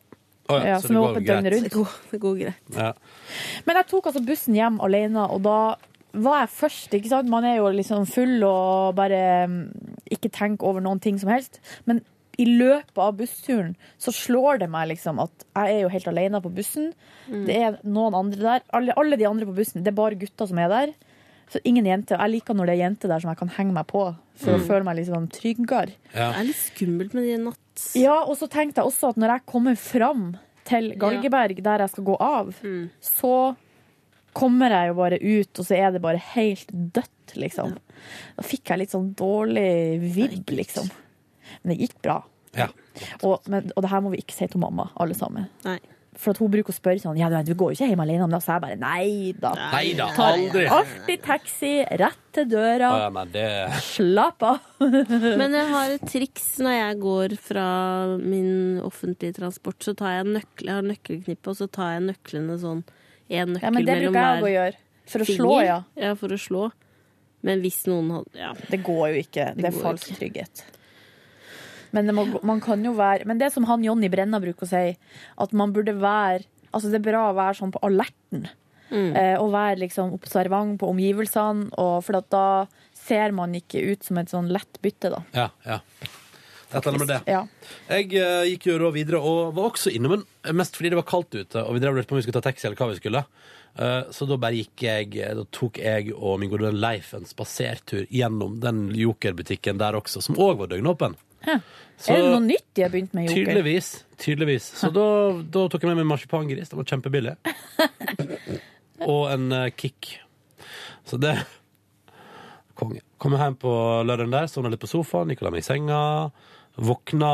S2: Å
S6: Ja,
S2: så
S6: som
S2: det
S6: er
S2: går
S6: åpent
S2: greit.
S6: døgnet rundt.
S10: Det går, det går greit.
S2: Ja.
S6: Men jeg tok altså bussen hjem alene, og da var jeg først, ikke sant? Man er jo liksom full og bare mm, ikke tenker over noen ting som helst. Men i løpet av bussturen så slår det meg liksom at jeg er jo helt alene på bussen.
S10: Mm.
S6: Det er noen andre der. Alle, alle de andre på bussen, det er bare gutter som er der. Så ingen jenter. Og jeg liker når det er jenter der som jeg kan henge meg på, for å føle meg liksom tryggere.
S10: Mm. Det er litt skummelt med de natt...
S6: Ja, og så tenkte jeg også at når jeg kommer fram til Galgeberg, der jeg skal gå av, så kommer jeg jo bare ut, og så er det bare helt dødt, liksom. Da fikk jeg litt sånn dårlig vibb, liksom. Men det gikk bra.
S2: Ja.
S6: Og, men, og det her må vi ikke si til mamma, alle sammen.
S10: Nei.
S6: For at hun bruker å spørre sånn Ja, du, du går jo ikke hjem alene, men da sa jeg bare nei da.
S2: Nei da,
S6: Tar
S2: aldri.
S6: Alltid taxi, rett til døra.
S2: Å, ja, nei, det
S6: Slapp av.
S10: Men jeg har et triks når jeg går fra min offentlige transport. Så tar jeg nøkkel, jeg har nøkkelknippe, og så tar jeg nøklene sånn én nøkkel
S6: Ja, men det
S10: mellom
S6: bruker jeg å
S10: hver
S6: gjøre. For å
S10: finger.
S6: slå, ja.
S10: ja, for å slå. Men hvis noen hadde Ja.
S6: Det går jo ikke. Det,
S10: Det
S6: er
S10: går
S6: falsk
S10: ikke.
S6: trygghet. Men det, må, man kan jo være, men det som han Jonny Brenna bruker å si, at man burde være Altså det er bra å være sånn på alerten. Eh, og være liksom observant på omgivelsene, og for at da ser man ikke ut som et sånn lett bytte, da.
S2: Ja, ja. Et eller annet med det.
S6: Ja.
S2: Jeg eh, gikk jo da videre og var også innom en Mest fordi det var kaldt ute, og vi drev og lurte på om vi skulle ta taxi eller hva vi skulle. Eh, så da bare gikk jeg eh, Da tok jeg og min gode venn Leif en spasertur gjennom den jokerbutikken der også, som òg var døgnåpen. Så-
S6: er det noe nytt de har begynt med, Joker?
S2: Tydeligvis. tydeligvis. Så da, da tok jeg med meg marsipangris. Den var kjempebillig. Og en eh, kick. Så det Konge. Kom hjem på lørdagen der, sovna litt på sofaen, gikk og la meg i senga. Våkna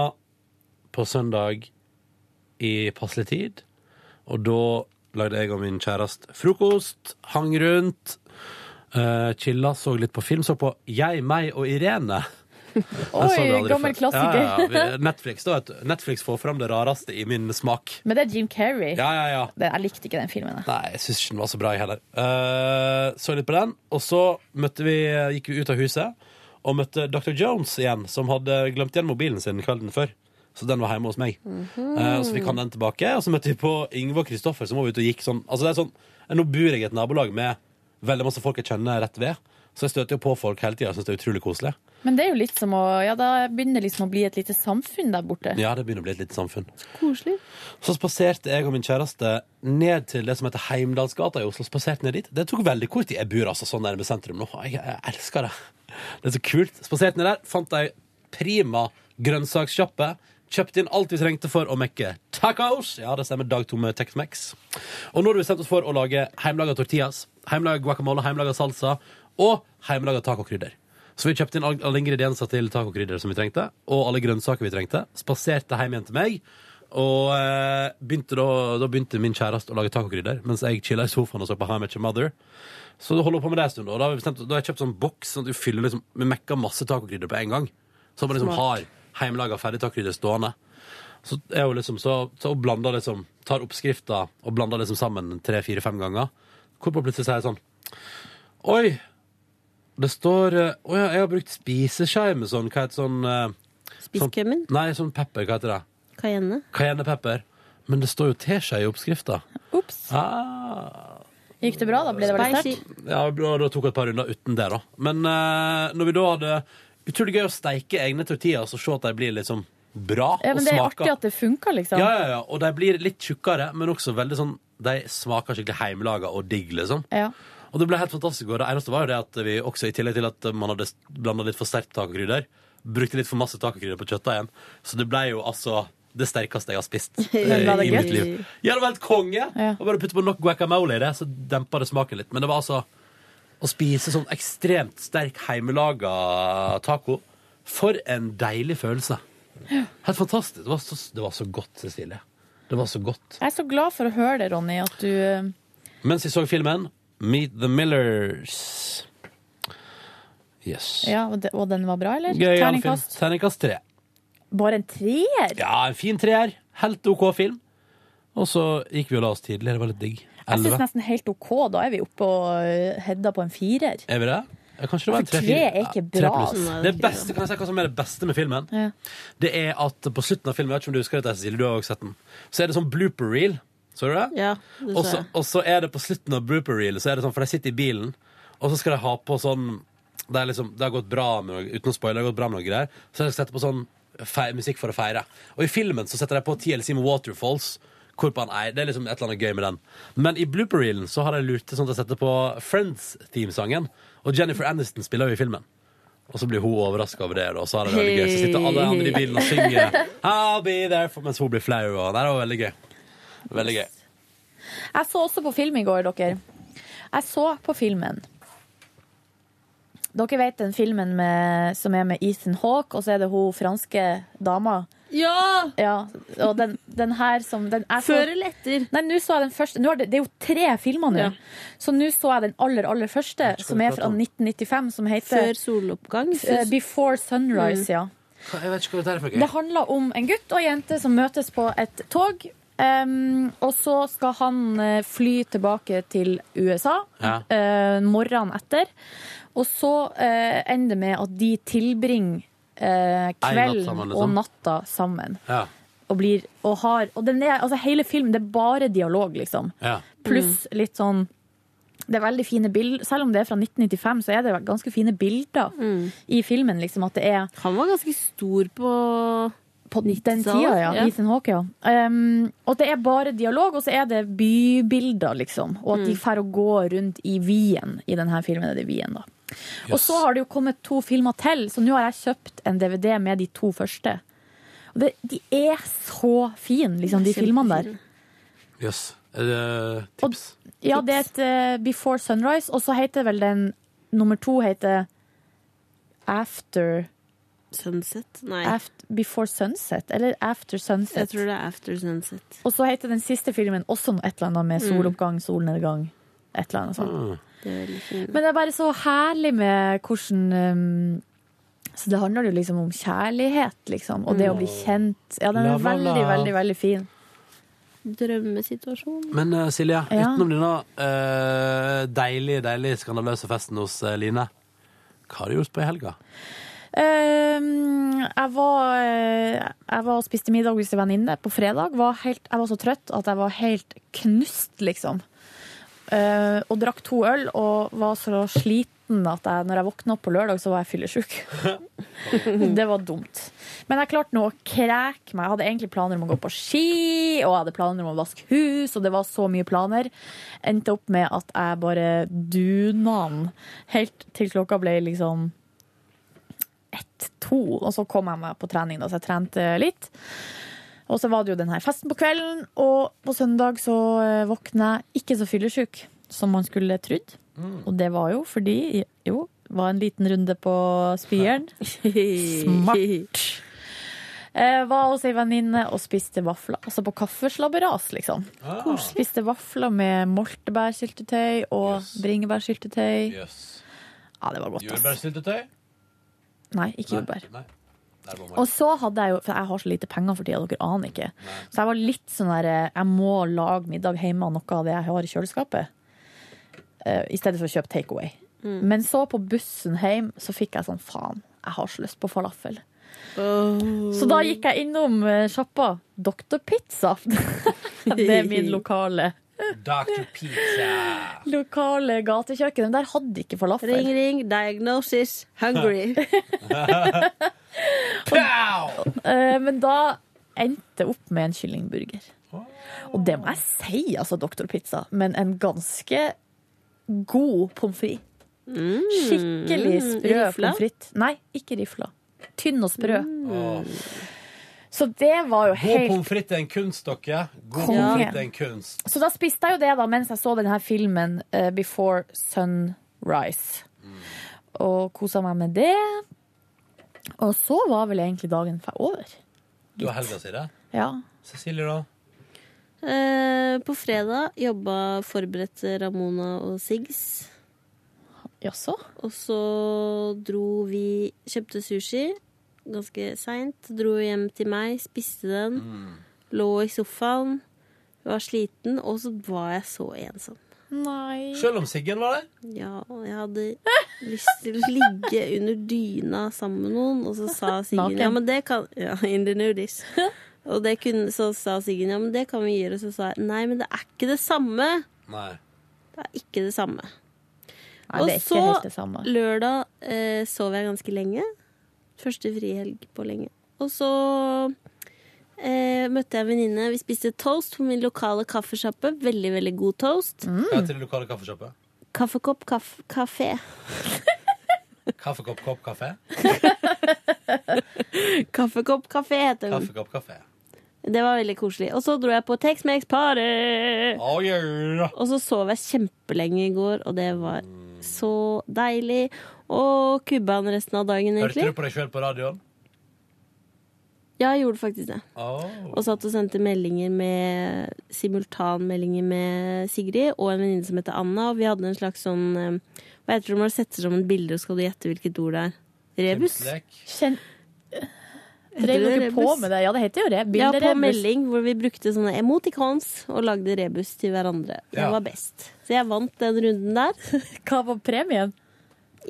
S2: på søndag i passelig tid. Og da lagde jeg og min kjæreste frokost, hang rundt, eh, chilla, så litt på film. Så på Jeg, meg og Irene. Jeg så det
S6: Oi,
S2: aldri
S6: gammel
S2: før.
S6: klassiker.
S2: Ja, ja, ja. Vi- Netflix, da, vet du. Netflix får fram det rareste i min smak.
S6: Men det er Jim Carrey.
S2: Ja, ja, ja.
S6: Det, jeg likte ikke den filmen. jeg.
S2: Nei, jeg syns ikke den var så bra, jeg heller. Eh, så litt på den, og så møtte vi, gikk vi ut av huset og møtte Dr. Jones igjen, som hadde glemt igjen mobilen sin kvelden før. Så den var hjemme hos meg. Eh, og så fikk han den tilbake, og så møtte vi på Yngve og Kristoffer, som var ute og gikk sånn. Altså, det er sånn Nå bor jeg i et nabolag med veldig masse folk jeg kjenner rett ved, så jeg støter jo på folk hele tida og syns det er utrolig koselig.
S6: Men det er jo litt som å Ja, da begynner det liksom å bli et lite samfunn der borte.
S2: Ja, det begynner å bli et lite samfunn.
S10: Koselig.
S2: Så spaserte jeg og min kjæreste ned til det som heter Heimdalsgata i Oslo. Spaserte ned dit. Det tok veldig kort tid. Jeg bor altså sånn nærme sentrum nå. Jeg, jeg elsker det. Det er så kult. Spaserte ned der, fant ei prima grønnsakssjappe. Kjøpte inn alt vi trengte for å mekke tacos. Ja, det stemmer. Dag to med Tex-Mex. Og nå har vi bestemt oss for å lage heimelaga tortillas, heimelaga guacamole, heimelaga salsa og heimelaga tacokrydder. Så vi kjøpte inn all- alle ingredienser til tacokrydder som vi trengte, og alle grønnsaker vi trengte. Spaserte hjem igjen til meg, og eh, begynte da, da begynte min kjæreste å lage tacokrydder, mens jeg chilla i sofaen og så på How I Met Your Mother. Så da holder hun på med det en stund, og da har, vi bestemt, da har jeg kjøpt sånn boks sånn at du fyller liksom, vi mekka masse tacokrydder på en gang. Så man liksom har hjemmelaga ferdig tacokrydder stående. Så er hun liksom så, så hun blander liksom, tar oppskrifta og blander liksom sammen tre-fire-fem ganger. Hvorpå plutselig sier jeg sånn Oi, det står eh, Å ja, jeg har brukt spiseskei med sånn Hva heter sånn eh,
S10: Spiskømmen?
S2: Nei, sånn pepper, hva heter det?
S10: Cayenne?
S2: Cayennepepper. Men det står jo teskje i oppskrifta.
S6: Ops.
S2: Ah.
S6: Gikk det bra? Da ble det veldig
S10: Spicy.
S6: sterkt?
S2: Ja, og da tok jeg et par runder uten det, da. Men eh, når vi da hadde Utrolig gøy å steike egne tortillas og se at de blir liksom bra
S6: Ja,
S2: og
S6: men det er
S2: smaker.
S6: artig at det funka, liksom.
S2: Ja, ja, ja. Og de blir litt tjukkere, men også veldig sånn De smaker skikkelig heimelaga og digg, liksom.
S6: Ja.
S2: Og det ble helt fantastisk. Og det eneste var jo det at vi også, i tillegg til at man hadde blanda litt for sterkt tacokrydder, brukte litt for masse tacokrydder på kjøttdeigen. Så det ble jo altså det sterkeste jeg har spist eh,
S6: var det
S2: i
S6: gøy?
S2: mitt liv. Ja, det var helt konge!
S6: Ja.
S2: Og bare putte på nok guacamole i det, så dempa det smaken litt. Men det var altså å spise sånn ekstremt sterk heimelaga taco. For en deilig følelse. Helt fantastisk. Det var så, det var så godt, Cecilie. Det var så godt.
S6: Jeg er så glad for å høre det, Ronny, at du eh,
S2: Mens jeg så filmen Meet the Millers. Yes.
S6: Ja, og det- og den var bra, eller?
S2: Gøyal film.
S6: Terningkast.
S2: Terningkast tre.
S6: Bare en treer?
S2: Ja, en fin treer. Helt OK film. Og så gikk vi og la oss tidlig. Det var litt digg.
S6: Jeg syns
S2: Elleve.
S6: nesten helt OK. Da er vi oppe og eh, hedda på en firer.
S2: Er vi det? Ja, kanskje det var en
S6: For
S2: tre,
S6: tre
S2: fire.
S6: er ikke
S2: Ja, tre
S6: bra,
S2: pluss.
S10: altså.
S2: Det beste, kan jeg si hva som er det beste med filmen?
S6: Ja.
S2: Det er at på slutten av filmen, jeg vet ikke om du husker det, Cecilie, du har også sett den, så er det sånn blooper reel. Så du det?
S10: Ja, det
S2: Og
S10: sa
S2: så,
S10: jeg.
S2: og så er det på slutten av blooper reel, så er det sånn, for de sitter i bilen, og så skal de ha på sånn Det, er liksom, det har gått bra med noe, uten å spoile, det har gått bra med noe greier. Så skal de sette på sånn fe, musikk for å feire. Og i filmen så setter de på TLC med Waterfalls. Hvorpå han er. Det er liksom et eller annet gøy med den. Men i blooper reelen så har de lurt til sånn at de setter på Friends-teamsangen. Og Jennifer Aniston spiller jo i filmen. Og så blir hun overraska over det, da, og så har det veldig gøy. Så sitter alle andre i bilen og synger I'll be there for, mens hun blir flau. Og det var veldig gøy. Veldig gøy.
S6: Jeg så også på film i går, dere. Jeg så på filmen. Dere vet den filmen med, som er med Ethan Hawke, og så er det hun franske dama.
S10: Ja!
S6: Ja, og den, den her som den, jeg så-
S10: Før eller etter?
S6: Nei, nå så jeg den første nå er det, det er jo tre filmer nå.
S10: Ja.
S6: Så nå så jeg den aller, aller første, som er fra 1995, som heter
S10: Før soloppgang? Mm.
S6: eh,
S10: Før
S6: Before Sunrise, ja.
S2: Jeg vet ikke hva det er for
S6: Det handler om en gutt og en jente som møtes på et tog. em, og så skal han eh, fly tilbake til USA
S2: Ja.
S6: eh, morgenen etter. Og så eh, ender det med at de tilbringer eh, kvelden
S2: sammen, liksom.
S6: og natta sammen.
S2: Ja,
S6: Og, blir, og har Og den er, altså, hele filmen, det er bare dialog, liksom.
S2: ja.
S6: Pluss litt sånn det er veldig fine bilder, Selv om det er fra 1995, så er det ganske fine bilder i filmen. liksom At det er
S10: Han var ganske stor på
S6: på den
S10: 90-tallet,
S6: tida, ja.
S10: ja.
S6: Ethan Hawke, ja. Um, og det er bare dialog, og så er det bybilder, liksom. Og at de drar og går rundt i Wien i denne filmen. Er det Wien, da. Og så har det jo kommet to filmer til, så nå har jeg kjøpt en DVD med de to første. Og det, de er så fine, liksom, de filmene der.
S2: Jøss. Er det tips?
S6: Ja, det er et eh, Before Sunrise, og så heter vel den nummer to heter After,
S10: Sunset? Nei,
S6: Aft- Before Sunset, eller After Sunset.
S10: jeg tror det er After Sunset.
S6: Og så heter den siste filmen også noe et eller annet
S2: Mm.
S6: med soloppgang, solnedgang. Et eller annet sånt.
S2: Ah.
S10: Det er veldig fint.
S6: Men det er bare så herlig med hvordan um, Så det handler jo liksom om kjærlighet, liksom. Og det å bli kjent. Ja, den
S2: La,
S6: er
S2: Mm. la, la.
S6: veldig, veldig, veldig fin.
S10: Drømmesituasjon.
S2: Men eh, Silje,
S6: Ja.
S2: utenom denne eh, deilige, deilige skandaløse festen hos eh, Line, hva har du gjort på i helga?
S6: Um, jeg, var, eh, jeg var og spiste middag hos en venninne på fredag. Var helt, jeg var så trøtt at jeg var helt knust, liksom. Eh, og drakk to øl og var så sliten at jeg, når jeg våkna opp på lørdag, så var jeg fyllesyk. det var dumt. Men jeg klarte nå å kreke meg. Jeg hadde egentlig planer om å gå på ski, og jeg hadde planer om å vaske hus, og det var så mye planer. Endte opp med at jeg bare duna den helt til klokka ble liksom ett-to, og så kom jeg meg på trening, da, så jeg trente litt. Og så var det jo den her festen på kvelden, og på søndag så eh, våkna jeg ikke så fyllesyk som man skulle trodd. Og det var jo fordi jo, var en liten runde på spyeren. Smart. Eh, var hos ei venninne og spiste vafler. Altså på kaffeslabberas, liksom. Spiste vafler med moltebærsyltetøy og bringebærsyltetøy.
S2: Jøss.
S6: Ja, det var godt, ass.
S17: Jordbærsyltetøy?
S6: Nei, ikke jordbær.
S2: Nei. Der var
S6: Og
S2: man.
S6: så hadde jeg jo, for jeg har så lite penger for tida, dere aner ikke. Så jeg var litt sånn der eh, Jeg må lage middag hjemme av noe av det jeg har i kjøleskapet. eh, I stedet for å kjøpe takeaway. Men så på bussen hjem så fikk jeg sånn faen, jeg har så lyst på falafel. Så da gikk jeg innom eh, sjappa Dr. Pizza. det er min lokale,
S2: Dr. Pizza.
S6: lokale gatekjøkken. Men der hadde de ikke falafel.
S10: Ring, ring, diagnosis, hungry.
S6: Eh, Men da endte jeg opp med en kyllingburger. Og det må jeg si, altså, Dr. Pizza, men en ganske god pommes frites. Skikkelig sprø
S10: Rifla?
S6: pommes frites. Nei, ikke rifla. Tynn og sprø.
S2: Åh.
S6: Så det var jo
S2: God
S6: helt
S2: pommes frites er en kunst, dere. God
S6: Konge.
S2: pommes frites er en kunst.
S6: Så da spiste jeg jo det da mens jeg så denne filmen eh, Before Sunrise.
S2: Mm.
S6: Og kosa meg med det. Og så var vel egentlig dagen fe- over.
S2: Du har helga si det.
S6: Ja.
S2: Cecilie, da?
S10: Eh, på fredag jobba forberedte Ramona og Siggs.
S6: Jaså?
S10: Og så dro vi Kjøpte sushi ganske seint. Dro hjem til meg, spiste den. Lå i sofaen. Var sliten, og så var jeg så ensom.
S6: Nei.
S2: Selv om Siggen var der?
S10: Ja, og jeg hadde lyst til å ligge under dyna sammen med noen, og så sa Siggen
S6: Naken.
S10: Ja, men det kan Ja, in the nudies. Og det kunne, så sa Siggen ja, men det kan vi gjøre. Og så sa jeg nei, men det er ikke det samme.
S2: Nei.
S10: Det er ikke det samme.
S6: Nei, det er
S10: Og
S6: ikke
S10: så-
S6: helt det samme.
S10: Lørdag eh, sov jeg ganske lenge. Første frihelg på lenge. Og så eh, møtte jeg en venninne. Vi spiste toast på min lokale kaffesjappe. Veldig, veldig god toast.
S2: Ja, til det lokale kaffesjappet.
S10: Kaffekopp kaff, kafé.
S2: Kaffekopp, kopp, kaffe.
S10: Kaffekopp kafé heter den. Mm.
S2: Kaffekopp, kaffe.
S10: Det var veldig koselig. Og så dro jeg på Tex-Mex Party!
S2: Oh, yeah.
S10: Og så sov jeg kjempelenge i går, og det var så deilig. Og kubban resten av dagen,
S2: Hørte
S10: egentlig.
S2: du på deg sjøl på radioen?
S10: Ja, jeg gjorde faktisk det.
S2: Oh.
S10: Og satt og sendte meldinger med simultanmeldinger med Sigrid og en venninne som heter Anna, og vi hadde en slags sånn eh, Hva heter det når du setter sammen bilder, og skal du gjette hvilket ord det er? Rebus?
S2: Kjemslek.
S6: Kjenn...
S10: Heter
S6: Drev
S10: det
S6: dere på
S10: rebus?
S6: med det? Ja, det heter jo det.
S10: Ja, på
S6: Bilderebus.
S10: melding, hvor vi brukte sånne emoticons og lagde rebus til hverandre. Jeg
S2: Ja.
S10: var best. Så jeg vant den runden der.
S6: Hva var premien?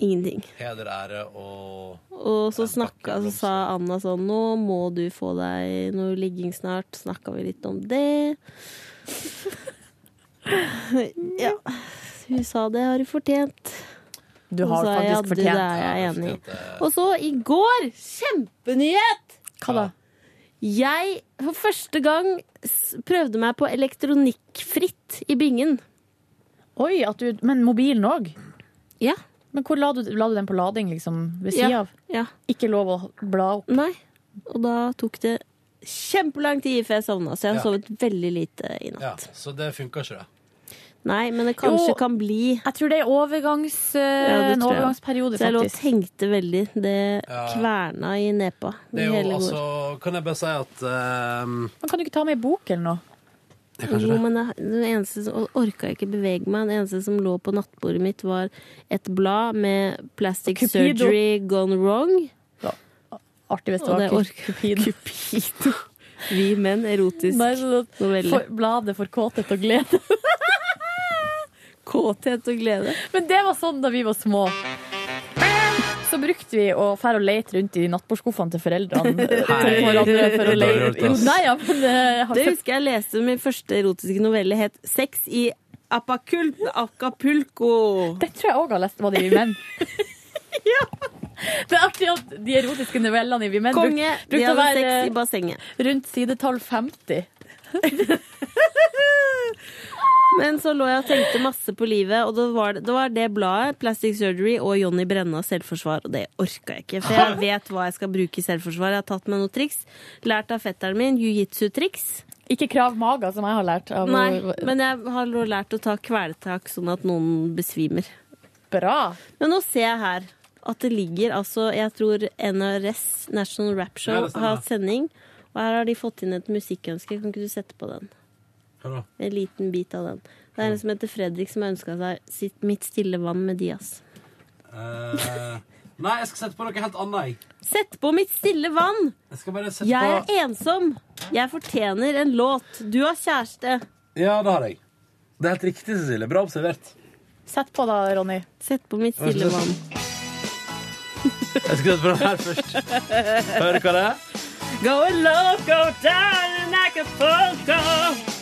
S10: Ingenting.
S2: Heder, ære og
S10: Og
S2: En pakke
S10: så snakka, så
S2: blomster.
S10: sa Anna sånn Nå må du få deg noe ligging snart. Snakka vi litt om det. ja. Hun sa det har du fortjent.
S6: Du
S10: Og
S6: har
S10: sa
S6: faktisk
S10: jeg, ja, du, det
S6: fortjent.
S10: er jeg enig i.
S2: fortjent det.
S10: Og så i går, kjempenyhet!
S6: Hva da?
S10: Jeg for første gang s- prøvde meg på elektronikkfritt i bingen.
S6: Oi, at du, men mobilen òg?
S10: Ja.
S6: Men hvor la du, la du den på lading, liksom? Ved sida
S10: Ja.
S6: av?
S10: Ja.
S6: Ikke lov å bla opp?
S10: Nei. Og da tok det kjempelang tid før jeg sovna, så jeg har
S2: Ja.
S10: sovet veldig lite i natt.
S2: Ja, så det funka ikke, det.
S10: Nei, men det kanskje
S6: Jo.
S10: kan bli.
S6: Jeg tror det er overgangs, eh,
S10: det
S6: en
S10: tror jeg.
S6: overgangsperiode,
S10: Så jeg lå og
S6: faktisk.
S10: tenkte veldig. Det
S2: Ja.
S10: kverna i nepa.
S2: Det er
S10: i hele
S2: jo
S10: går.
S2: altså Kan jeg bare si at ehm,
S6: Man kan du ikke ta med ei bok eller noe?
S2: Jeg kan ikke
S10: Jo,
S2: det.
S10: men det, det eneste som og orka jeg ikke bevege meg. Det eneste som lå på nattbordet mitt, var et blad med 'Plastic
S6: Cupido.
S10: Surgery Gone Wrong'.
S6: Artig hvis det
S10: Og
S6: var
S10: det orker
S6: Cupido.
S10: Cupido. Vi menn, erotisk
S6: Nei, sånn at
S10: novelle.
S6: for, bladet for kåthet og glede.
S10: Kåthet og glede.
S6: Men det var sånn da vi var små. Så brukte vi å fære og lete rundt i nattbordskuffene til foreldrene. eh, til hverandre for
S2: Det
S6: å
S2: er
S6: lete-
S2: dårlig gjort, ass.
S6: Jo, Nei, ja, men eh, jeg har
S10: Det
S6: sett
S10: husker jeg leste min første erotiske novelle het 'Sex i Apakult, Acapulco'.
S6: Det tror jeg òg har lest, var det i Vi Menn? Det er artig at de erotiske novellene i Vi Menn
S10: Konge,
S6: bruk-
S10: de
S6: brukte å
S10: hadde
S6: være
S10: sex i bassenget.
S6: rundt sidetall 50.
S10: Men så lå jeg og tenkte masse på livet, og det var det, det, var det bladet, Plastic Surgery og Jonny Brenna selvforsvar, og det orka jeg ikke. For jeg vet hva jeg skal bruke i selvforsvar. Jeg har tatt meg noen triks. Lært av fetteren min jiu-jitsu-triks.
S6: Ikke krav maga, som jeg har lært. Av
S10: Nei, men jeg har lært å ta kvelertak sånn at noen besvimer.
S6: Bra!
S10: Men nå ser jeg her at det ligger altså Jeg tror NRS, National Rap
S2: Ja,
S10: Show,
S2: det stemmer.
S10: har sending. Og her har de fått inn et musikkønske. Kan ikke du sette på den?
S2: Hva da?
S10: En liten bit av den. Det er en som heter Fredrik, som har ønska seg sitt 'Mitt stille vann' med Dias.
S2: Eh, Nei, jeg skal sette på noe helt annet. jeg.
S10: Sett på 'Mitt stille vann'!
S2: Jeg skal bare sette
S10: Jeg er
S2: på
S10: ensom! Jeg fortjener en låt. Du har kjæreste.
S2: Ja, det har jeg. Det er helt riktig, Cecilie. Bra observert.
S6: Sett på da, Ronny.
S10: Sett på 'Mitt stille vann'.
S17: Jeg skal sette på den her først. Hører hva det er?
S10: Go low, go down in Acapulco.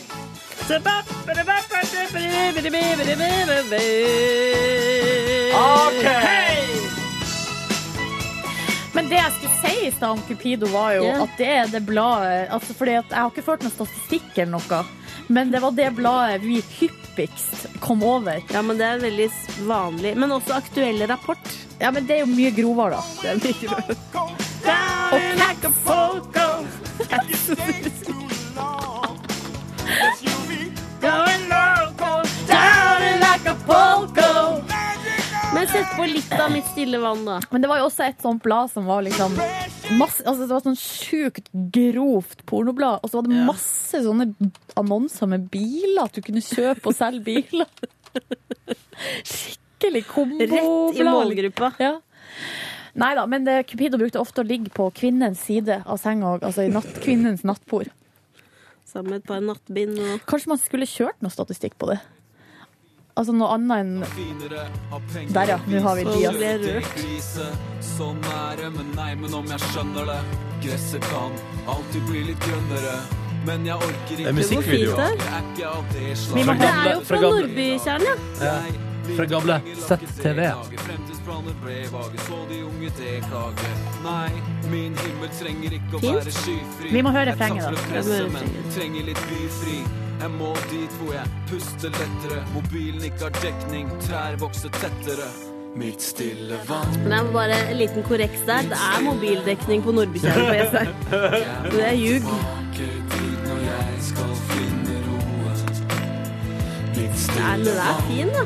S6: Men det jeg skulle si i stad om Cupido, var jo
S10: Ja.
S6: at det er det bladet altså fordi at Jeg har ikke ført noen statistikk eller noe, men det var det bladet vi hyppigst kom over.
S10: Ja, men det er veldig vanlig. Men også aktuell rapport.
S6: Ja, men det er jo mye grovere, da.
S10: Det er mye grovere. Men sett på litt av mitt stille vann, da.
S6: Men det var jo også et sånt blad som var liksom masse, altså Det var sånn sjukt grovt pornoblad, og så var det masse sånne annonser med biler, at du kunne kjøpe og selge biler. Skikkelig
S10: Rett i
S6: komboblad.
S10: målgruppa.
S6: Ja. Nei da, men det, Cupido brukte ofte å ligge på kvinnens side av senga, og- altså i natt, kvinnens nattbord.
S10: Sammen med et par nattbind og
S6: Kanskje man skulle kjørt noe statistikk på det? Altså noe annet enn Der, ja. Nå har vi
S10: Så ble
S6: Dias.
S10: jeg rørt.
S18: Så nære, men nei, men om jeg skjønner det Gresset kan alltid bli litt grønnere Men jeg orker
S17: Det
S18: ikke
S17: er
S10: Det var fint
S17: musikkvideo.
S10: der.
S18: Jeg er ikke av det
S17: Vi
S18: slaget
S17: må
S10: Det er jo
S17: Fra
S10: fra
S17: gamle-
S10: Nordbykjernen, ja.
S17: Fra gamle ZTV.
S18: Fremtidsplaner ble vage, så de unge det klager Nei, min himmel trenger ikke å
S10: Fint.
S18: være skyfri
S6: Vi må høre
S18: Jeg er
S6: refrenget,
S18: tatt for å
S6: da.
S18: presse,
S10: Jeg må høre
S18: men
S10: refrenget.
S18: Trenger litt byfri Jeg må dit hvor jeg puster lettere Mobilen ikke har dekning, trær vokser tettere Mitt stille vann
S10: Men jeg må bare en liten korreks der. Det er mobildekning på Nordbykjernen på E6. Så det er ljug.
S18: smaker din
S10: Nei, men den er fin, da.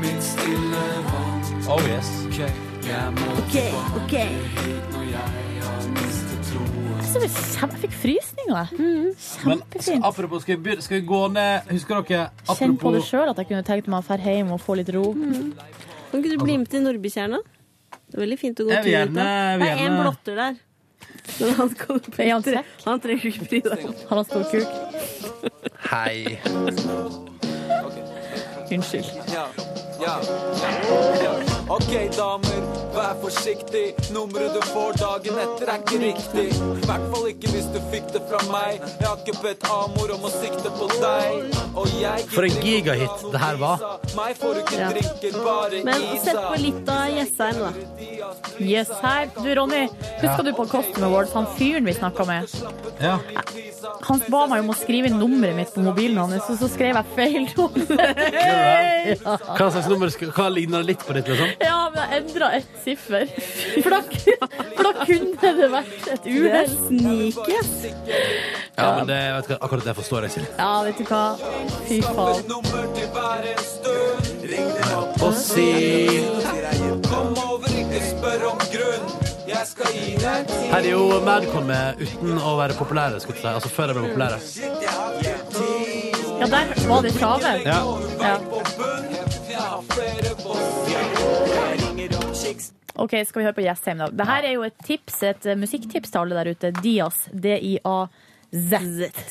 S18: Mitt stille vann.
S17: Oh yes.
S18: Ok, jeg må
S10: OK, OK.
S18: når jeg har mistet troen.
S6: Jeg synes det er kjempe- jeg fikk frysninger, jeg.
S17: Men
S6: Kjempefint.
S17: apropos, skal vi, begynne, skal vi gå ned Husker dere
S6: Kjenn på det
S17: apropos,
S6: sjøl at jeg kunne tenkt meg å dra hjem og få litt ro.
S10: Kan ikke du bli med til Nordbytjerna? Det er veldig fint å gå
S17: Jeg
S10: tur
S17: vil
S10: ut
S17: gjerne- jeg vil
S10: Det er en
S17: gjerne-
S10: blotter der. Men han, kan,
S6: Er han sekk?
S10: han trenger ikke bry seg.
S6: Han har stor kuk.
S17: Hei.
S6: Unnskyld.
S18: Ja, ja, ja. Ok, damer, vær forsiktig. Nummeret du får dagen etter, er ikke riktig. I hvert fall ikke hvis du fikk det fra meg. Jeg har ikke bedt Amor om å sikte på deg. Og jeg
S2: For en gigahit det her var.
S18: Meg får du ikke
S10: Ja.
S18: drinker, bare
S10: Men sett
S18: isa.
S10: på litt av Jessheim, da.
S6: Yes, her. Du, Ronny, husker du på Costume Awards, han fyren vi snakka med?
S17: Ja.
S6: Han ba meg om å skrive inn nummeret mitt på mobilen hans, og så skrev jeg feil nummer.
S17: Hva slags nummer skal, hva ligner det litt på ditt? liksom?
S6: Ja, men jeg endra ett siffer. For da, for da kunne det vært et uhell.
S10: Sneaky. ass.
S17: Ja, men det, vet du hva, Akkurat det forstår jeg, Silje.
S6: Ja, vet du hva. Fy faen.
S18: Nummer til hver en stund.
S17: Og si
S18: Kom over, ikke spør om grunn. Jeg skal gi deg tid.
S17: Her er jo Madcon med uten å være populære, skulle jeg si. Altså før jeg ble populære.
S6: Ja, der var det trave.
S17: Ja.
S6: Ja.
S18: Jeg har flere boss.
S6: OK, skal vi høre på Jessheim, da. Dette er jo et tips, et eh, musikktips til alle der ute. Dias. D-i-a-z.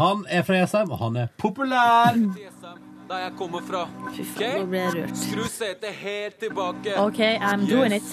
S17: Han er fra Jessheim, og han er populær.
S18: Der jeg kommer fra.
S10: Nå ble jeg rørt.
S18: Skru setet helt tilbake.
S6: OK, I'm doing it.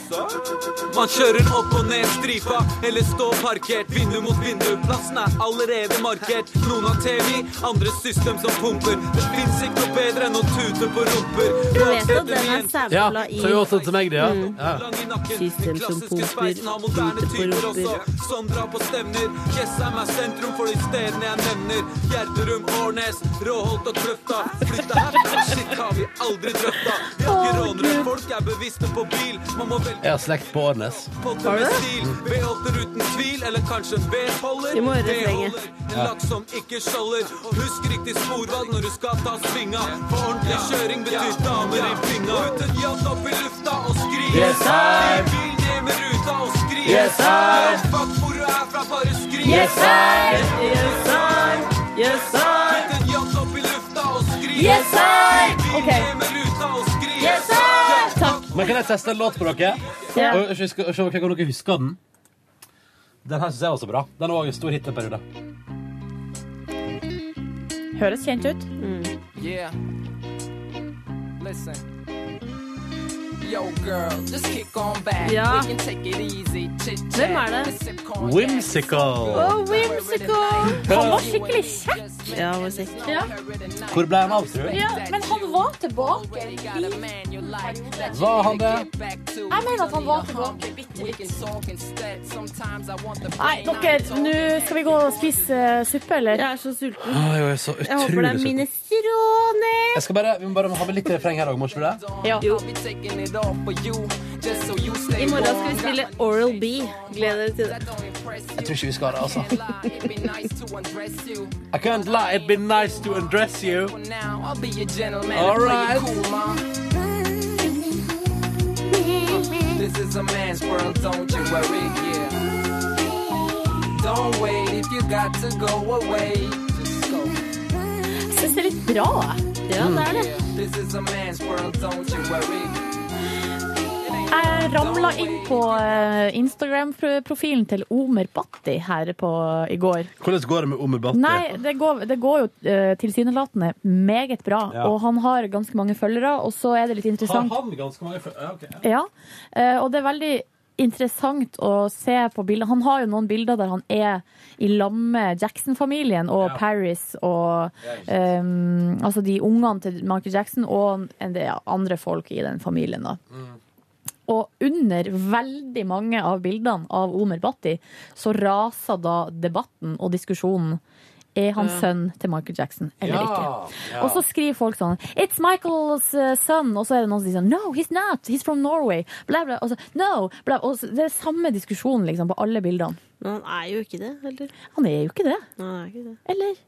S18: Man kjører opp og ned stripa, eller står parkert. Vindu mot vindu, plassen er allerede markert. Noen har TV, andre system som pumper. Det fins ikke noe bedre enn å tute på rumper.
S10: Du vet at den er
S17: Ja,
S10: samla i Mm.
S17: så jo også til meg, det, ja. ja.
S18: Lang i nakken,
S10: System
S18: den
S10: som
S18: klassiske
S10: pumper,
S18: sveisen har moderne
S10: tute på
S18: typer også.
S10: rumper.
S18: Som drar på stevner. Jessheim er sentrum for de stedene jeg nevner. Gjerderum, Årnes, Råholt og Kløfta. Flytta herfra, shit har vi aldri drøfta. Vi har ikke rånere, folk er bevisste på bil. Man må velge
S17: Jeg har slekt på Årnes.
S18: potte med stil. V8-er uten tvil, eller kanskje en V-holder.
S10: Vi må høre refrenget.
S18: En laks som ikke skjolder. Og Husk riktig sporvalg når du skal ta svinga. For ordentlig kjøring betyr damer i pinga. Ut en yacht opp i lufta og skri.
S17: Yes, sir.
S18: Bil ned med ruta og skri.
S17: Yes, sir.
S18: Fuck hvor du er fra, bare skri.
S17: Yes, sir.
S18: Yes, sir. Yes, sir. Ut en yacht opp i lufta og skri.
S6: Yes, sir.
S18: Bil
S6: Ok.
S18: ned med ruta og skri.
S6: Yes, sir. Takk.
S17: Men kan jeg teste en låt på dere?
S6: Ja.
S17: Og se se om dere husker den. Den her syns jeg også er bra. Den var også en stor hit en periode.
S6: Høres kjent ut.
S18: Yeah. Listen. Yo, girl, just kick on back.
S10: Ja.
S18: We can take it easy. Chit-chat.
S10: Hvem er det?
S17: Whimsical.
S10: Oh, whimsical!
S6: Han var skikkelig kjekk.
S10: Ja, hva sier jeg?
S17: Hvor ble han av, tror du?
S6: Ja, men han var tilbake i perioden.
S17: Var han det?
S10: Ah,
S6: Jeg mener at han var tilbake bitte litt.
S10: Ah,
S6: Nei, dere, nå
S10: er
S6: skal vi gå og spise eh, suppe, eller?
S10: Jeg er så
S17: Å,
S10: sulten.
S17: Ah, jeg er så
S10: Jeg håper det
S17: utrolig
S10: er
S17: sulten.
S10: minestrone.
S17: Jeg skal bare, vi må bare ha med litt refreng her òg, må ikke vi det?
S6: Ja.
S10: I morgen skal vi spille Oral B. Gleder dere til det.
S17: Jeg tror ikke vi skal det, altså. I can't lie, it'd be nice to undress you. All right.
S18: This is a man's world, don't you worry. Yeah. Don't wait if you got to go away. Just go.
S6: Jeg syns det er litt bra. jeg.
S10: Ja, det er det.
S18: This is a man's world, don't you worry.
S6: Jeg ramla inn på eh, Instagram-profilen til Omer Bhatti her på, i går.
S17: Hvordan går det med Omer Bhatti?
S6: Nei, det går, det går jo eh, tilsynelatende meget bra,
S17: Ja.
S6: og han har ganske mange følgere, og så er det litt
S17: Har
S6: interessant
S17: han ganske mange fø- ja, ok, ja.
S6: Ja, eh, og det er veldig interessant å se på bilder. Han har jo noen bilder der han er i lag med Jackson-familien og
S17: Ja.
S6: Paris og eh, altså de ungene til Michael Jackson og en del andre folk i den familien. da.
S17: Mm.
S6: Og under veldig mange av bildene av Omer Bhatti så raser da debatten og diskusjonen. Er han sønn til Michael Jackson eller ikke?
S17: Ja.
S6: Og så skriver folk sånn It's Michael's uh, son. Og så er det noen som sier sånn No, he's not. He's from Norway. Bla, bla. Og så, no, bla. Og så, det er samme diskusjon liksom, på alle bildene.
S10: Men han er jo ikke det, eller?
S6: Han er jo ikke det.
S10: Han er ikke det.
S6: Eller?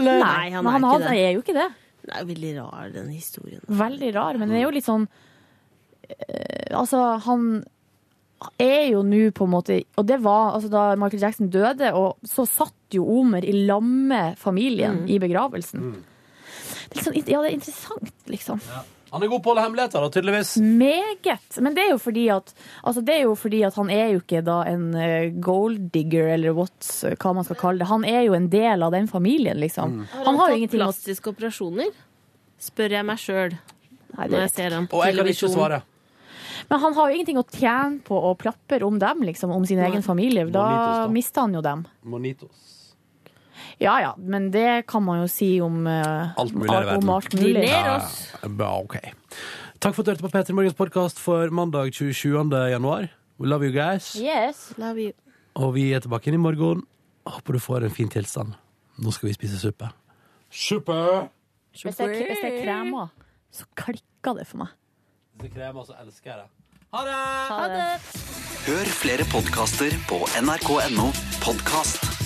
S10: Eller? Nei,
S6: Nei,
S10: han
S6: men
S10: er
S6: han, altså-
S10: ikke
S6: han
S10: det.
S6: er jo ikke det.
S10: Det er jo veldig rar, den historien.
S6: Veldig rar, men det er jo litt sånn eh, Altså, han er jo nå på en måte Og det var altså, da Michael Jackson døde, og så satt jo Omer i lamme med familien
S2: Mm.
S6: i begravelsen. Det er litt sånn, ja, det er interessant, liksom.
S2: Han er god på å holde hemmeligheter, da, tydeligvis.
S6: Mm. Meget. Men det er jo fordi at altså det er jo fordi at han er jo ikke da en eh, gold digger, eller what's, hva man skal kalle det. Han er jo en del av den familien, liksom.
S10: Har
S6: Han
S10: han
S6: har jo
S10: fått
S6: ingenting å
S10: plastiske operasjoner? Spør jeg meg sjøl
S6: det
S10: når jeg
S6: vet jeg
S10: ser ham
S6: ikke.
S10: på
S6: Og jeg kan ikke
S10: televisjon.
S6: svare. Men han har jo ingenting å tjene på å plapper om dem, liksom, om sin egen familie. Da mister han jo dem.
S2: Monitos.
S6: Ja ja, men det kan man jo si om eh,
S2: Alt mulig i verden.
S6: Om alt mulig.
S2: Ja, bra, ok. Takk for at du hørte på P3 Morgens podkast for mandag 27. januar. We love you guys.
S6: Yes.
S10: Love you.
S2: Og vi er tilbake inn i morgen. Håper du får en fin tilstand. Nå skal vi spise suppe. Suppe!
S6: Hvis det, er- hvis det er kremer, så klikker det for meg.
S2: Hvis det kremer, så elsker jeg det.
S6: Ha det! Ha det.
S19: Hør flere podkaster på nrk.no podkast.